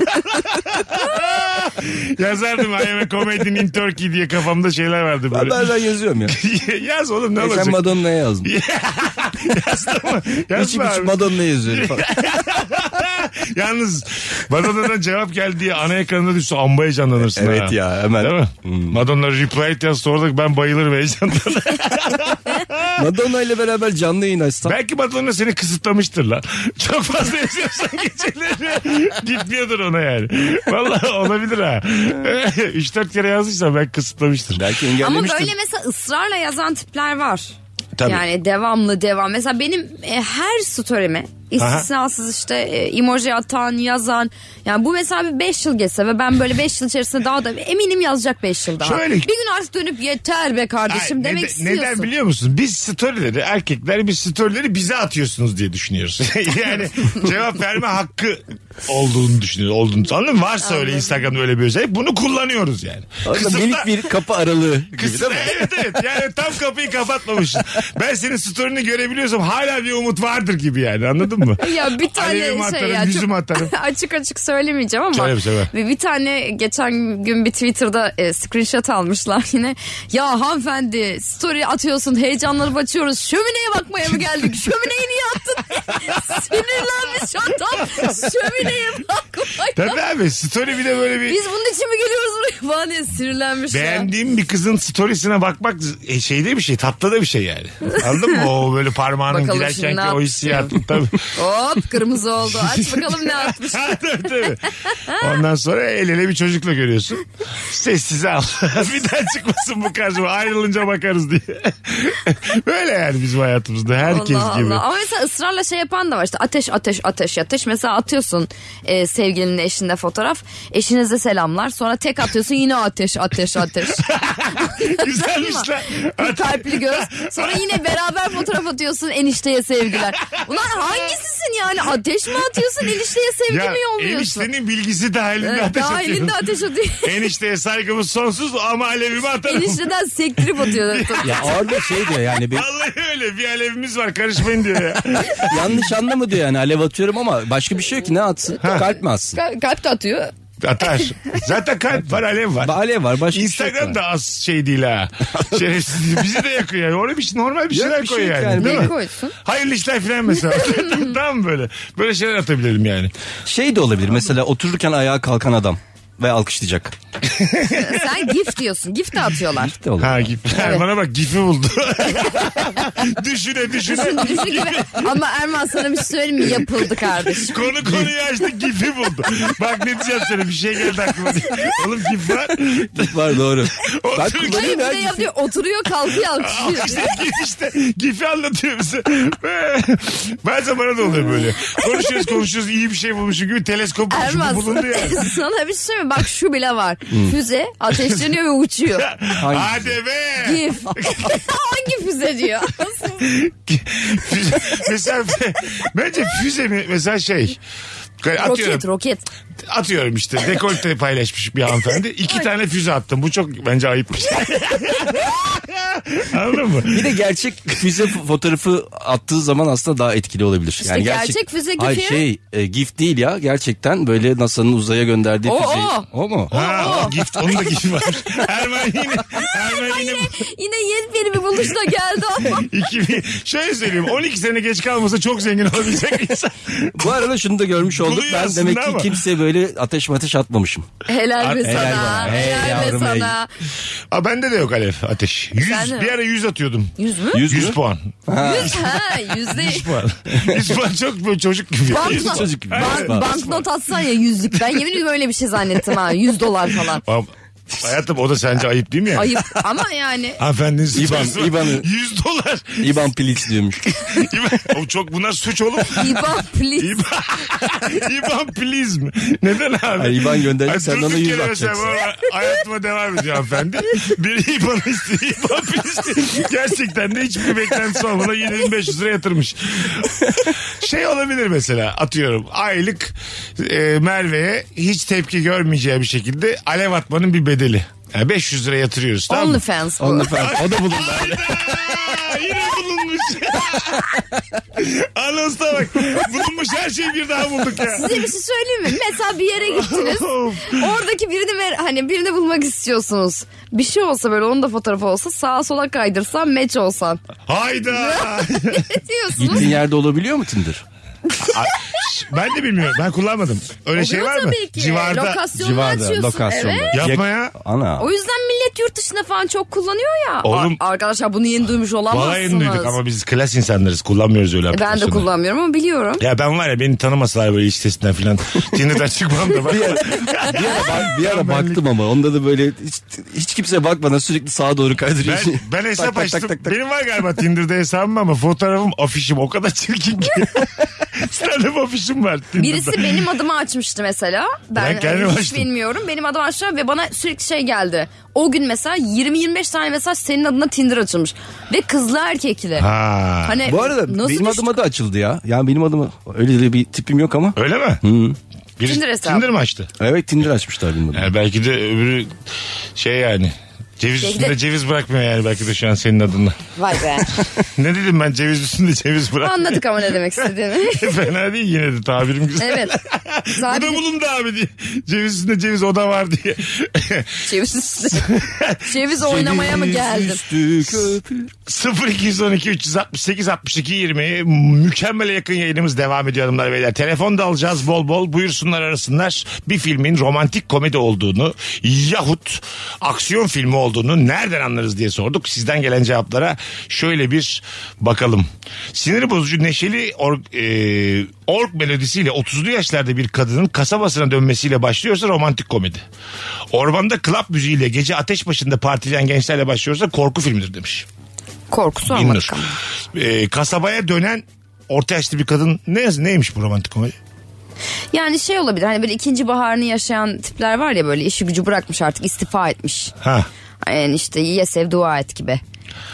[SPEAKER 3] Yazardım I am a comedian in Turkey diye kafamda şeyler vardı
[SPEAKER 4] Ben E
[SPEAKER 3] böyle.
[SPEAKER 4] bazen yazıyorum ya.
[SPEAKER 3] Yaz oğlum ne
[SPEAKER 4] Geçen
[SPEAKER 3] olacak?
[SPEAKER 4] Madonna'ya yazdım.
[SPEAKER 3] Yazdı mı?
[SPEAKER 4] İçim
[SPEAKER 3] Yazma
[SPEAKER 4] içim
[SPEAKER 3] abi.
[SPEAKER 4] Madonna yazıyorum falan.
[SPEAKER 3] Yalnız Madonna'dan cevap geldi diye ana ekranına düşse amba heyecanlanırsın.
[SPEAKER 4] Evet
[SPEAKER 3] ha.
[SPEAKER 4] ya, hemen.
[SPEAKER 3] Değil mi?
[SPEAKER 4] Hmm.
[SPEAKER 3] Madonna reply et yazsa orada ben bayılırım heyecandan.
[SPEAKER 4] Madonna ile beraber canlı yayın açsam.
[SPEAKER 3] Belki Madonna seni kısıtlamıştır lan. Çok fazla izliyorsan geceleri gitmiyordur ona yani. Vallahi olabilir ha. 3-4 kere yazdıysan belki kısıtlamıştır.
[SPEAKER 4] Belki
[SPEAKER 5] Ama
[SPEAKER 4] engellemiştim.
[SPEAKER 5] böyle mesela ısrarla yazan tipler var.
[SPEAKER 3] Tabii.
[SPEAKER 5] Yani devamlı devam. Mesela benim e, her story'me istisnasız işte e, emoji atan, yazan. Yani bu mesela bir 5 yıl geçse ve ben böyle 5 yıl içerisinde daha da eminim yazacak 5 yıl daha.
[SPEAKER 3] Şöyle-
[SPEAKER 5] Bir gün artık dönüp yeter be kardeşim
[SPEAKER 3] Ay,
[SPEAKER 5] demek
[SPEAKER 3] neden-
[SPEAKER 5] istiyorsun.
[SPEAKER 3] Neden biliyor musun? Biz storyleri erkekler biz storyleri bize atıyorsunuz diye düşünüyoruz. yani cevap verme hakkı olduğunu düşünüyoruz. Olduğunu, anladın mı? Varsa öyle Instagram'da öyle bir özellik. Bunu kullanıyoruz yani.
[SPEAKER 4] Orada
[SPEAKER 3] Kısıtla-
[SPEAKER 4] minik bir kapı aralığı gibi
[SPEAKER 3] Kısır,
[SPEAKER 4] değil mi?
[SPEAKER 3] evet evet yani tam kapıyı kapatmamışsın. Ben senin story'ini görebiliyorsam hala bir umut vardır gibi yani anladın mı?
[SPEAKER 5] Ya bir tane
[SPEAKER 3] Alevimi
[SPEAKER 5] şey
[SPEAKER 3] atarım,
[SPEAKER 5] ya.
[SPEAKER 3] yüzümü atarım.
[SPEAKER 5] açık açık söylemeyeceğim ama.
[SPEAKER 3] Söyle, söyle.
[SPEAKER 5] Bir, bir tane geçen gün bir Twitter'da e, screenshot almışlar yine. Ya hanımefendi story atıyorsun heyecanlanıp açıyoruz. Şömineye bakmaya mı geldik? Şömineyi niye attın? Sinirlenmiş adam. Şömineye bakmaya.
[SPEAKER 3] Tabii abi story bir de böyle bir
[SPEAKER 5] Biz bunun için mi geliyoruz buraya? Bana diye sinirlenmiş Şey ya.
[SPEAKER 3] beğendiğim bir kızın storiesine bakmak e, şey de bir şey tatlı da bir şey yani. Anladın mı? O böyle parmağının
[SPEAKER 5] Bakalım
[SPEAKER 3] girerken
[SPEAKER 5] şimdi
[SPEAKER 3] ki
[SPEAKER 5] ne
[SPEAKER 3] o
[SPEAKER 5] yapmış
[SPEAKER 3] hissiyat. Tabii.
[SPEAKER 5] Hop kırmızı oldu. Aç bakalım ne atmış.
[SPEAKER 3] Ha, tabii, tabii. Ondan sonra el ele bir çocukla görüyorsun. Sessize al. bir daha çıkmasın bu karşıma. Ayrılınca bakarız diye. böyle yani bizim hayatımızda herkes
[SPEAKER 5] Allah
[SPEAKER 3] gibi.
[SPEAKER 5] Allah. Ama mesela ısrarla şey yapan da var işte ateş ateş ateş ateş. Mesela atıyorsun e, sevgilinle eşinle fotoğraf. Eşinize selamlar. Sonra tek atıyorsun yine ateş ateş ateş.
[SPEAKER 3] Güzelmiş lan.
[SPEAKER 5] Bir kalpli göz. Sonra yine beraber fotoğraf atıyorsun enişteye sevgiler. Ulan hangisisin yani? Ateş mi atıyorsun enişteye sevgi mi yolluyorsun?
[SPEAKER 3] eniştenin bilgisi dahilinde
[SPEAKER 5] Evet,
[SPEAKER 3] ateş
[SPEAKER 5] dahilinde
[SPEAKER 3] atıyorum.
[SPEAKER 5] ateş atıyor.
[SPEAKER 3] Enişteye saygımız sonsuz ama alevimi atarım.
[SPEAKER 5] Enişteden sektirip atıyor.
[SPEAKER 4] Ya orada şey diyor yani bir,
[SPEAKER 3] Vallahi öyle bir alevimiz var karışmayın diyor ya.
[SPEAKER 4] yanlış anlama diyor yani alev atıyorum ama başka bir şey yok ki ne atsın kalp mi atsın?
[SPEAKER 5] Ka- Kalp de atıyor.
[SPEAKER 3] Atar. Zaten kalp var alev var.
[SPEAKER 4] Alev var başka bir şey
[SPEAKER 3] Instagram
[SPEAKER 4] yok.
[SPEAKER 3] da az şey değil ha. Şerefsiz değil. Bizi de yakıyor yani. Oraya bir şey normal bir
[SPEAKER 4] Yok,
[SPEAKER 3] şeyler
[SPEAKER 4] bir
[SPEAKER 3] koy
[SPEAKER 4] şey yok
[SPEAKER 3] yani.
[SPEAKER 4] yani.
[SPEAKER 3] Değil
[SPEAKER 5] Ne
[SPEAKER 3] mi?
[SPEAKER 5] koysun?
[SPEAKER 3] Hayırlı işler falan mesela. tamam mı böyle? Böyle şeyler atabilirim yani.
[SPEAKER 4] Şey de olabilir mesela otururken ayağa kalkan adam ve alkışlayacak.
[SPEAKER 5] Sen gif diyorsun. Gif de atıyorlar.
[SPEAKER 4] De olur.
[SPEAKER 3] Ha gif. Bana bak gifi buldu. düşüne düşüne.
[SPEAKER 5] Bizim gibi. Ama Erman sana bir şey söyleyeyim mi? Yapıldı kardeşim.
[SPEAKER 3] Konu konuyu açtı gifi buldu. Bak ne diyeceğim sana bir şey geldi aklıma. Oğlum gif var.
[SPEAKER 4] var doğru. ben
[SPEAKER 3] Otururken-
[SPEAKER 5] Hayır
[SPEAKER 4] kullanıyorum
[SPEAKER 5] bir
[SPEAKER 4] ya.
[SPEAKER 5] de yapıyor. Oturuyor kalkıyor
[SPEAKER 3] İşte
[SPEAKER 5] alkışlıyor.
[SPEAKER 3] gif işte. Gifi anlatıyor bize. Bazen bana da oluyor böyle. Konuşuyoruz konuşuyoruz iyi bir şey bulmuşum gibi teleskop bulmuşum
[SPEAKER 5] Erman
[SPEAKER 3] bu bulundu ya.
[SPEAKER 5] sana bir şey söyleyeyim mi? Bak şu bile var. Füze ateşleniyor ve uçuyor.
[SPEAKER 3] Hadi be.
[SPEAKER 5] Gif. Hangi füze diyor?
[SPEAKER 3] Füze- mesela bence füze mi mesela şey atıyorum,
[SPEAKER 5] roket roket.
[SPEAKER 3] atıyorum işte dekolte paylaşmış bir hanımefendi. İki tane füze attım. Bu çok bence ayıpmış. Anladın mı?
[SPEAKER 4] Bir de gerçek füze f- fotoğrafı attığı zaman aslında daha etkili olabilir.
[SPEAKER 5] gerçek füze gifi.
[SPEAKER 4] Hayır şey e, gif değil ya gerçekten böyle NASA'nın uzaya gönderdiği
[SPEAKER 5] O,
[SPEAKER 4] füzeyi.
[SPEAKER 5] o.
[SPEAKER 4] O mu?
[SPEAKER 3] Ha, o gift onun da gift var. Erman yine, Erman yine
[SPEAKER 5] Yine yeni bir buluşla geldi ama.
[SPEAKER 3] 2000, şöyle söyleyeyim 12 sene geç kalmasa çok zengin olabilecek insan.
[SPEAKER 4] Bu arada şunu da görmüş olduk.
[SPEAKER 3] Buluyor
[SPEAKER 4] Ben
[SPEAKER 3] aslında
[SPEAKER 4] demek ki
[SPEAKER 3] ama.
[SPEAKER 4] kimseye böyle ateş mateş atmamışım.
[SPEAKER 5] Helal be
[SPEAKER 4] helal
[SPEAKER 5] sana.
[SPEAKER 4] bana. Hey
[SPEAKER 5] Helal be
[SPEAKER 4] yavrum, hey.
[SPEAKER 5] sana.
[SPEAKER 3] Aa, bende de yok Alev ateş. 100,
[SPEAKER 5] Sen de mi?
[SPEAKER 3] bir ara 100 atıyordum.
[SPEAKER 5] Yüz mü?
[SPEAKER 4] 100
[SPEAKER 3] 100 puan.
[SPEAKER 5] Yüz. Ha yüzde.
[SPEAKER 3] 100 puan. 100 puan çok böyle çocuk gibi.
[SPEAKER 5] Banknot-
[SPEAKER 3] Yüz puan.
[SPEAKER 4] Çocuk gibi.
[SPEAKER 5] Bank, banknot atsan ya yüzlük. Ben yemin ediyorum öyle bir şey zannettim ha. Yüz dolar falan.
[SPEAKER 3] Ama Hayatım o da sence ayıp değil mi yani?
[SPEAKER 5] Ayıp ama yani
[SPEAKER 3] Hanımefendinin
[SPEAKER 4] İban,
[SPEAKER 3] suçu var.
[SPEAKER 4] İban'ı-
[SPEAKER 3] 100 dolar.
[SPEAKER 4] İban piliç diyormuş.
[SPEAKER 3] İban, o çok bunlar suç oğlum.
[SPEAKER 5] İBAN please.
[SPEAKER 3] İban, İban please mi? Neden abi?
[SPEAKER 4] Ay, İban gönderecek,
[SPEAKER 3] Ay,
[SPEAKER 4] sen
[SPEAKER 3] durduk
[SPEAKER 4] ona yüz
[SPEAKER 3] yere mesela bana hayatıma devam ediyor hanımefendi. Biri İban istiyor. İban please diyor. Gerçekten de hiçbir beklentisi olmadan 7500 lira yatırmış. Şey olabilir mesela atıyorum aylık e, Merve'ye hiç tepki görmeyeceği bir şekilde alev atmanın bir bedeli. Yani 500 lira yatırıyoruz tamam mı?
[SPEAKER 5] OnlyFans bu.
[SPEAKER 4] Onunla falan. O da bulundu.
[SPEAKER 3] Hayda! Yine bulunmuş. Anonsta bak. Bulunmuş her şeyi bir daha bulduk ya.
[SPEAKER 5] Size bir şey söyleyeyim mi? Mesela bir yere gittiniz. Oradaki birini ver, hani birini bulmak istiyorsunuz. Bir şey olsa böyle onun da fotoğrafı olsa sağa sola kaydırsan meç olsan.
[SPEAKER 3] Hayda.
[SPEAKER 5] Ne diyorsunuz?
[SPEAKER 4] Gittiğin yerde olabiliyor mu Tinder?
[SPEAKER 3] ben de bilmiyorum. Ben kullanmadım. Öyle şey
[SPEAKER 5] Oluyor
[SPEAKER 3] var mı?
[SPEAKER 5] tabii ki.
[SPEAKER 3] Civarda.
[SPEAKER 5] Lokasyonunu
[SPEAKER 4] Civarda,
[SPEAKER 5] açıyorsun.
[SPEAKER 4] lokasyonda.
[SPEAKER 5] Evet.
[SPEAKER 3] Yapma ya.
[SPEAKER 4] Ana.
[SPEAKER 5] O yüzden millet yurt dışında falan çok kullanıyor ya.
[SPEAKER 3] Oğlum-
[SPEAKER 5] Ar- Arkadaşlar bunu yeni duymuş olamazsınız.
[SPEAKER 3] Vallahi yeni duyduk ama biz klas insanlarız. Kullanmıyoruz öyle
[SPEAKER 5] E, Ben de
[SPEAKER 3] aplikasyonları.
[SPEAKER 5] kullanmıyorum ama biliyorum.
[SPEAKER 3] Ya ben var ya beni tanımasalar böyle iş sitesinden filan. Tinder'dan çıkmam da bak.
[SPEAKER 4] Bir ara, bak- bir ara baktım ama onda da böyle hiç, hiç kimse bakmadan sürekli sağa doğru
[SPEAKER 3] Ben,
[SPEAKER 4] kaydırıyorsun.
[SPEAKER 3] ben
[SPEAKER 4] Tak,
[SPEAKER 3] hesap
[SPEAKER 4] tak, tak,
[SPEAKER 3] açtım.
[SPEAKER 4] tak, tak.
[SPEAKER 3] Benim var galiba Tinder'da hesabım ama fotoğrafım, afişim o kadar çirkin ki. Stand-up afişim var Tinder'da.
[SPEAKER 5] Birisi benim adımı açmıştı mesela. Ben,
[SPEAKER 3] Ben kendim
[SPEAKER 5] hiç
[SPEAKER 3] açtım.
[SPEAKER 5] bilmiyorum. Benim adımı açtı ve bana sürekli şey geldi. O gün mesela 20-25 tane mesaj senin adına Tinder açılmış. Ve kızlı erkekli.
[SPEAKER 3] Ha.
[SPEAKER 5] Hani
[SPEAKER 4] Bu arada
[SPEAKER 5] nasıl
[SPEAKER 4] benim
[SPEAKER 5] düştü?
[SPEAKER 3] şey?
[SPEAKER 4] adıma da açıldı ya. Yani benim adıma öyle de bir tipim yok ama.
[SPEAKER 3] Öyle mi? Birisi
[SPEAKER 5] Tinder hesabı.
[SPEAKER 3] Tinder mi açtı?
[SPEAKER 4] Evet Tinder açmışlar benim adıma.
[SPEAKER 3] Yani belki de öbürü şey yani. Ceviz
[SPEAKER 5] Belki
[SPEAKER 3] üstünde
[SPEAKER 5] de-
[SPEAKER 3] ceviz bırakmıyor yani belki de şu an senin adınla.
[SPEAKER 5] Vay be.
[SPEAKER 3] ne dedim ben ceviz üstünde ceviz bırakmıyor.
[SPEAKER 5] Anladık ama ne demek istediğini.
[SPEAKER 3] Fena değil yine de tabirim güzel.
[SPEAKER 5] evet.
[SPEAKER 3] Bu da
[SPEAKER 5] Zaten
[SPEAKER 3] bulundu abi diye. Ceviz üstünde ceviz oda var diye.
[SPEAKER 5] ceviz, ceviz oynamaya mı geldin?
[SPEAKER 4] Üstü köpür.
[SPEAKER 3] 0212 368 62 20 mükemmele yakın yayınımız devam ediyor hanımlar beyler. Telefon da alacağız bol bol buyursunlar arasınlar. Bir filmin romantik komedi olduğunu yahut aksiyon filmi olduğunu nereden anlarız diye sorduk. Sizden gelen cevaplara şöyle bir bakalım. Sinir bozucu neşeli org, e, org melodisiyle 30'lu yaşlarda bir kadının kasabasına dönmesiyle başlıyorsa romantik komedi. Ormanda club müziğiyle gece ateş başında partileyen gençlerle başlıyorsa korku filmidir demiş.
[SPEAKER 5] Korkusu
[SPEAKER 3] Bilinir.
[SPEAKER 5] olmadık ama.
[SPEAKER 3] Ee, kasabaya dönen orta yaşlı bir kadın ne neymiş bu romantik komedi?
[SPEAKER 5] Yani şey olabilir hani böyle ikinci baharını yaşayan tipler var ya böyle işi gücü bırakmış artık istifa etmiş.
[SPEAKER 3] Ha.
[SPEAKER 5] Yani işte ye sev dua et gibi.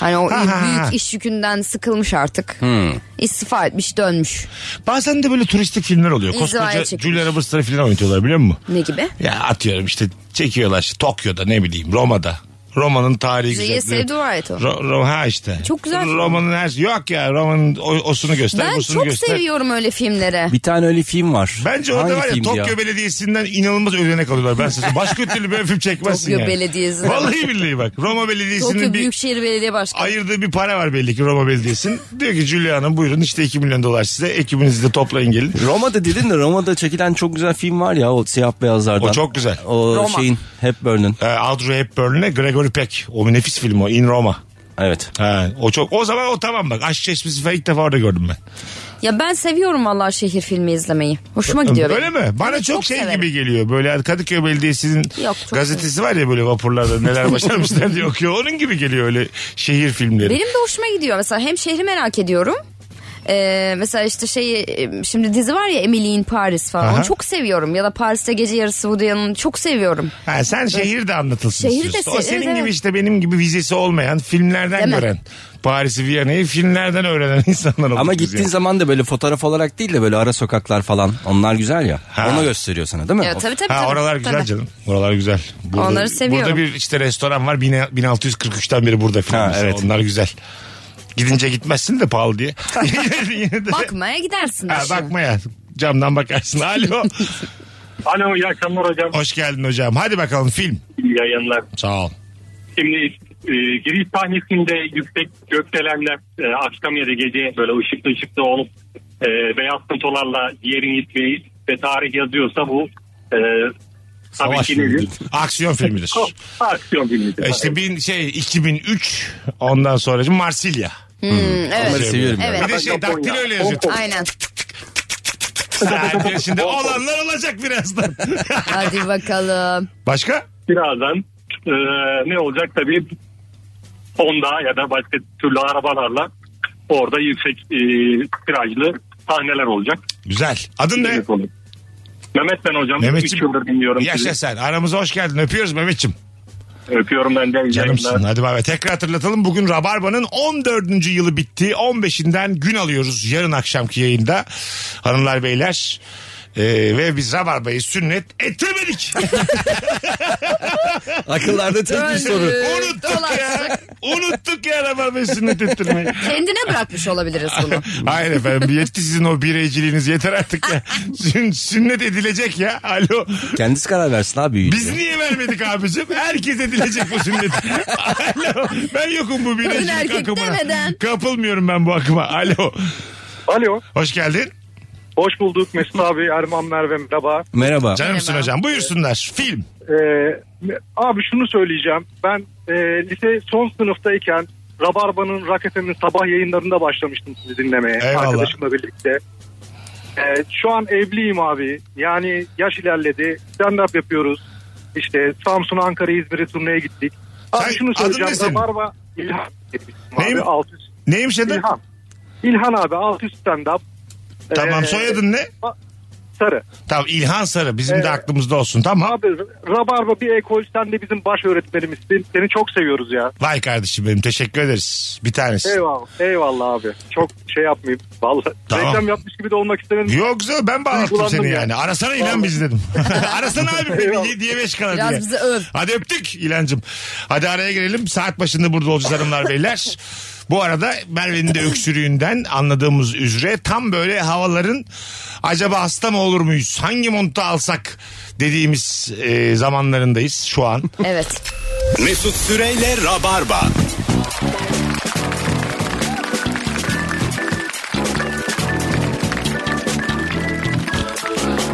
[SPEAKER 5] Hani o
[SPEAKER 3] Ha, ha, ha.
[SPEAKER 5] büyük iş yükünden sıkılmış artık.
[SPEAKER 3] Hmm.
[SPEAKER 5] İstifa etmiş dönmüş.
[SPEAKER 3] Bazen de böyle turistik filmler oluyor.
[SPEAKER 5] İzaya
[SPEAKER 3] Koskoca
[SPEAKER 5] çekmiş.
[SPEAKER 3] Julia Roberts'ları falan oynatıyorlar biliyor musun?
[SPEAKER 5] Ne gibi?
[SPEAKER 3] Ya atıyorum işte çekiyorlar işte Tokyo'da ne bileyim Roma'da. Roma'nın tarihi
[SPEAKER 5] Ye sev
[SPEAKER 3] güzel.
[SPEAKER 5] dua et o.
[SPEAKER 3] Ro- Ro- ha işte.
[SPEAKER 5] Çok güzel film.
[SPEAKER 3] Roma'nın her şey, Yok ya Roma'nın o- osunu göster,
[SPEAKER 5] Ben
[SPEAKER 3] busunu
[SPEAKER 5] çok
[SPEAKER 3] göster.
[SPEAKER 5] seviyorum öyle filmlere.
[SPEAKER 4] Bir tane öyle film var.
[SPEAKER 3] Bence orada
[SPEAKER 4] Hangi
[SPEAKER 3] var ya
[SPEAKER 4] filmdi
[SPEAKER 3] Tokyo Belediyesi'nden inanılmaz ödenek alıyorlar. Ben size başka türlü böyle film çekmezsin
[SPEAKER 5] Tokyo
[SPEAKER 3] yani.
[SPEAKER 5] Belediyesi.
[SPEAKER 3] Vallahi billahi bak. Roma Belediyesi'nin
[SPEAKER 5] Tokyo
[SPEAKER 3] bir...
[SPEAKER 5] Büyükşehir Belediye Başkanı.
[SPEAKER 3] ayırdığı bir para var belli ki Roma Belediyesi'nin. Diyor ki Julia Hanım buyurun işte 2 milyon dolar size ekibinizi de toplayın gelin.
[SPEAKER 4] Roma'da dedin de Roma'da çekilen çok güzel film var ya o siyah beyazlardan.
[SPEAKER 3] O çok güzel.
[SPEAKER 4] O
[SPEAKER 5] Roma.
[SPEAKER 4] şeyin Hepburn'un.
[SPEAKER 3] Ee, Audrey Hepburn'le Gregory Peck. O nefis film o In Roma.
[SPEAKER 4] Evet.
[SPEAKER 3] Ha, o çok o zaman o tamam bak aşk çeşmesi falan ilk defa orada gördüm ben.
[SPEAKER 5] Ya ben seviyorum valla şehir filmi izlemeyi. Hoşuma gidiyor
[SPEAKER 3] Öyle
[SPEAKER 5] benim.
[SPEAKER 3] mi? Bana
[SPEAKER 5] Evet,
[SPEAKER 3] çok, şey
[SPEAKER 5] severim.
[SPEAKER 3] gibi geliyor. Böyle Kadıköy Belediyesi'nin
[SPEAKER 5] Yok, çok
[SPEAKER 3] gazetesi var ya böyle vapurlarda neler başarmışlar diye okuyor. Onun gibi geliyor öyle şehir filmleri.
[SPEAKER 5] Benim de hoşuma gidiyor. Mesela hem şehri merak ediyorum. Ee, mesela işte şey e, şimdi dizi var ya Emily in Paris falan
[SPEAKER 3] Aha.
[SPEAKER 5] onu çok seviyorum ya da Paris'te gece yarısı Woody çok seviyorum.
[SPEAKER 3] Ha, sen şehir de anlatılsın
[SPEAKER 5] Şehir de
[SPEAKER 3] istiyorsun.
[SPEAKER 5] se-
[SPEAKER 3] o senin
[SPEAKER 5] evet,
[SPEAKER 3] gibi
[SPEAKER 5] evet.
[SPEAKER 3] işte benim gibi vizesi olmayan filmlerden
[SPEAKER 5] Değil mi?
[SPEAKER 3] gören. Paris'i Viyana'yı filmlerden öğrenen insanlar olduk
[SPEAKER 4] Ama
[SPEAKER 3] biz
[SPEAKER 4] gittiğin
[SPEAKER 3] yani.
[SPEAKER 4] zaman da böyle fotoğraf olarak değil de böyle ara sokaklar falan onlar güzel ya.
[SPEAKER 3] Ha.
[SPEAKER 4] Ona gösteriyor sana değil mi?
[SPEAKER 5] Evet
[SPEAKER 4] O-
[SPEAKER 5] tabii tabii.
[SPEAKER 3] Ha
[SPEAKER 5] tabii.
[SPEAKER 3] oralar güzel
[SPEAKER 5] Tabii.
[SPEAKER 3] canım. Oralar güzel.
[SPEAKER 5] Onları seviyorum.
[SPEAKER 3] Burada bir işte restoran var. Bine- 1643'ten beri burada filan.
[SPEAKER 4] Ha,
[SPEAKER 3] mesela.
[SPEAKER 4] evet.
[SPEAKER 3] Onlar güzel. Gidince gitmezsin de pahalı diye. Yine de-
[SPEAKER 5] Bakmaya gidersin.
[SPEAKER 3] Ha,
[SPEAKER 5] aşağı.
[SPEAKER 3] bakma ya. Camdan bakarsın. Alo.
[SPEAKER 9] Alo iyi akşamlar hocam.
[SPEAKER 3] Hoş geldin hocam. Hadi bakalım film.
[SPEAKER 9] İyi yayınlar.
[SPEAKER 3] Sağ ol.
[SPEAKER 9] Şimdi e, giriş sahnesinde yüksek gökdelenler e, akşam ya da gece böyle ışıklı ışıklı olup e, beyaz fotolarla yerin gitmeyi ve tarih yazıyorsa bu e, tabii
[SPEAKER 4] Savaş
[SPEAKER 9] ki nedir?
[SPEAKER 4] filmidir.
[SPEAKER 3] Aksiyon filmidir.
[SPEAKER 9] Çok aksiyon filmidir.
[SPEAKER 3] işte bin, şey 2003 ondan sonra Marsilya.
[SPEAKER 5] Hmm, evet.
[SPEAKER 4] Onları seviyorum ben.
[SPEAKER 5] Evet.
[SPEAKER 3] Bir de şey
[SPEAKER 9] Japonya.
[SPEAKER 3] daktilo öyle yazıyor.
[SPEAKER 5] Aynen.
[SPEAKER 3] Saat yaşında olanlar olacak birazdan.
[SPEAKER 5] Hadi bakalım.
[SPEAKER 3] Başka?
[SPEAKER 9] Birazdan e, ne olacak tabii Honda ya da başka türlü arabalarla orada yüksek e, tirajlı sahneler olacak.
[SPEAKER 3] Güzel. Adın ne?
[SPEAKER 9] Evet, olur. Mehmet ben hocam.
[SPEAKER 3] Mehmetciğim.
[SPEAKER 9] 3 yıldır dinliyorum
[SPEAKER 3] Yaşa sen. Aramıza hoş geldin. Öpüyoruz Mehmetçim.
[SPEAKER 9] sizi. Öpüyorum ben de. İyi
[SPEAKER 3] Canımsın.
[SPEAKER 9] yayınlar.
[SPEAKER 3] Hadi bay bay. Tekrar hatırlatalım. Bugün Rabarba'nın 14. yılı bitti. 15'inden gün alıyoruz yarın akşamki yayında. Hanımlar beyler. Ee, ve biz Rabarba'yı sünnet ettirmedik.
[SPEAKER 4] Akıllarda tek bir soru.
[SPEAKER 3] Unuttuk ya. Unuttuk ya Rabarba'yı sünnet ettirmeyi.
[SPEAKER 5] Kendine bırakmış olabiliriz bunu.
[SPEAKER 3] Hayır efendim yetti sizin o bireyciliğiniz yeter artık ya. Sün- sünnet edilecek ya. Alo.
[SPEAKER 4] Kendisi karar versin abi büyüyünce.
[SPEAKER 3] Biz niye vermedik abicim? Herkes edilecek bu sünnet. Alo. Ben yokum bu
[SPEAKER 5] Kadın
[SPEAKER 3] bireycilik
[SPEAKER 5] erkek
[SPEAKER 3] akımına.
[SPEAKER 5] demeden.
[SPEAKER 3] Kapılmıyorum ben bu akıma. Alo.
[SPEAKER 6] Alo.
[SPEAKER 3] Hoş geldin.
[SPEAKER 6] Hoş bulduk Mesut abi, Erman Merve merhaba.
[SPEAKER 4] Merhaba.
[SPEAKER 3] Canımsın hocam. Buyursunlar. Film.
[SPEAKER 6] Ee, abi şunu söyleyeceğim. Ben e, lise son sınıftayken Rabarba'nın Rakefem'in sabah yayınlarında başlamıştım sizi dinlemeye.
[SPEAKER 3] Eyvallah.
[SPEAKER 6] Arkadaşımla birlikte. Ee, şu an evliyim abi. Yani yaş ilerledi. Stand-up yapıyoruz. İşte Samsun, Ankara, İzmir'e turneye gittik. Abi
[SPEAKER 3] Sen-
[SPEAKER 6] şunu
[SPEAKER 3] adın ne
[SPEAKER 6] söyleyeceğim.
[SPEAKER 3] senin?
[SPEAKER 6] Rabarba İlhan.
[SPEAKER 3] Neyim?
[SPEAKER 6] Abi, alt üst.
[SPEAKER 3] Neymiş adı?
[SPEAKER 6] İlhan. İlhan abi alt üst stand-up.
[SPEAKER 3] Tamam
[SPEAKER 6] Ee,
[SPEAKER 9] e,
[SPEAKER 3] soyadın ne?
[SPEAKER 6] Sarı.
[SPEAKER 3] Tamam İlhan Sarı. Bizim de
[SPEAKER 6] Evet.
[SPEAKER 3] aklımızda olsun. Tamam.
[SPEAKER 6] Abi Rabarba bir ekol sen de bizim baş öğretmenimizsin. Seni çok seviyoruz ya.
[SPEAKER 3] Vay kardeşim benim. Teşekkür ederiz. Bir tanesi.
[SPEAKER 6] Eyvallah. Eyvallah abi. Çok şey yapmayayım. Vallahi
[SPEAKER 3] Tamam.
[SPEAKER 6] reklam yapmış gibi de olmak istemedim.
[SPEAKER 3] Yok güzel ben bağlattım
[SPEAKER 6] Duygulandım
[SPEAKER 3] seni
[SPEAKER 6] ya.
[SPEAKER 3] yani. Arasana İlhan
[SPEAKER 6] Vallahi.
[SPEAKER 3] bizi dedim. Arasana abi beni
[SPEAKER 6] Eyvallah.
[SPEAKER 3] 7'ye 5 kala diye.
[SPEAKER 5] Biraz bizi öv.
[SPEAKER 3] Hadi öptük İlhan'cığım. Hadi araya girelim. Saat başında burada olacağız hanımlar beyler. Bu arada Merve'nin de öksürüğünden anladığımız üzere tam böyle havaların acaba hasta mı olur muyuz? Hangi montu alsak dediğimiz e, zamanlarındayız şu an.
[SPEAKER 5] Evet.
[SPEAKER 2] Mesut Süreyle Rabarba.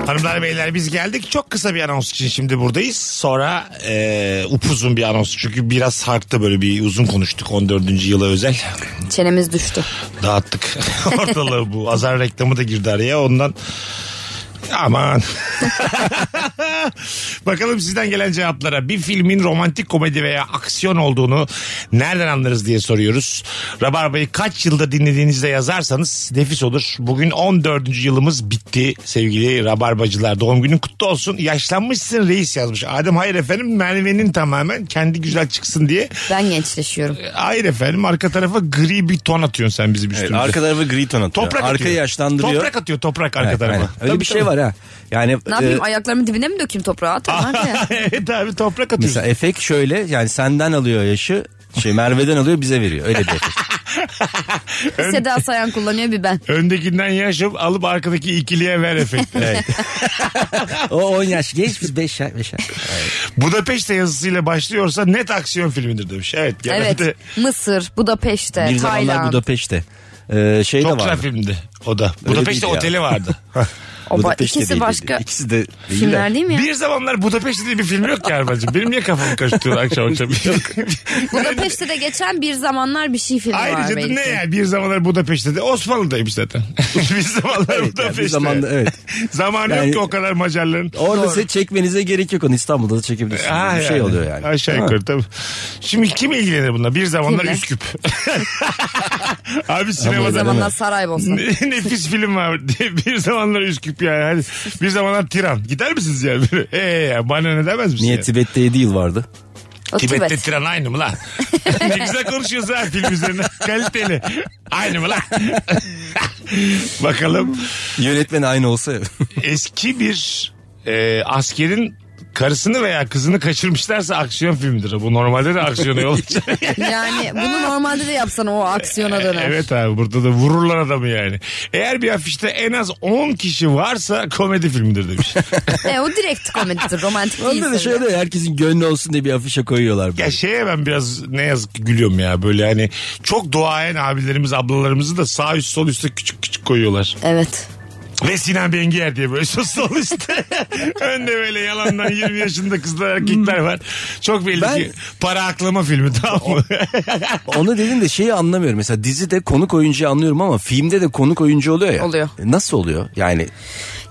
[SPEAKER 3] Hanımlar beyler biz geldik. Çok kısa bir anons için şimdi buradayız. Sonra e, upuzun bir anons. Çünkü biraz harktı böyle bir uzun konuştuk 14. yıla özel.
[SPEAKER 5] Çenemiz düştü.
[SPEAKER 3] Dağıttık ortalığı bu. Azar reklamı da girdi araya ondan. Aman. Bakalım sizden gelen cevaplara. Bir filmin romantik komedi veya aksiyon olduğunu nereden anlarız diye soruyoruz. Rabarba'yı kaç yılda dinlediğinizde yazarsanız nefis olur. Bugün 14. yılımız bitti sevgili Rabarbacılar. Doğum günün kutlu olsun. Yaşlanmışsın reis yazmış. Adem hayır efendim Merve'nin tamamen kendi güzel çıksın diye.
[SPEAKER 5] Ben gençleşiyorum.
[SPEAKER 3] Hayır efendim arka tarafa gri bir ton atıyorsun sen bizim
[SPEAKER 4] Evet,
[SPEAKER 3] üstümüze.
[SPEAKER 4] arka tarafı gri ton atıyor.
[SPEAKER 3] Toprak
[SPEAKER 4] Arkayı
[SPEAKER 3] atıyor.
[SPEAKER 4] yaşlandırıyor.
[SPEAKER 3] Toprak atıyor toprak arka
[SPEAKER 4] Evet,
[SPEAKER 3] tarafa.
[SPEAKER 4] aynen. Öyle
[SPEAKER 3] Tabii,
[SPEAKER 4] bir şey
[SPEAKER 3] tabii.
[SPEAKER 4] var ha. Yani
[SPEAKER 5] Ne yapayım
[SPEAKER 4] e,
[SPEAKER 5] ayaklarımın dibine mi dökeyim toprağı? Atamam ya.
[SPEAKER 3] evet abi toprak atıyor.
[SPEAKER 4] mesela efekt şöyle yani senden alıyor yaşı şey Merve'den alıyor bize veriyor. Öyle bir efekt.
[SPEAKER 5] Bir Seda Sayan kullanıyor bir ben.
[SPEAKER 3] Öndekinden yaşıp alıp arkadaki ikiliye ver efekti.
[SPEAKER 4] O 10 yaş geç biz 5 yaş. Beş yaş.
[SPEAKER 3] Budapeşte yazısıyla başlıyorsa net aksiyon filmidir demiş. Evet genelde
[SPEAKER 4] Şey
[SPEAKER 5] Evet. Mısır, Budapeşte,
[SPEAKER 4] bir zamanlar
[SPEAKER 5] Tayland.
[SPEAKER 4] Budapeşte. Ee, şey
[SPEAKER 3] çok
[SPEAKER 4] de
[SPEAKER 3] güzel
[SPEAKER 4] var.
[SPEAKER 3] filmdi o da. Budapeşte
[SPEAKER 4] değil ya.
[SPEAKER 3] oteli vardı.
[SPEAKER 5] O ba- ikisi başka
[SPEAKER 4] İkisi de değil
[SPEAKER 5] filmler değil mi ya?
[SPEAKER 3] bir zamanlar Budapeşte diye bir film yok ki Erman'cığım. Benim niye kafamı karıştırıyor akşam akşam?
[SPEAKER 5] Budapeşte'de geçen bir zamanlar bir şey filmi var
[SPEAKER 3] Ayrıca da
[SPEAKER 5] belki.
[SPEAKER 3] ne yani bir zamanlar Budapeşte de Osmanlı'daymış zaten. bir zamanlar
[SPEAKER 4] yani bir
[SPEAKER 3] Budapeşte.
[SPEAKER 4] zamanda, evet.
[SPEAKER 3] Zamanı
[SPEAKER 4] Yani-
[SPEAKER 3] yok ki o kadar Macarların.
[SPEAKER 4] Orada size çekmenize gerek yok. Onu İstanbul'da da çekebilirsiniz.
[SPEAKER 3] Ha
[SPEAKER 4] bir şey
[SPEAKER 3] yani.
[SPEAKER 4] oluyor yani.
[SPEAKER 3] Aşağı
[SPEAKER 4] Ha.
[SPEAKER 3] yukarı tabii. Şimdi kim ilgilenir bununla? Bir zamanlar
[SPEAKER 5] Kimle?
[SPEAKER 3] Üsküp. Abi
[SPEAKER 5] O
[SPEAKER 3] sinemada
[SPEAKER 5] zamanlar Saraybosna.
[SPEAKER 3] ne- nefis film var. diye bir zamanlar Üsküp yani. Hadi bir zamanlar Tiran. Gider misiniz yani? Ee ya bana ne demez misin?
[SPEAKER 4] Niye
[SPEAKER 3] ya?
[SPEAKER 4] Tibet'te 7 yıl vardı?
[SPEAKER 5] O
[SPEAKER 3] Tibet'te
[SPEAKER 5] Tibet.
[SPEAKER 3] Tiran aynı mı lan? ne güzel konuşuyorsun ha film üzerine. Kaliteli. Aynı mı lan? Bakalım
[SPEAKER 4] Yönetmen aynı olsa.
[SPEAKER 3] eski bir e, askerin karısını veya kızını kaçırmışlarsa aksiyon filmidir. Bu normalde de aksiyona yol açar.
[SPEAKER 5] Yani bunu normalde de yapsan o aksiyona döner.
[SPEAKER 3] Evet abi burada da vururlar adamı yani. Eğer bir afişte en az 10 kişi varsa komedi filmidir demiş.
[SPEAKER 5] E, o direkt komedidir. Romantik değil.
[SPEAKER 4] Onda da
[SPEAKER 5] sanırım.
[SPEAKER 4] şöyle şey oluyor, herkesin gönlü olsun diye bir afişe koyuyorlar. böyle.
[SPEAKER 3] ya şeye ben biraz ne yazık ki gülüyorum ya böyle hani çok doğayen abilerimiz ablalarımızı da sağ üst sol üste küçük küçük koyuyorlar.
[SPEAKER 5] Evet.
[SPEAKER 3] Ve Sinan Bengiyer diye böyle sol sol üstte önde böyle yalandan 20 yaşında kızlar erkekler var. Çok belli
[SPEAKER 4] Ben-
[SPEAKER 3] ki para aklama filmi tamam mı?
[SPEAKER 4] Onu dedim de şeyi anlamıyorum. Mesela dizide konuk oyuncuyu anlıyorum ama filmde de konuk oyuncu oluyor ya.
[SPEAKER 5] Oluyor.
[SPEAKER 4] E, Nasıl oluyor? Yani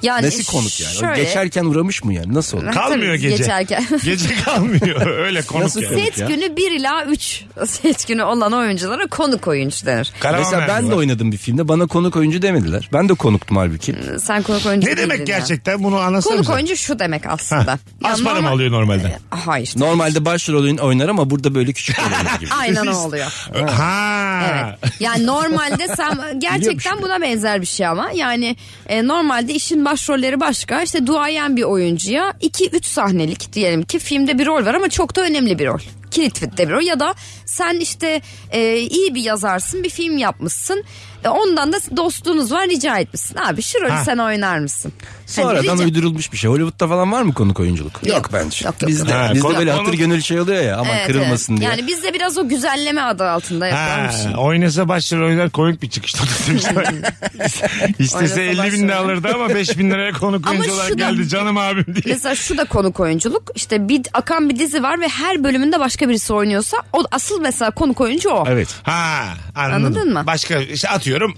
[SPEAKER 5] Yani
[SPEAKER 4] Nesi konuk yani? O
[SPEAKER 5] şöyle-
[SPEAKER 4] Geçerken uğramış mı yani? Nasıl olur?
[SPEAKER 3] Kalmıyor
[SPEAKER 5] Tabii,
[SPEAKER 3] gece.
[SPEAKER 5] Geçerken.
[SPEAKER 3] Gece kalmıyor. Öyle konuk
[SPEAKER 4] Nasıl
[SPEAKER 3] yani.
[SPEAKER 4] konuk?
[SPEAKER 5] Set
[SPEAKER 4] ya.
[SPEAKER 5] günü 1 ila 3 set günü olan oyunculara konuk oyuncu denir.
[SPEAKER 3] Karavan
[SPEAKER 4] Mesela ben de
[SPEAKER 3] verdiler.
[SPEAKER 4] oynadım bir filmde. Bana konuk oyuncu demediler. Ben de konuktum halbuki.
[SPEAKER 5] Sen konuk oyuncu
[SPEAKER 3] Ne
[SPEAKER 5] değildin
[SPEAKER 3] demek
[SPEAKER 5] ya.
[SPEAKER 3] gerçekten bunu anlatsana
[SPEAKER 5] Konuk
[SPEAKER 3] bize.
[SPEAKER 5] oyuncu şu demek aslında. Ya
[SPEAKER 3] Az para mı
[SPEAKER 5] normal-
[SPEAKER 3] alıyor normalden?
[SPEAKER 5] Hayır.
[SPEAKER 4] Normalde başrol oyun oynar ama burada böyle küçük oynar gibi.
[SPEAKER 5] Aynen o oluyor.
[SPEAKER 3] Ha.
[SPEAKER 5] Evet. Yani normalde sen gerçekten buna benzer bir şey ama yani e, normalde işin başrolleri başka. İşte duayen bir oyuncuya 2-3 sahnelik diyelim ki filmde bir rol var ama çok da önemli bir rol. Kilit de bir rol ya da sen işte e, iyi bir yazarsın bir film yapmışsın. E, ondan da dostluğunuz var rica etmişsin. Abi şu rolü
[SPEAKER 3] Ha.
[SPEAKER 5] sen oynar mısın? Hani
[SPEAKER 4] Sonradan
[SPEAKER 5] rica-
[SPEAKER 4] uydurulmuş bir şey. Hollywood'da falan var mı konuk oyunculuk?
[SPEAKER 5] Yok.
[SPEAKER 4] bence.
[SPEAKER 5] Yok, yok,
[SPEAKER 4] bizde
[SPEAKER 3] yok.
[SPEAKER 4] bizde
[SPEAKER 3] Ha,
[SPEAKER 4] böyle
[SPEAKER 3] konuk-
[SPEAKER 4] hatır gönül şey oluyor ya aman
[SPEAKER 5] Evet,
[SPEAKER 4] kırılmasın
[SPEAKER 5] evet.
[SPEAKER 4] diye.
[SPEAKER 5] Yani bizde biraz o güzelleme adı altında yapılan
[SPEAKER 3] Ha,
[SPEAKER 5] bir şey.
[SPEAKER 3] oynasa başrol oynar komik bir çıkış noktası demişler. İstese
[SPEAKER 5] Oynasa
[SPEAKER 3] 50 bin
[SPEAKER 5] başrol.
[SPEAKER 3] de alırdı ama 5 bin liraya konuk
[SPEAKER 5] Ama
[SPEAKER 3] oyuncu olarak
[SPEAKER 5] şu da-
[SPEAKER 3] geldi canım abim diye.
[SPEAKER 5] Mesela şu da konuk oyunculuk. İşte bir akan bir dizi var ve her bölümünde başka birisi oynuyorsa o asıl mesela konuk oyuncu o.
[SPEAKER 4] Evet.
[SPEAKER 3] Ha anladım.
[SPEAKER 5] Anladın mı?
[SPEAKER 3] Başka işte atıyorum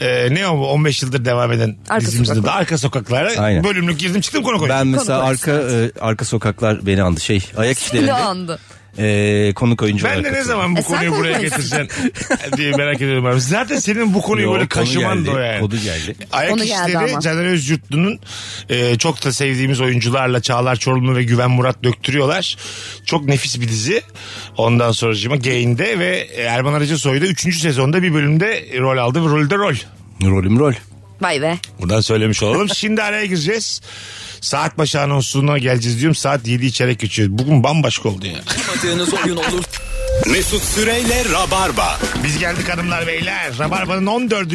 [SPEAKER 3] e, ne o bu, 15 yıldır devam eden
[SPEAKER 5] Arka
[SPEAKER 3] dizimizde de
[SPEAKER 5] sokaklar.
[SPEAKER 3] arka sokaklara
[SPEAKER 4] Aynen.
[SPEAKER 3] bölümlük girdim çıktım konuk oyuncu.
[SPEAKER 4] Ben mesela
[SPEAKER 5] Konuk
[SPEAKER 4] arka e, arka sokaklar beni andı. Şey ayak
[SPEAKER 5] Ne
[SPEAKER 4] işlerinde
[SPEAKER 5] andı?
[SPEAKER 4] e, konuk oyuncu
[SPEAKER 3] Ben
[SPEAKER 4] olarak
[SPEAKER 3] de ne
[SPEAKER 4] katıldım.
[SPEAKER 3] zaman bu
[SPEAKER 5] E, sen
[SPEAKER 3] konuyu buraya
[SPEAKER 5] konuşma.
[SPEAKER 3] getireceksin diye merak ediyorum abi. Zaten senin bu konuyu
[SPEAKER 4] Yo,
[SPEAKER 3] böyle
[SPEAKER 4] konu
[SPEAKER 3] kaşıman da
[SPEAKER 4] geldi,
[SPEAKER 3] o yani.
[SPEAKER 4] kodu geldi.
[SPEAKER 3] Ayak
[SPEAKER 5] Konu geldi
[SPEAKER 3] işleri
[SPEAKER 5] ama.
[SPEAKER 3] Caner Özyurtlu'nun e, çok da sevdiğimiz oyuncularla Çağlar Çorumlu ve Güven Murat döktürüyorlar. Çok nefis bir dizi. Ondan sonra cima Gain'de ve Erman Arıcı Soy'da 3. sezonda bir bölümde rol aldı ve rolde rol.
[SPEAKER 4] Rolüm rol.
[SPEAKER 5] Vay be.
[SPEAKER 3] Buradan söylemiş olalım. Şimdi araya gireceğiz. Saat başı anonsuna geleceğiz diyorum. Saat 7 içerek geçiyor. Bugün bambaşka oldu ya.
[SPEAKER 1] Yapmadığınız oyun olur.
[SPEAKER 2] Mesut Süreyle Rabarba.
[SPEAKER 3] Biz geldik hanımlar beyler. Rabarba'nın 14.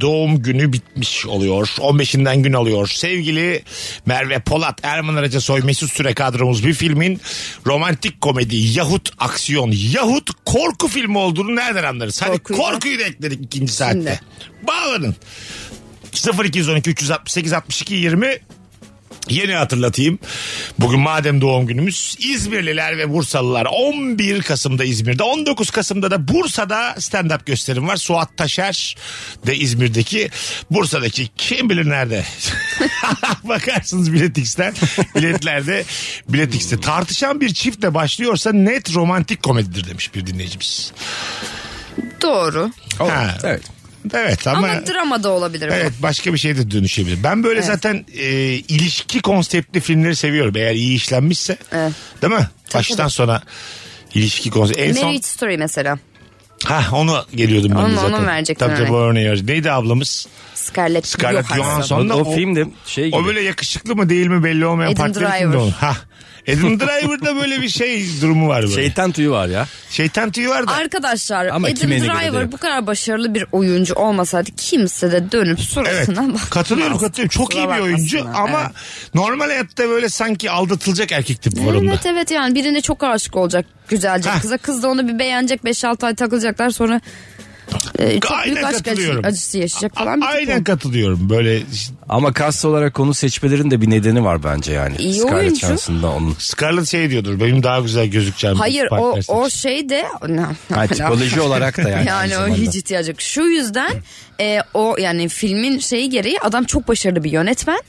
[SPEAKER 3] doğum günü bitmiş oluyor. 15'inden gün alıyor. Sevgili Merve Polat, Erman Araca Soy, Mesut Süre kadromuz bir filmin romantik komedi yahut aksiyon yahut korku filmi olduğunu nereden anlarız? Hadi
[SPEAKER 5] Korkuyu da-
[SPEAKER 3] korkuyu da ekledik ikinci saatte. Bağlanın. 0212 368 62 20 Yeni hatırlatayım. Bugün madem doğum günümüz İzmirliler ve Bursalılar 11 Kasım'da İzmir'de 19 Kasım'da da Bursa'da stand-up gösterim var. Suat Taşer de İzmir'deki Bursa'daki kim bilir nerede. Bakarsınız biletix'ten biletlerde biletix'te tartışan bir çiftle başlıyorsa net romantik komedidir demiş bir dinleyicimiz.
[SPEAKER 5] Doğru.
[SPEAKER 3] Ha.
[SPEAKER 4] Evet.
[SPEAKER 3] Evet ama,
[SPEAKER 5] Ama, drama da olabilir. bu.
[SPEAKER 3] Evet başka bir şey de dönüşebilir. Ben böyle
[SPEAKER 5] Evet.
[SPEAKER 3] zaten e, ilişki konseptli filmleri seviyorum. Eğer iyi işlenmişse.
[SPEAKER 5] Evet.
[SPEAKER 3] Değil mi? Baştan sona ilişki konsepti. En
[SPEAKER 5] Marriage
[SPEAKER 3] son
[SPEAKER 5] Story mesela.
[SPEAKER 3] ha onu geliyordum ben de
[SPEAKER 5] Onu-
[SPEAKER 3] zaten.
[SPEAKER 5] onu verecektim,
[SPEAKER 3] Tabii tabii
[SPEAKER 5] evet.
[SPEAKER 3] o örneği verecektim. Neydi ablamız?
[SPEAKER 5] Scarlett,
[SPEAKER 3] Scarlett
[SPEAKER 5] Johansson.
[SPEAKER 3] Johansson'la
[SPEAKER 4] O- o film de şey
[SPEAKER 3] O
[SPEAKER 4] gibi.
[SPEAKER 3] böyle yakışıklı mı değil mi belli olmayan
[SPEAKER 5] Adam
[SPEAKER 3] partneri kimdi
[SPEAKER 5] Driver.
[SPEAKER 3] onun? Ha. Adam Driver'da böyle bir şey durumu var böyle.
[SPEAKER 4] Şeytan tüyü var ya.
[SPEAKER 3] Şeytan tüyü var da.
[SPEAKER 5] Arkadaşlar
[SPEAKER 4] Ama
[SPEAKER 5] Adam
[SPEAKER 4] kimine göre de
[SPEAKER 5] Driver
[SPEAKER 4] yok.
[SPEAKER 5] bu kadar başarılı bir oyuncu olmasaydı kimse de dönüp
[SPEAKER 3] Evet.
[SPEAKER 5] suratına bakmaz.
[SPEAKER 3] Katılıyorum katılıyorum. Çok iyi bir
[SPEAKER 5] Kusura
[SPEAKER 3] oyuncu
[SPEAKER 5] bakmasınlar,
[SPEAKER 3] ama
[SPEAKER 5] evet.
[SPEAKER 3] normal hayatta böyle sanki aldatılacak erkek tipi var onda.
[SPEAKER 5] Evet evet yani birine çok aşık olacak güzelce
[SPEAKER 3] Hah.
[SPEAKER 5] kıza. Kız da onu bir beğenecek 5-6 ay takılacaklar sonra e, çok
[SPEAKER 3] Aynen
[SPEAKER 5] büyük aşk acısı,
[SPEAKER 3] katılıyorum.
[SPEAKER 5] acısı yaşayacak falan.
[SPEAKER 3] A-
[SPEAKER 5] bir tip
[SPEAKER 3] Aynen
[SPEAKER 5] oldu.
[SPEAKER 3] katılıyorum. Böyle işte
[SPEAKER 4] Ama kast olarak konu seçmelerin de bir nedeni var bence yani.
[SPEAKER 5] İyi
[SPEAKER 4] Scarlett
[SPEAKER 5] oyuncu.
[SPEAKER 4] Johansson'da onun.
[SPEAKER 3] Scarlett şey diyordur. Benim daha güzel gözükeceğim.
[SPEAKER 5] Hayır
[SPEAKER 3] bir
[SPEAKER 5] o,
[SPEAKER 3] partner
[SPEAKER 5] o
[SPEAKER 3] seçim.
[SPEAKER 5] şey de Ne-
[SPEAKER 4] Ha, tipoloji olarak da yani.
[SPEAKER 5] yani
[SPEAKER 4] aynı
[SPEAKER 5] o
[SPEAKER 4] zamanda.
[SPEAKER 5] hiç ihtiyacı yok. Şu yüzden e, o yani filmin şeyi gereği adam çok başarılı bir yönetmen.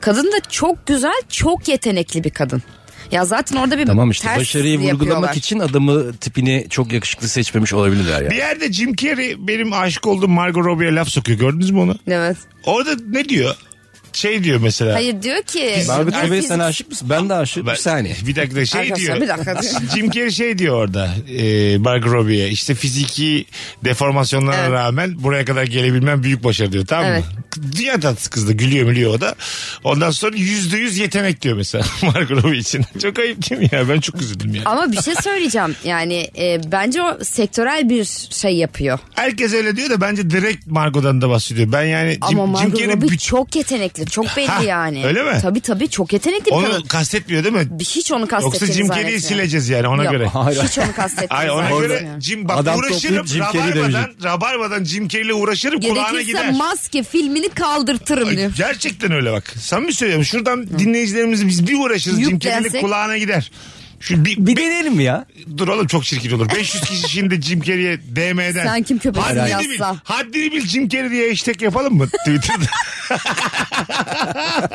[SPEAKER 5] Kadın da çok güzel, çok yetenekli bir kadın. Ya zaten orada bir
[SPEAKER 4] Tamam işte
[SPEAKER 5] ters
[SPEAKER 4] başarıyı vurgulamak
[SPEAKER 5] yapıyorlar.
[SPEAKER 4] için adamı tipini çok yakışıklı seçmemiş olabilirler
[SPEAKER 3] Bir
[SPEAKER 4] yani.
[SPEAKER 3] yerde Jim Carrey benim aşık olduğum Margot Robbie'ye laf sokuyor. Gördünüz mü onu?
[SPEAKER 5] Evet.
[SPEAKER 3] Orada ne diyor? Şey diyor mesela.
[SPEAKER 5] Hayır diyor ki.
[SPEAKER 4] Barbie
[SPEAKER 5] Ben
[SPEAKER 4] Turbey
[SPEAKER 5] fizik-
[SPEAKER 4] sen aşık mısın? Ben de aşığım.
[SPEAKER 3] Ben-
[SPEAKER 4] Bir saniye.
[SPEAKER 3] Bir dakika şey
[SPEAKER 5] Arkadaşlar,
[SPEAKER 3] diyor.
[SPEAKER 5] bir dakika diyor.
[SPEAKER 3] Jim Carrey şey diyor orada. E, Margot Robbie'ye işte fiziki deformasyonlarına
[SPEAKER 5] Evet.
[SPEAKER 3] rağmen buraya kadar gelebilmem büyük başarı diyor. Tamam
[SPEAKER 5] Evet.
[SPEAKER 3] mı? Dünya tatlısı kız da gülüyor mülüyor o da. Ondan sonra yüzde yüz yetenek diyor mesela Margot Robbie için. Çok ayıp değil mi ya? Ben çok üzüldüm ya.
[SPEAKER 5] Ama bir şey söyleyeceğim. Yani e, bence o sektörel bir şey yapıyor.
[SPEAKER 3] Herkes öyle diyor da bence direkt Margot'dan da bahsediyor. Ben yani Jim,
[SPEAKER 5] Ama
[SPEAKER 3] Jim
[SPEAKER 5] Margot
[SPEAKER 3] Carrey
[SPEAKER 5] Robbie
[SPEAKER 3] bütün-
[SPEAKER 5] çok yetenekli. Çok belli
[SPEAKER 3] Ha,
[SPEAKER 5] yani.
[SPEAKER 3] öyle mi?
[SPEAKER 5] Tabii tabii çok yetenekli bir kadın.
[SPEAKER 3] onu kastetmiyor değil mi?
[SPEAKER 5] Hiç onu kastettiğini
[SPEAKER 3] Yoksa Jim Carrey'i
[SPEAKER 5] zannetmiyorum.
[SPEAKER 3] sileceğiz yani ona
[SPEAKER 5] Yok,
[SPEAKER 3] göre.
[SPEAKER 4] Hayır.
[SPEAKER 5] Hiç onu kastettiğini
[SPEAKER 3] Ay ona göre
[SPEAKER 5] zannetmiyorum.
[SPEAKER 3] Jim bak
[SPEAKER 4] Adam
[SPEAKER 3] uğraşırım
[SPEAKER 4] toplayıp Jim Carrey
[SPEAKER 3] rabarbadan,
[SPEAKER 4] dövecek.
[SPEAKER 3] rabarbadan Jim Carrey'le uğraşırım kulağına
[SPEAKER 5] Gerekirse
[SPEAKER 3] gider.
[SPEAKER 5] maske filmini kaldırtırım
[SPEAKER 3] Ay,
[SPEAKER 5] diyor.
[SPEAKER 3] Gerçekten öyle bak. Samimi söylüyorum. Şuradan dinleyicilerimizi biz bir uğraşırız. Jim Carrey'le
[SPEAKER 5] Yüklensek.
[SPEAKER 3] kulağına gider. Şu bir,
[SPEAKER 4] Bir deneyelim ya.
[SPEAKER 3] dur oğlum çok çirkin olur. 500 kişi şimdi Jim Carrey'e DM'den.
[SPEAKER 5] Sen kim köpeğini
[SPEAKER 3] Haddini
[SPEAKER 5] yazsa?
[SPEAKER 3] bil. Haddini bil Jim Carrey diye hashtag yapalım mı Twitter'da?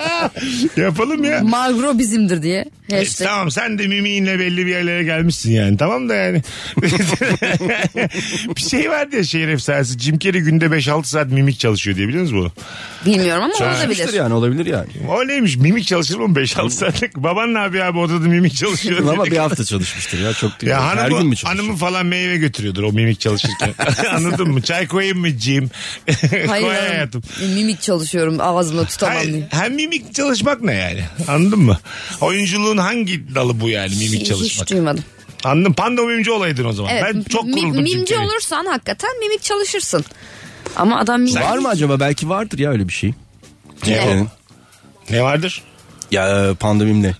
[SPEAKER 3] Yapalım ya.
[SPEAKER 5] Magro bizimdir diye.
[SPEAKER 3] E,
[SPEAKER 5] Hashtag.
[SPEAKER 3] Tamam sen de mimiğinle belli bir yerlere gelmişsin yani. Tamam da yani. bir şey vardı ya şehir efsanesi. Jim Carrey günde 5-6 saat mimik çalışıyor diye biliyor musunuz bunu?
[SPEAKER 5] Bilmiyorum ama olabilir.
[SPEAKER 4] Olabilir yani olabilir yani.
[SPEAKER 3] O neymiş mimik çalışır mı 5-6 saatlik? Baban ne yapıyor abi odada mimik çalışıyor.
[SPEAKER 4] Ama
[SPEAKER 3] dedi.
[SPEAKER 4] bir hafta çalışmıştır ya çok değil.
[SPEAKER 3] Ya
[SPEAKER 4] Her
[SPEAKER 3] hanımı,
[SPEAKER 4] gün mü çalışıyor?
[SPEAKER 3] hanımı falan meyve götürüyordur o mimik çalışırken. Anladın mı? Çay koyayım mı Jim?
[SPEAKER 5] Hayır
[SPEAKER 3] Koy
[SPEAKER 5] hanım.
[SPEAKER 3] hayatım.
[SPEAKER 5] Mimik çalışıyorum ağzımda tutamam
[SPEAKER 3] Hayır,
[SPEAKER 5] diye.
[SPEAKER 3] hem mimik çalışmak ne yani? Anladın mı? Oyunculuğun hangi dalı bu yani mimik
[SPEAKER 5] Hiç-
[SPEAKER 3] çalışmak?
[SPEAKER 5] Hiç duymadım.
[SPEAKER 3] Anladım. Pandomimci olaydın o zaman.
[SPEAKER 5] Evet,
[SPEAKER 3] Ben çok
[SPEAKER 5] mi-
[SPEAKER 3] kuruldum
[SPEAKER 5] Mimci
[SPEAKER 3] çünkü.
[SPEAKER 5] olursan hakikaten mimik çalışırsın. Ama adam mimik.
[SPEAKER 4] Var mı acaba? Belki vardır ya öyle bir şey.
[SPEAKER 3] Ne,
[SPEAKER 4] Yani.
[SPEAKER 3] ne vardır?
[SPEAKER 4] Ya e, pandemimle.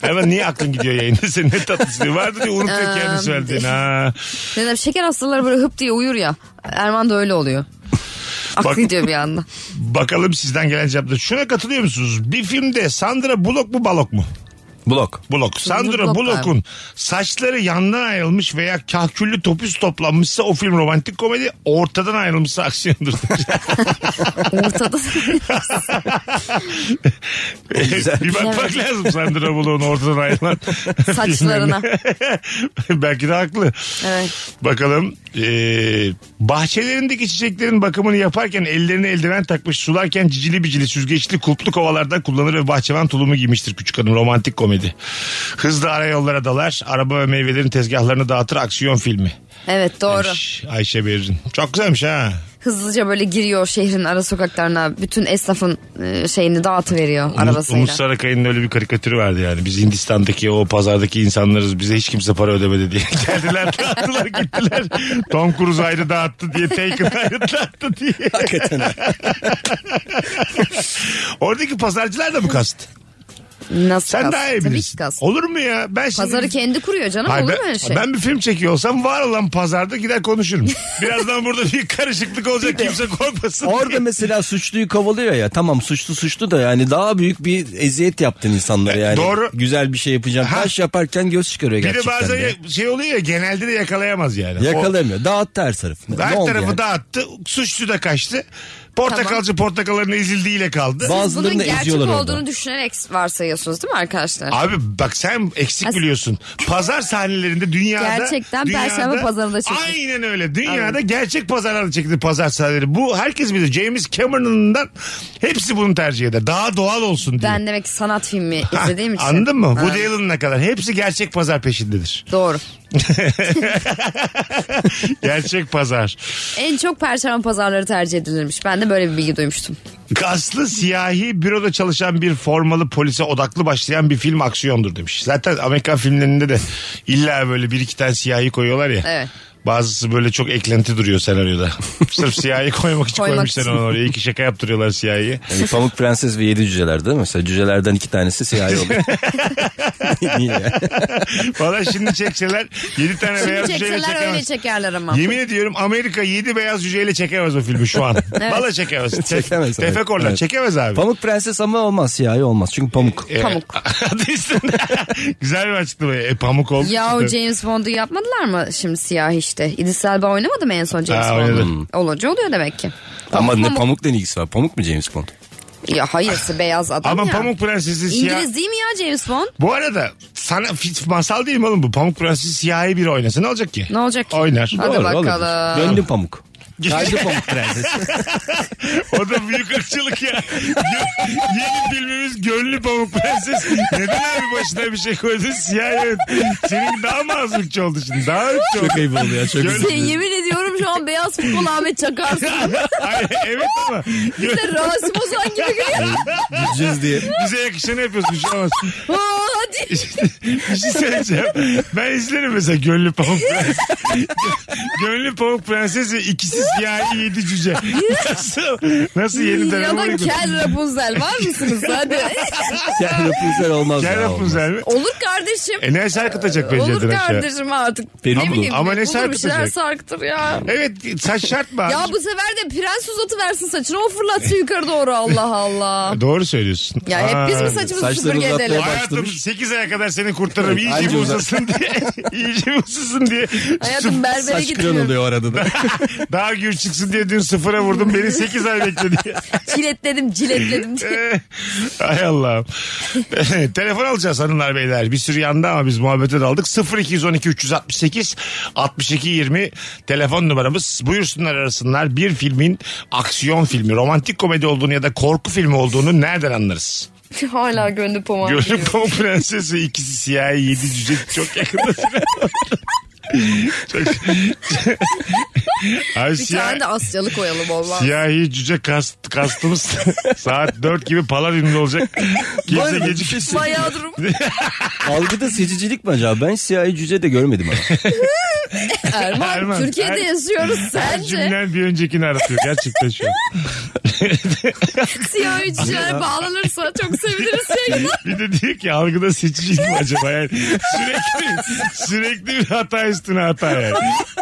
[SPEAKER 3] Hemen niye aklın gidiyor yayında? Senin ne tatlısı diyor. Vardır diye unutuyor kendi söylediğini. Ha.
[SPEAKER 5] Neden? Şeker hastaları böyle hıp diye uyur ya. Erman da öyle oluyor. Aklı
[SPEAKER 3] Bak-
[SPEAKER 5] gidiyor bir anda.
[SPEAKER 3] Bakalım sizden gelen cevaplar. Şuna katılıyor musunuz? Bir filmde Sandra Bullock mu Balok mu?
[SPEAKER 4] Blok.
[SPEAKER 3] Bullock. Sandra
[SPEAKER 5] Bullock
[SPEAKER 3] Bullock'un saçları yandan ayrılmış veya kahküllü topuz toplanmışsa o film romantik komedi ortadan ayrılmışsa aksiyondur.
[SPEAKER 5] Ortada.
[SPEAKER 3] bir bakmak lazım Sandra Bullock'un ortadan ayrılan
[SPEAKER 5] Saçlarına.
[SPEAKER 3] filmlerine. Belki de haklı.
[SPEAKER 5] evet.
[SPEAKER 3] Bakalım. Ee, bahçelerindeki çiçeklerin bakımını yaparken ellerine eldiven takmış sularken cicili bicili süzgeçli kulplu kovalardan kullanır ve bahçıvan tulumu giymiştir küçük hanım. Romantik komedi. Hızlı arayollara dalar. Araba ve meyvelerin tezgahlarını dağıtır. Aksiyon filmi.
[SPEAKER 5] Evet doğru.
[SPEAKER 3] Demiş Ayşe Berrin. Çok güzelmiş ha.
[SPEAKER 5] Hızlıca böyle giriyor şehrin ara sokaklarına. Bütün esnafın e, şeyini dağıtıveriyor
[SPEAKER 3] Umut,
[SPEAKER 5] arabasıyla.
[SPEAKER 3] Umut Sarıkaya'nın öyle bir karikatürü vardı yani. Biz Hindistan'daki o pazardaki insanlarız. Bize hiç kimse para ödemedi diye. Geldiler dağıttılar gittiler. Tom Cruise ayrı dağıttı diye. Taken ayrı dağıttı diye. Oradaki pazarcılar da mı kast?
[SPEAKER 5] Nasıl
[SPEAKER 3] Sen
[SPEAKER 5] kas?
[SPEAKER 3] daha iyi
[SPEAKER 5] Tabii
[SPEAKER 3] bilirsin.
[SPEAKER 5] ki kas.
[SPEAKER 3] Olur mu ya? Ben şimdi...
[SPEAKER 5] Pazarı kendi kuruyor canım
[SPEAKER 3] Hayır,
[SPEAKER 5] olur
[SPEAKER 3] ben,
[SPEAKER 5] mu öyle şey?
[SPEAKER 3] ben bir film çekiyor olsam var olan pazarda gider konuşurum. Birazdan burada bir karışıklık olacak kimse korkmasın.
[SPEAKER 4] Orada mesela suçluyu kovalıyor ya. Tamam suçlu suçlu da yani daha büyük bir eziyet yaptın insanlara yani.
[SPEAKER 3] doğru.
[SPEAKER 4] Güzel bir şey yapacağım.
[SPEAKER 3] Ha.
[SPEAKER 4] Taş yaparken göz çıkarıyor
[SPEAKER 3] Bir de
[SPEAKER 4] gerçekten.
[SPEAKER 3] bazen
[SPEAKER 4] de.
[SPEAKER 3] ya- şey oluyor ya genelde de yakalayamaz yani. O-
[SPEAKER 4] Yakalamıyor. Dağıttı her tarafını. Ne
[SPEAKER 3] Her
[SPEAKER 4] oldu
[SPEAKER 3] tarafı
[SPEAKER 4] yani?
[SPEAKER 3] dağıttı. Suçlu da kaçtı. Portakalcı portakalların ezildiğiyle kaldı.
[SPEAKER 4] Ba-
[SPEAKER 5] Bunun
[SPEAKER 4] Bazılarını da
[SPEAKER 5] gerçek
[SPEAKER 4] eziyorlar
[SPEAKER 5] olduğunu
[SPEAKER 4] orada.
[SPEAKER 5] düşünerek varsayıyorsunuz değil mi arkadaşlar?
[SPEAKER 3] Abi bak sen eksik
[SPEAKER 5] As-
[SPEAKER 3] biliyorsun. Pazar sahnelerinde dünyada...
[SPEAKER 5] Gerçekten Perşembe pazarında çekildi.
[SPEAKER 3] Aynen öyle. Dünyada gerçek pazarlarda çekildi pazar sahneleri. Bu herkes bilir. James Cameron'dan hepsi bunu tercih eder. Daha doğal olsun diye.
[SPEAKER 5] Ben demek ki sanat filmi
[SPEAKER 3] Ha,
[SPEAKER 5] izlediğim için.
[SPEAKER 3] Anladın mı?
[SPEAKER 5] Ha,
[SPEAKER 3] Woody Allen'ına kadar. Hepsi gerçek pazar peşindedir.
[SPEAKER 5] Doğru.
[SPEAKER 3] gerçek pazar.
[SPEAKER 5] En çok perşembe pazarları tercih edilirmiş. Ben de böyle bir bilgi duymuştum.
[SPEAKER 3] Kaslı siyahi büroda çalışan bir formalı polise odaklı başlayan bir film aksiyondur demiş. Zaten Amerikan filmlerinde de illa böyle bir iki tane siyahi koyuyorlar ya.
[SPEAKER 5] Evet.
[SPEAKER 3] Bazısı böyle çok eklenti duruyor senaryoda. Sırf siyahi koymak için
[SPEAKER 5] Koymak
[SPEAKER 3] koymuşlar
[SPEAKER 5] için.
[SPEAKER 3] onu oraya. İki şaka yaptırıyorlar siyahi.
[SPEAKER 4] Yani Pamuk Prenses ve Yedi Cüceler değil mi? Mesela cücelerden iki tanesi siyahi oluyor. Niye ya?
[SPEAKER 3] Valla şimdi çekseler yedi tane
[SPEAKER 5] Şimdi
[SPEAKER 3] beyaz cüceyle
[SPEAKER 5] çekseler öyle
[SPEAKER 3] çekemez.
[SPEAKER 5] çekerler ama.
[SPEAKER 3] Yemin ediyorum Amerika yedi beyaz cüceyle çekemez o filmi şu an. Vallahi Valla çekemez.
[SPEAKER 4] Çekemez,
[SPEAKER 3] Tef-
[SPEAKER 4] evet.
[SPEAKER 3] Tefekorlar
[SPEAKER 4] Evet.
[SPEAKER 3] çekemez abi.
[SPEAKER 4] Pamuk Prenses ama olmaz siyahi olmaz. Çünkü pamuk.
[SPEAKER 3] Ee,
[SPEAKER 5] Pamuk.
[SPEAKER 3] adı üstünde. Güzel bir açıklama. E, pamuk olmuş.
[SPEAKER 5] Ya
[SPEAKER 3] Evet.
[SPEAKER 5] James Bond'u yapmadılar mı şimdi siyah işte? İdris Elba oynamadı mı en son James
[SPEAKER 3] Ha,
[SPEAKER 4] Hmm.
[SPEAKER 5] Bond'u?
[SPEAKER 3] oynadı.
[SPEAKER 5] Olunca oluyor demek ki.
[SPEAKER 4] Ama ne pamukla ne ilgisi var? Pamuk mu James Bond?
[SPEAKER 5] Ya hayırsı beyaz adam
[SPEAKER 3] Ama
[SPEAKER 5] ya.
[SPEAKER 3] Pamuk Prensesi siyah.
[SPEAKER 5] İngiliz değil mi ya James Bond?
[SPEAKER 3] Bu arada sana fit- masal değil mi oğlum bu? Pamuk Prensesi siyahi biri oynasa ne olacak ki?
[SPEAKER 5] Ne olacak ki?
[SPEAKER 3] Oynar.
[SPEAKER 5] Hadi
[SPEAKER 4] Doğru, olabilir.
[SPEAKER 5] bakalım.
[SPEAKER 4] Gönlü pamuk. Kalbi pamuk prenses.
[SPEAKER 3] O da büyük ırkçılık ya. Gö- Yeni filmimiz Gönlü Pamuk Prenses. Neden abi başına bir şey koydun siyahi? evet. Senin daha mı az ırkçı oldu şimdi? Daha ırkçı oldu.
[SPEAKER 4] Çok ayıp oldu ya. Çok
[SPEAKER 3] Gönlü-
[SPEAKER 4] üzüldüm.
[SPEAKER 5] Sen yemin ediyorum şu an beyaz futbol Ahmet Çakarsın.
[SPEAKER 3] Ay, evet ama. Gö-
[SPEAKER 5] Sen Rasim Ozan gibi gülüyor.
[SPEAKER 4] Gideceğiz diye.
[SPEAKER 3] Bize yakışanı yapıyorsun şey şu an.
[SPEAKER 5] Aa, Hadi.
[SPEAKER 3] bir şey söyleyeceğim. Ben izlerim mesela Gönlü Pamuk Prenses. Gönlü Pamuk Prenses ve ikisi siyahi yedi cüce. Nasıl? Nasıl yeni
[SPEAKER 5] ya
[SPEAKER 3] döneme
[SPEAKER 5] da
[SPEAKER 3] uygun?
[SPEAKER 5] Kel Rapunzel var mısınız? Hadi. E,
[SPEAKER 4] Gel Rapunzel olmaz.
[SPEAKER 3] Gel
[SPEAKER 4] ya,
[SPEAKER 3] Rapunzel mi?
[SPEAKER 5] Olur kardeşim.
[SPEAKER 3] E ne sarkıtacak pencereden
[SPEAKER 5] Olur
[SPEAKER 3] aşağı?
[SPEAKER 5] kardeşim artık.
[SPEAKER 4] Peri bulur.
[SPEAKER 5] ne bileyim,
[SPEAKER 3] şey? Ama ne
[SPEAKER 5] bulur bir şeyler
[SPEAKER 3] sarkıtacak?
[SPEAKER 5] sarktır ya.
[SPEAKER 3] Evet saç şart mı? abi?
[SPEAKER 5] Ya bu sefer de prens uzatı versin saçını o fırlatsın yukarı doğru Allah Allah.
[SPEAKER 3] Doğru söylüyorsun.
[SPEAKER 5] Ya hep biz
[SPEAKER 3] Aa,
[SPEAKER 5] mi saçımızı
[SPEAKER 4] Saçları
[SPEAKER 5] süpürge
[SPEAKER 4] uzatmaya
[SPEAKER 5] edelim?
[SPEAKER 4] bak-
[SPEAKER 3] Hayatım
[SPEAKER 4] başlamış?
[SPEAKER 3] 8 aya kadar seni kurtarırım. İyice
[SPEAKER 4] Anca
[SPEAKER 3] bir
[SPEAKER 4] uzak.
[SPEAKER 3] uzasın diye. İyice bir uzasın diye.
[SPEAKER 5] Hayatım berbere
[SPEAKER 4] Saç kıran
[SPEAKER 5] gitmiyorum.
[SPEAKER 4] oluyor o arada da.
[SPEAKER 3] Daha gür çıksın diye dün sıfıra vurdum. Beni 8 ay bekledi.
[SPEAKER 5] Ciletledim ciletledim diye.
[SPEAKER 3] Ay Allah'ım. Telefon alacağız hanımlar beyler. Bir sürü yandı ama biz muhabbete daldık. 0212 368 62 20 telefon numaramız. Buyursunlar arasınlar. Bir filmin aksiyon filmi, romantik komedi olduğunu ya da korku filmi olduğunu nereden anlarız?
[SPEAKER 5] Hala gönlü pomağım.
[SPEAKER 3] Gönül Pamuk Prensesi ikisi siyah yedi cüce çok yakında. çok... Abi
[SPEAKER 5] Bir
[SPEAKER 3] siyah-
[SPEAKER 5] tane de Asyalı koyalım olmaz.
[SPEAKER 3] Siyahi cüce kast, kastımız saat 4 gibi pala ünlü olacak.
[SPEAKER 4] Var
[SPEAKER 3] Kimse
[SPEAKER 4] mı?
[SPEAKER 3] gecikmesin.
[SPEAKER 5] Bayağı durum.
[SPEAKER 4] Algıda seçicilik mi acaba? Ben siyahi cüce de görmedim ama.
[SPEAKER 5] Erman,
[SPEAKER 3] Erman,
[SPEAKER 5] Türkiye'de
[SPEAKER 3] er-
[SPEAKER 5] yaşıyoruz
[SPEAKER 3] Her
[SPEAKER 5] sence.
[SPEAKER 3] cümlen bir öncekini aratıyor gerçekten şu an.
[SPEAKER 5] Siyah üçler bağlanırsa çok seviniriz yayına.
[SPEAKER 3] Bir de diyor ki algıda seçicilik mi acaba? Yani sürekli, sürekli bir hata üstüne hata yani.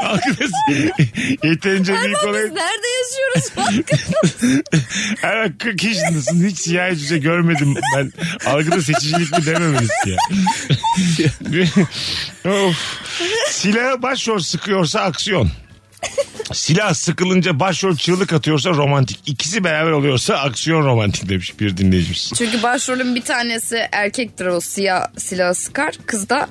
[SPEAKER 3] Algıda se- yeterince büyük
[SPEAKER 5] Biz
[SPEAKER 3] olay.
[SPEAKER 5] nerede yaşıyoruz farkında
[SPEAKER 3] Her 40 yaşındasın hiç siyahi cüce görmedim ben. Algıda seçicilik mi dememelisin ya. of. Silaha başrol sıkıyorsa aksiyon. Silah sıkılınca başrol çığlık atıyorsa romantik. İkisi beraber oluyorsa aksiyon romantik demiş bir dinleyicimiz.
[SPEAKER 5] Çünkü başrolün bir tanesi erkektir o siyah silah sıkar. Kız da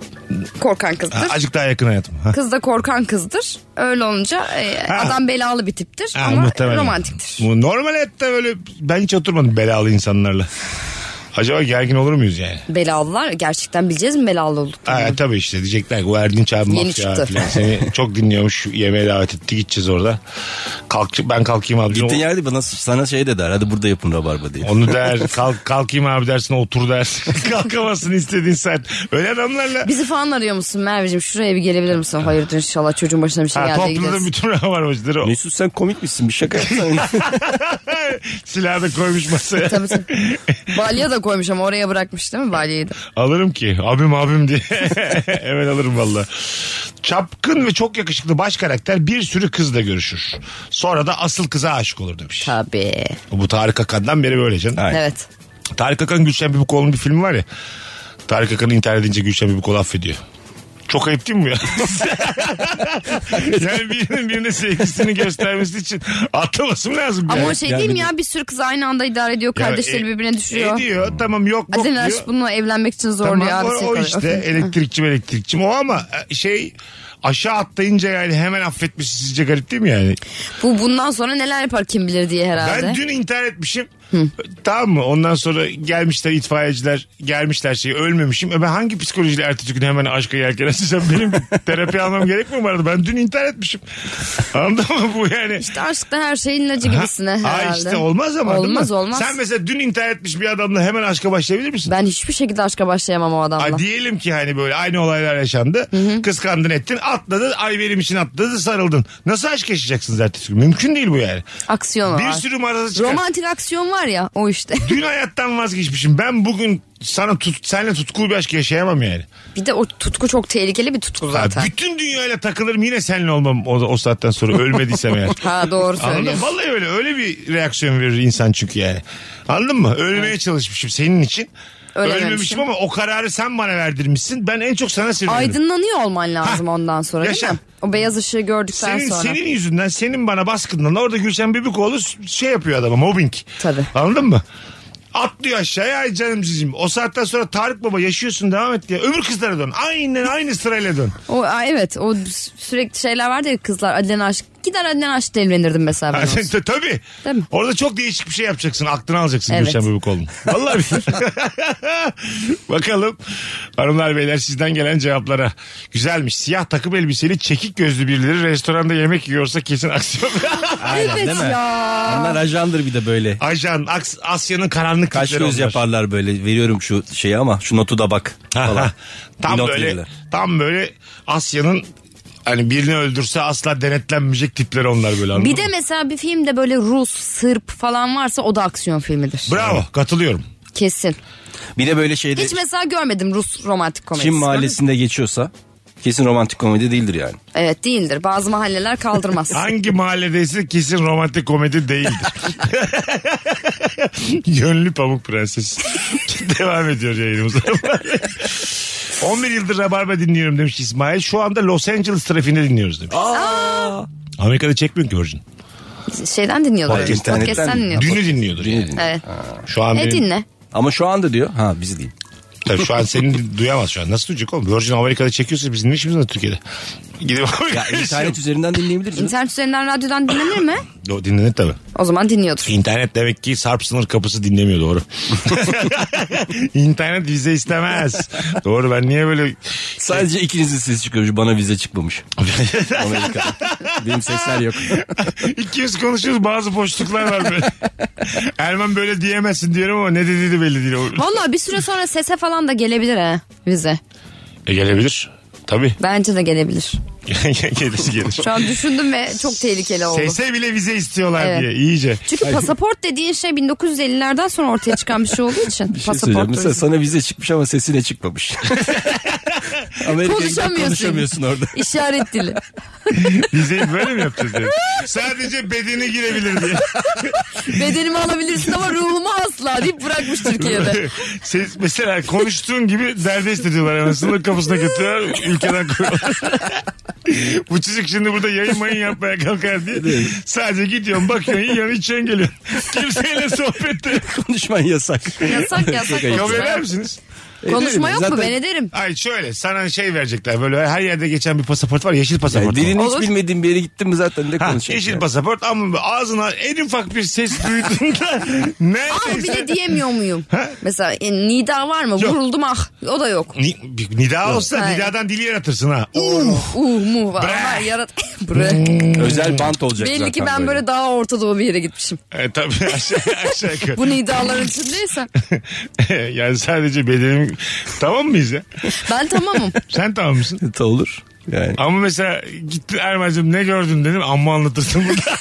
[SPEAKER 5] korkan
[SPEAKER 3] Ha,
[SPEAKER 5] kızdır.
[SPEAKER 3] azıcık daha yakın hayatım. Ha.
[SPEAKER 5] Kız da korkan kızdır. Öyle olunca e,
[SPEAKER 3] Ha.
[SPEAKER 5] adam belalı bir tiptir
[SPEAKER 3] Ha,
[SPEAKER 5] ama
[SPEAKER 3] muhtemelen.
[SPEAKER 5] romantiktir.
[SPEAKER 3] Bu Normal hayatta böyle ben hiç oturmadım belalı insanlarla. Acaba gergin olur muyuz yani?
[SPEAKER 5] Belalılar gerçekten bileceğiz mi belalı olduk?
[SPEAKER 3] Ha, tabii işte diyecekler ki bu Erdinç abi
[SPEAKER 5] Yeni
[SPEAKER 3] mafya
[SPEAKER 5] çıktı.
[SPEAKER 3] falan. Seni çok dinliyormuş yemeğe davet etti gideceğiz orada. Kalk, ben kalkayım abi.
[SPEAKER 4] Gittiğin
[SPEAKER 3] O-
[SPEAKER 4] yerde bana sana şey de der. Hadi burada yapın rabarba diye.
[SPEAKER 3] Onu der kalk, kalkayım abi dersin otur dersin. Kalkamazsın istediğin saat. Öyle adamlarla.
[SPEAKER 5] Bizi falan arıyor musun Merveciğim? Şuraya bir gelebilir misin? Hayır dur inşallah çocuğun başına bir şey
[SPEAKER 3] Ha,
[SPEAKER 5] geldi.
[SPEAKER 3] topladım
[SPEAKER 5] gideriz.
[SPEAKER 3] bütün ravarmacıları. o.
[SPEAKER 4] Mesut sen komik misin bir şaka yapsana.
[SPEAKER 3] Silahı da koymuş masaya.
[SPEAKER 5] Tabii tabii. Balya da koymuş ama oraya bırakmış değil mi balyayı da?
[SPEAKER 3] Alırım ki. Abim abim diye. Hemen alırım valla. Çapkın ve çok yakışıklı baş karakter bir sürü kızla görüşür. Sonra da asıl kıza aşık olur demiş.
[SPEAKER 5] Tabii.
[SPEAKER 3] Bu Tarık Akan'dan beri böyle canım.
[SPEAKER 4] Aynen.
[SPEAKER 5] Evet.
[SPEAKER 3] Tarık Akan Gülşen Bibukoğlu'nun bir filmi var ya. Tarık Akan'ı intihar edince Gülşen Bibukoğlu affediyor. Çok ayıp değil mi bu ya? yani birinin birine sevgisini göstermesi için atlaması mı lazım?
[SPEAKER 5] Ama
[SPEAKER 3] Yani-
[SPEAKER 5] o şey değil mi ya bir sürü kız aynı anda idare ediyor
[SPEAKER 3] Ya,
[SPEAKER 5] kardeşleri
[SPEAKER 3] e-
[SPEAKER 5] birbirine düşürüyor.
[SPEAKER 3] Ediyor tamam yok bok
[SPEAKER 5] Adem
[SPEAKER 3] diyor.
[SPEAKER 5] Erş bununla evlenmek için zorluyor
[SPEAKER 3] Tamam,
[SPEAKER 5] abi.
[SPEAKER 3] o, o işte e- elektrikçi mi elektrikçi mi o ama e, şey aşağı atlayınca yani hemen affetmiş sizce garip değil mi yani?
[SPEAKER 5] Bu bundan sonra neler yapar kim bilir diye herhalde.
[SPEAKER 3] Ben dün intihar etmişim. Tamam mı? Ondan sonra gelmişler itfaiyeciler gelmişler şey ölmemişim. E ben hangi psikolojiyle ertesi gün hemen aşka yelken açacağım? Benim bir terapi almam gerek mi vardı? Ben dün intihar etmişim. Anladın mı bu yani?
[SPEAKER 5] İşte aşkta her şeyin ilacı gibisine
[SPEAKER 3] Ha,
[SPEAKER 5] herhalde.
[SPEAKER 3] işte olmaz ama değil mi?
[SPEAKER 5] Olmaz olmaz.
[SPEAKER 3] Sen mesela dün intihar etmiş bir adamla hemen aşka başlayabilir misin?
[SPEAKER 5] Ben hiçbir şekilde aşka başlayamam o adamla.
[SPEAKER 3] Ha, diyelim ki hani böyle aynı olaylar yaşandı. Kıskandın ettin atladın ay benim için atladı sarıldın. Nasıl aşk yaşayacaksınız ertesi gün? Mümkün değil bu yani.
[SPEAKER 5] Aksiyon var.
[SPEAKER 3] Bir sürü maraza çıkar.
[SPEAKER 5] Romantik aksiyon var ya o işte.
[SPEAKER 3] Dün hayattan vazgeçmişim. Ben bugün sana tut, seninle tutkulu bir aşk yaşayamam yani.
[SPEAKER 5] bir de o tutku çok tehlikeli bir tutku zaten.
[SPEAKER 3] Ha, bütün dünyayla takılırım yine seninle olmam o, o saatten sonra ölmediysem eğer.
[SPEAKER 5] Ha doğru
[SPEAKER 3] Anladın mı?
[SPEAKER 5] söylüyorsun.
[SPEAKER 3] Vallahi öyle. Öyle bir reaksiyon verir insan çünkü yani. Anladın mı? Ölmeye çalışmışım senin için.
[SPEAKER 5] Ölememişim.
[SPEAKER 3] Ölmemişim ama o kararı sen bana verdirmişsin. Ben en çok sana seviyorum.
[SPEAKER 5] Aydınlanıyor olman lazım ondan sonra değil
[SPEAKER 3] yaşa.
[SPEAKER 5] mi? O beyaz ışığı gördükten
[SPEAKER 3] senin,
[SPEAKER 5] sonra.
[SPEAKER 3] Senin yüzünden, senin bana baskından orada Gülşen Bibikoğlu şey yapıyor adama mobbing.
[SPEAKER 5] Tabii.
[SPEAKER 3] Anladın mı? Atlıyor aşağıya ay canım cicim. O saatten sonra Tarık Baba yaşıyorsun devam et diye. Öbür kızlara dön. Aynen aynı sırayla dön.
[SPEAKER 5] O, aa, evet o sü- sürekli şeyler vardı ya kızlar Adlen Aşk. Gider Adlen Aşk'ta evlenirdim mesela ben. olsam.
[SPEAKER 3] Tabii.
[SPEAKER 5] Değil mi?
[SPEAKER 3] Orada çok değişik bir şey yapacaksın. Aklını alacaksın
[SPEAKER 5] Evet.
[SPEAKER 3] Gülşen Bibikoğlu'nun. Vallahi bir- Bakalım hanımlar beyler sizden gelen cevaplara. Güzelmiş. Siyah takım elbiseli çekik gözlü birileri restoranda yemek yiyorsa kesin aksiyon.
[SPEAKER 4] Aynen
[SPEAKER 5] Evet
[SPEAKER 4] değil mi?
[SPEAKER 5] ya.
[SPEAKER 4] Onlar ajandır bir de böyle.
[SPEAKER 3] Ajan Aks- Asya'nın karanlık
[SPEAKER 4] Kaç
[SPEAKER 3] kızları
[SPEAKER 4] göz
[SPEAKER 3] onlar.
[SPEAKER 4] yaparlar böyle. Veriyorum şu şeyi ama şu notu da bak falan.
[SPEAKER 3] tam
[SPEAKER 4] Bir not
[SPEAKER 3] böyle
[SPEAKER 4] verirler.
[SPEAKER 3] tam böyle Asya'nın hani birini öldürse asla denetlenmeyecek tipler onlar böyle anladın
[SPEAKER 5] Bir de
[SPEAKER 3] mı?
[SPEAKER 5] mesela bir filmde böyle Rus, Sırp falan varsa o da aksiyon filmidir.
[SPEAKER 3] Bravo katılıyorum.
[SPEAKER 5] Kesin.
[SPEAKER 4] Bir de böyle şeyde
[SPEAKER 5] Hiç mesela görmedim Rus romantik komedisi.
[SPEAKER 4] Çin mahallesinde geçiyorsa kesin romantik komedi değildir yani.
[SPEAKER 5] Evet değildir. Bazı mahalleler kaldırmaz.
[SPEAKER 3] Hangi mahalledeyse kesin romantik komedi değildir. Gönlü Pamuk Prenses. Devam ediyor yayınımıza. 11 yıldır Rabarba dinliyorum demiş İsmail. Şu anda Los Angeles trafiğinde dinliyoruz demiş. Amerika'da çekmiyor ki Virgin.
[SPEAKER 5] Şeyden dinliyorlar.
[SPEAKER 4] Podcast-
[SPEAKER 5] Podcast'ten,
[SPEAKER 4] internetten
[SPEAKER 5] dinliyorlar.
[SPEAKER 3] Dünü dinliyordur yani.
[SPEAKER 5] Evet.
[SPEAKER 3] Şu an
[SPEAKER 5] E
[SPEAKER 3] benim-
[SPEAKER 5] dinle.
[SPEAKER 4] Ama şu anda diyor. Ha biz değil.
[SPEAKER 3] Tabii şu an seni duyamaz şu an. Nasıl duyacak oğlum? Virgin Amerika'da çekiyorsa bizim ne işimiz var Türkiye'de? Gidip
[SPEAKER 4] Ya
[SPEAKER 3] Amerika'da
[SPEAKER 4] internet üzerinden dinleyebiliriz.
[SPEAKER 5] İnternet üzerinden radyodan dinlenir mi?
[SPEAKER 3] O dinlenir tabii.
[SPEAKER 5] O zaman dinliyordur.
[SPEAKER 3] İnternet demek ki Sarp sınır kapısı dinlemiyor doğru. İnternet vize istemez. doğru ben niye böyle...
[SPEAKER 4] Sadece ikinizin sesi çıkıyormuş. Bana vize çıkmamış. Amerika'da. Benim sesler yok.
[SPEAKER 3] İkimiz konuşuyoruz bazı boşluklar var böyle. Erman böyle diyemezsin diyorum ama ne dediği de belli değil. O-
[SPEAKER 5] Vallahi bir süre sonra sese falan da gelebilir ha bize.
[SPEAKER 3] E, gelebilir. Tabii.
[SPEAKER 5] Bence de gelebilir.
[SPEAKER 3] gelir gelir.
[SPEAKER 5] Şu an düşündüm ve çok tehlikeli oldu.
[SPEAKER 3] Sese bile vize istiyorlar
[SPEAKER 5] Evet.
[SPEAKER 3] diye iyice.
[SPEAKER 5] Çünkü pasaport dediğin şey 1950'lerden sonra ortaya çıkan bir şey olduğu için.
[SPEAKER 4] Bir şey söyleyeceğim. Mesela sana vize çıkmış ama sesine çıkmamış. Amerika'ya gidip
[SPEAKER 5] Konuşamıyorsun.
[SPEAKER 4] konuşamıyorsun orada.
[SPEAKER 5] İşaret dili.
[SPEAKER 3] Vizeyi böyle mi yapacağız diye. Sadece bedeni girebilir diye.
[SPEAKER 5] Bedenimi alabilirsin ama ruhumu asla deyip bırakmış Türkiye'de.
[SPEAKER 3] Ses, mesela konuştuğun gibi derdest ediyorlar. Yani sınır kapısına götürüyorlar. Ülkeden koyuyorlar. Bu çocuk şimdi burada yayın mayın yapmaya kalkar diye. Sadece gidiyorsun bakıyorsun yiyorsun içiyorsun geliyorsun. Kimseyle sohbet de yok.
[SPEAKER 4] Konuşman yasak.
[SPEAKER 5] Yasak yasak
[SPEAKER 3] Kabul eder
[SPEAKER 5] konuşma.
[SPEAKER 3] misiniz?
[SPEAKER 5] Konuşma
[SPEAKER 4] Ederim.
[SPEAKER 5] yok mu ben
[SPEAKER 4] Zaten-
[SPEAKER 5] ederim.
[SPEAKER 3] Ay şöyle sana şey verecekler böyle her yerde geçen bir pasaport var yeşil pasaport.
[SPEAKER 4] Yani
[SPEAKER 3] var.
[SPEAKER 4] dilini
[SPEAKER 5] Olur.
[SPEAKER 4] hiç bilmediğin bir yere gittin mi zaten
[SPEAKER 3] Ha,
[SPEAKER 4] ne konuşacaksın?
[SPEAKER 3] yeşil
[SPEAKER 4] yani?
[SPEAKER 3] pasaport ama ağzına en ufak bir ses duyduğunda
[SPEAKER 5] Ah bir
[SPEAKER 3] neredeyse
[SPEAKER 5] de diyemiyor muyum? Mesela e, nida var mı?
[SPEAKER 3] Yok.
[SPEAKER 5] Vuruldum ah. O da yok.
[SPEAKER 3] Ni- bir nida olsa
[SPEAKER 5] Hayır.
[SPEAKER 3] nidadan dili yaratırsın ha.
[SPEAKER 5] Uh, uh mu var.
[SPEAKER 3] Bre.
[SPEAKER 5] Ama yarat. Bre.
[SPEAKER 4] Özel bant olacak
[SPEAKER 5] Belli
[SPEAKER 4] zaten
[SPEAKER 5] ki ben böyle daha Orta Doğu bir yere gitmişim.
[SPEAKER 3] E, tabii aşağı, aşağı yukarı.
[SPEAKER 5] Bu nidaların içindeysem.
[SPEAKER 3] yani sadece bedenim tamam mıyız ya?
[SPEAKER 5] Ben tamamım.
[SPEAKER 3] Sen tamam mısın?
[SPEAKER 4] Ta E, olur. Yani.
[SPEAKER 3] Ama mesela gitti Erman'cığım ne gördün dedim amma anlatırsın burada.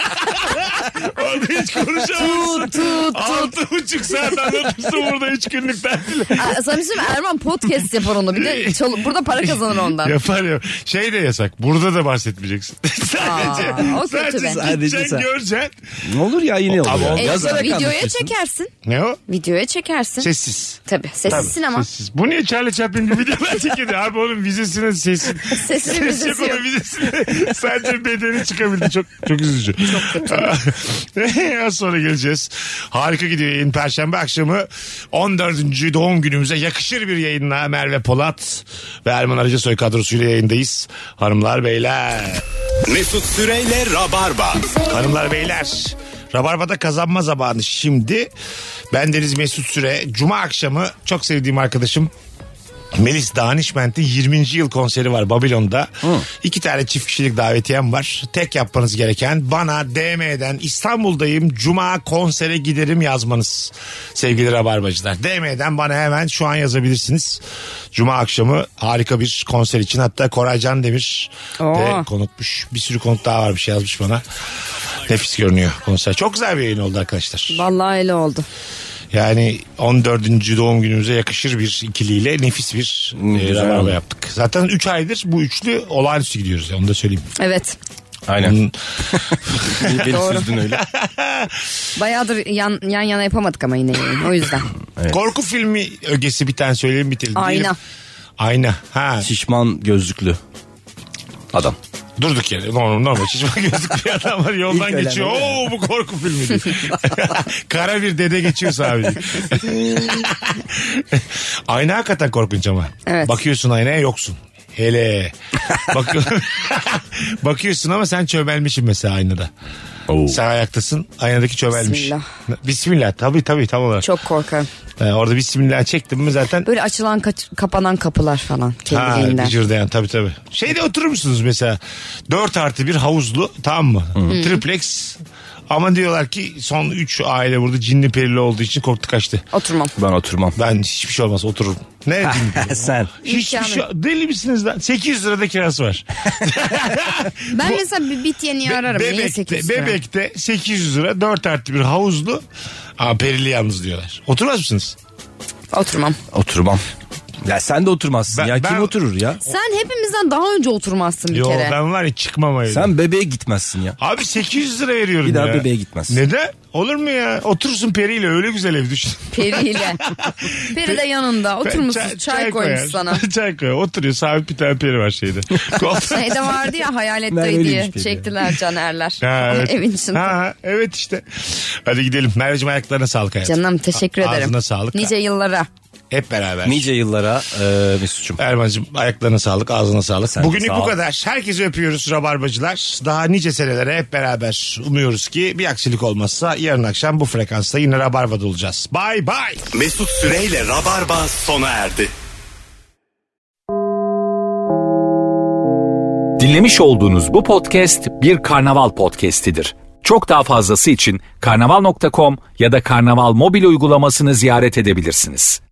[SPEAKER 3] Orada hiç konuşamazsın.
[SPEAKER 5] tut tut tut.
[SPEAKER 3] Altı buçuk saat anlatırsın burada üç günlük tatil.
[SPEAKER 5] Aa, Sana bir şey söyleyeyim mi? Erman podcast yapar onu. Bir de çal- burada para kazanır ondan.
[SPEAKER 3] Yapar ya. Şey de yasak. Burada da bahsetmeyeceksin. sadece.
[SPEAKER 5] Aa, o kötü
[SPEAKER 3] sadece
[SPEAKER 5] be.
[SPEAKER 3] gideceksin
[SPEAKER 4] Sadece sen.
[SPEAKER 3] göreceksin.
[SPEAKER 4] Ne olur ya yine olur.
[SPEAKER 3] Ama
[SPEAKER 4] ya.
[SPEAKER 3] olmaz.
[SPEAKER 5] E,
[SPEAKER 4] Yazarak
[SPEAKER 5] videoya
[SPEAKER 4] anlatıyorsun.
[SPEAKER 5] çekersin.
[SPEAKER 3] Ne o?
[SPEAKER 5] Videoya çekersin.
[SPEAKER 3] Sessiz.
[SPEAKER 5] Tabii sessizsin ama.
[SPEAKER 3] Sessiz. Bu niye Charlie Chaplin gibi videolar çekildi? Abi onun vizesine sesin.
[SPEAKER 5] Sesli
[SPEAKER 3] Ses
[SPEAKER 5] müzesi
[SPEAKER 3] yok
[SPEAKER 5] yok.
[SPEAKER 3] onun vizesine. Sadece bedeni çıkabildi. Çok çok üzücü. Çok Az sonra geleceğiz. Harika gidiyor yayın. Perşembe akşamı 14. doğum günümüze yakışır bir yayınla Merve Polat ve Erman Arıca Soy kadrosuyla yayındayız. Hanımlar beyler.
[SPEAKER 2] Mesut Süreyle Rabarba.
[SPEAKER 3] Hanımlar beyler. Rabarba'da kazanma zamanı şimdi. Ben Deniz Mesut Süre. Cuma akşamı çok sevdiğim arkadaşım Melis Danişment'in 20. yıl konseri var Babilon'da. İki tane çift kişilik davetiyem var. Tek yapmanız gereken bana DM'den İstanbul'dayım Cuma konsere giderim yazmanız. Sevgili Rabarbacılar. DM'den bana hemen şu an yazabilirsiniz. Cuma akşamı harika bir konser için. Hatta Koray Can Demir de konukmuş. Bir sürü konuk daha varmış yazmış bana. Nefis görünüyor konser. Çok güzel bir yayın oldu arkadaşlar.
[SPEAKER 5] Vallahi öyle oldu.
[SPEAKER 3] Yani 14. doğum günümüze yakışır bir ikiliyle nefis bir e,
[SPEAKER 4] güzel
[SPEAKER 3] rabarba
[SPEAKER 4] oldu.
[SPEAKER 3] yaptık. Zaten 3 aydır bu üçlü olağanüstü gidiyoruz. ya, Onu da söyleyeyim. Hmm.
[SPEAKER 5] Evet.
[SPEAKER 4] Aynen.
[SPEAKER 3] Bunun-
[SPEAKER 4] Beni
[SPEAKER 5] Doğru.
[SPEAKER 4] süzdün öyle.
[SPEAKER 5] Bayağıdır yan, yan yana yapamadık ama yine yayın. O yüzden.
[SPEAKER 3] Korku filmi ögesi bir tane söyleyeyim bitirelim.
[SPEAKER 5] Ayna.
[SPEAKER 3] Ayna. Ha
[SPEAKER 4] Şişman gözlüklü adam.
[SPEAKER 3] durduk yere. Normal normal. Şişman gözlük bir adam var yoldan
[SPEAKER 4] ölen
[SPEAKER 3] geçiyor.
[SPEAKER 4] öyle.
[SPEAKER 3] Oo bu korku filmi diyor. Kara bir dede geçiyorsa abi. diyor. Ayna hakikaten korkunç ama.
[SPEAKER 5] Evet.
[SPEAKER 3] Bakıyorsun aynaya yoksun. Hele. Bak Bakıyorsun ama sen çömelmişsin mesela aynada. Sen ayaktasın. Aynadaki çömelmiş.
[SPEAKER 5] Bismillah.
[SPEAKER 3] Bismillah. Tabii tabii tam olarak.
[SPEAKER 5] Çok korkarım.
[SPEAKER 3] Ee, orada bismillah çektim mi zaten
[SPEAKER 5] Böyle açılan kaç- kapanan kapılar falan
[SPEAKER 3] Ha
[SPEAKER 5] kendiliğinden.
[SPEAKER 3] gıcırdayan tabii tabii. Şeyde oturur musunuz mesela 4 artı bir havuzlu tamam mı? Triplex ama diyorlar ki son 3 aile burada cinli perili olduğu için korktu kaçtı.
[SPEAKER 5] Oturmam.
[SPEAKER 4] Ben oturmam.
[SPEAKER 3] Ben hiçbir şey olmaz otururum. Ne cinli perili?
[SPEAKER 4] Sen.
[SPEAKER 3] Hiçbir
[SPEAKER 5] İmkanı.
[SPEAKER 3] şey deli misiniz lan? 800 lirada kirası var.
[SPEAKER 5] Ben mesela bir bit yeni ararım. Niye
[SPEAKER 3] bebekte,
[SPEAKER 5] 800 lira?
[SPEAKER 3] bebekte 800 lira 4 artı bir havuzlu. Aa, perili yalnız diyorlar. Oturmaz mısınız?
[SPEAKER 5] Oturmam.
[SPEAKER 4] Oturmam. Ya sen de oturmazsın
[SPEAKER 3] Ben-
[SPEAKER 4] ya.
[SPEAKER 3] ben-
[SPEAKER 4] Kim oturur ya?
[SPEAKER 5] Sen hepimizden daha önce oturmazsın bir
[SPEAKER 3] Yo
[SPEAKER 5] kere.
[SPEAKER 3] ben var ya çıkmam öyle.
[SPEAKER 4] Sen bebeğe gitmezsin ya.
[SPEAKER 3] Abi 800 lira veriyorum
[SPEAKER 4] Bir daha
[SPEAKER 3] ya.
[SPEAKER 4] bebeğe gitmezsin.
[SPEAKER 3] Neden? Olur mu ya? Oturursun periyle öyle güzel ev düşün.
[SPEAKER 5] Periyle. Peri de yanında. Oturmuşsun
[SPEAKER 3] Çay-
[SPEAKER 5] çay, koymuş
[SPEAKER 3] koyar.
[SPEAKER 5] sana.
[SPEAKER 3] çay koyar. Oturuyor sabit bir tane peri var şeyde. Koltuğa-
[SPEAKER 5] Şeyde Şey vardı ya
[SPEAKER 4] Merve
[SPEAKER 5] hayaletteydi
[SPEAKER 4] öyleymiş
[SPEAKER 5] diye
[SPEAKER 4] peri.
[SPEAKER 5] çektiler canerler.
[SPEAKER 3] Ha, evet.
[SPEAKER 5] Evin içinde.
[SPEAKER 3] Ha, evet işte. Hadi gidelim. Merveciğim ayaklarına sağlık hayatım.
[SPEAKER 5] Canım teşekkür
[SPEAKER 3] A-
[SPEAKER 5] ederim.
[SPEAKER 3] Ağzına sağlık.
[SPEAKER 5] Nice yıllara.
[SPEAKER 3] Hep beraber.
[SPEAKER 4] Nice yıllara e, Mesut'cum.
[SPEAKER 3] Erman'cığım ayaklarına sağlık, ağzına sağlık.
[SPEAKER 4] Sen de
[SPEAKER 3] Bugünlük
[SPEAKER 4] sağ
[SPEAKER 3] bu
[SPEAKER 4] ol.
[SPEAKER 3] kadar. Herkesi öpüyoruz rabarbacılar. Daha nice senelere hep beraber umuyoruz ki bir aksilik olmazsa yarın akşam bu frekansta yine rabarbada olacağız. Bay bay.
[SPEAKER 2] Mesut Süreyle Rabarba sona erdi.
[SPEAKER 1] Dinlemiş olduğunuz bu podcast bir karnaval podcastidir. Çok daha fazlası için karnaval.com ya da karnaval mobil uygulamasını ziyaret edebilirsiniz.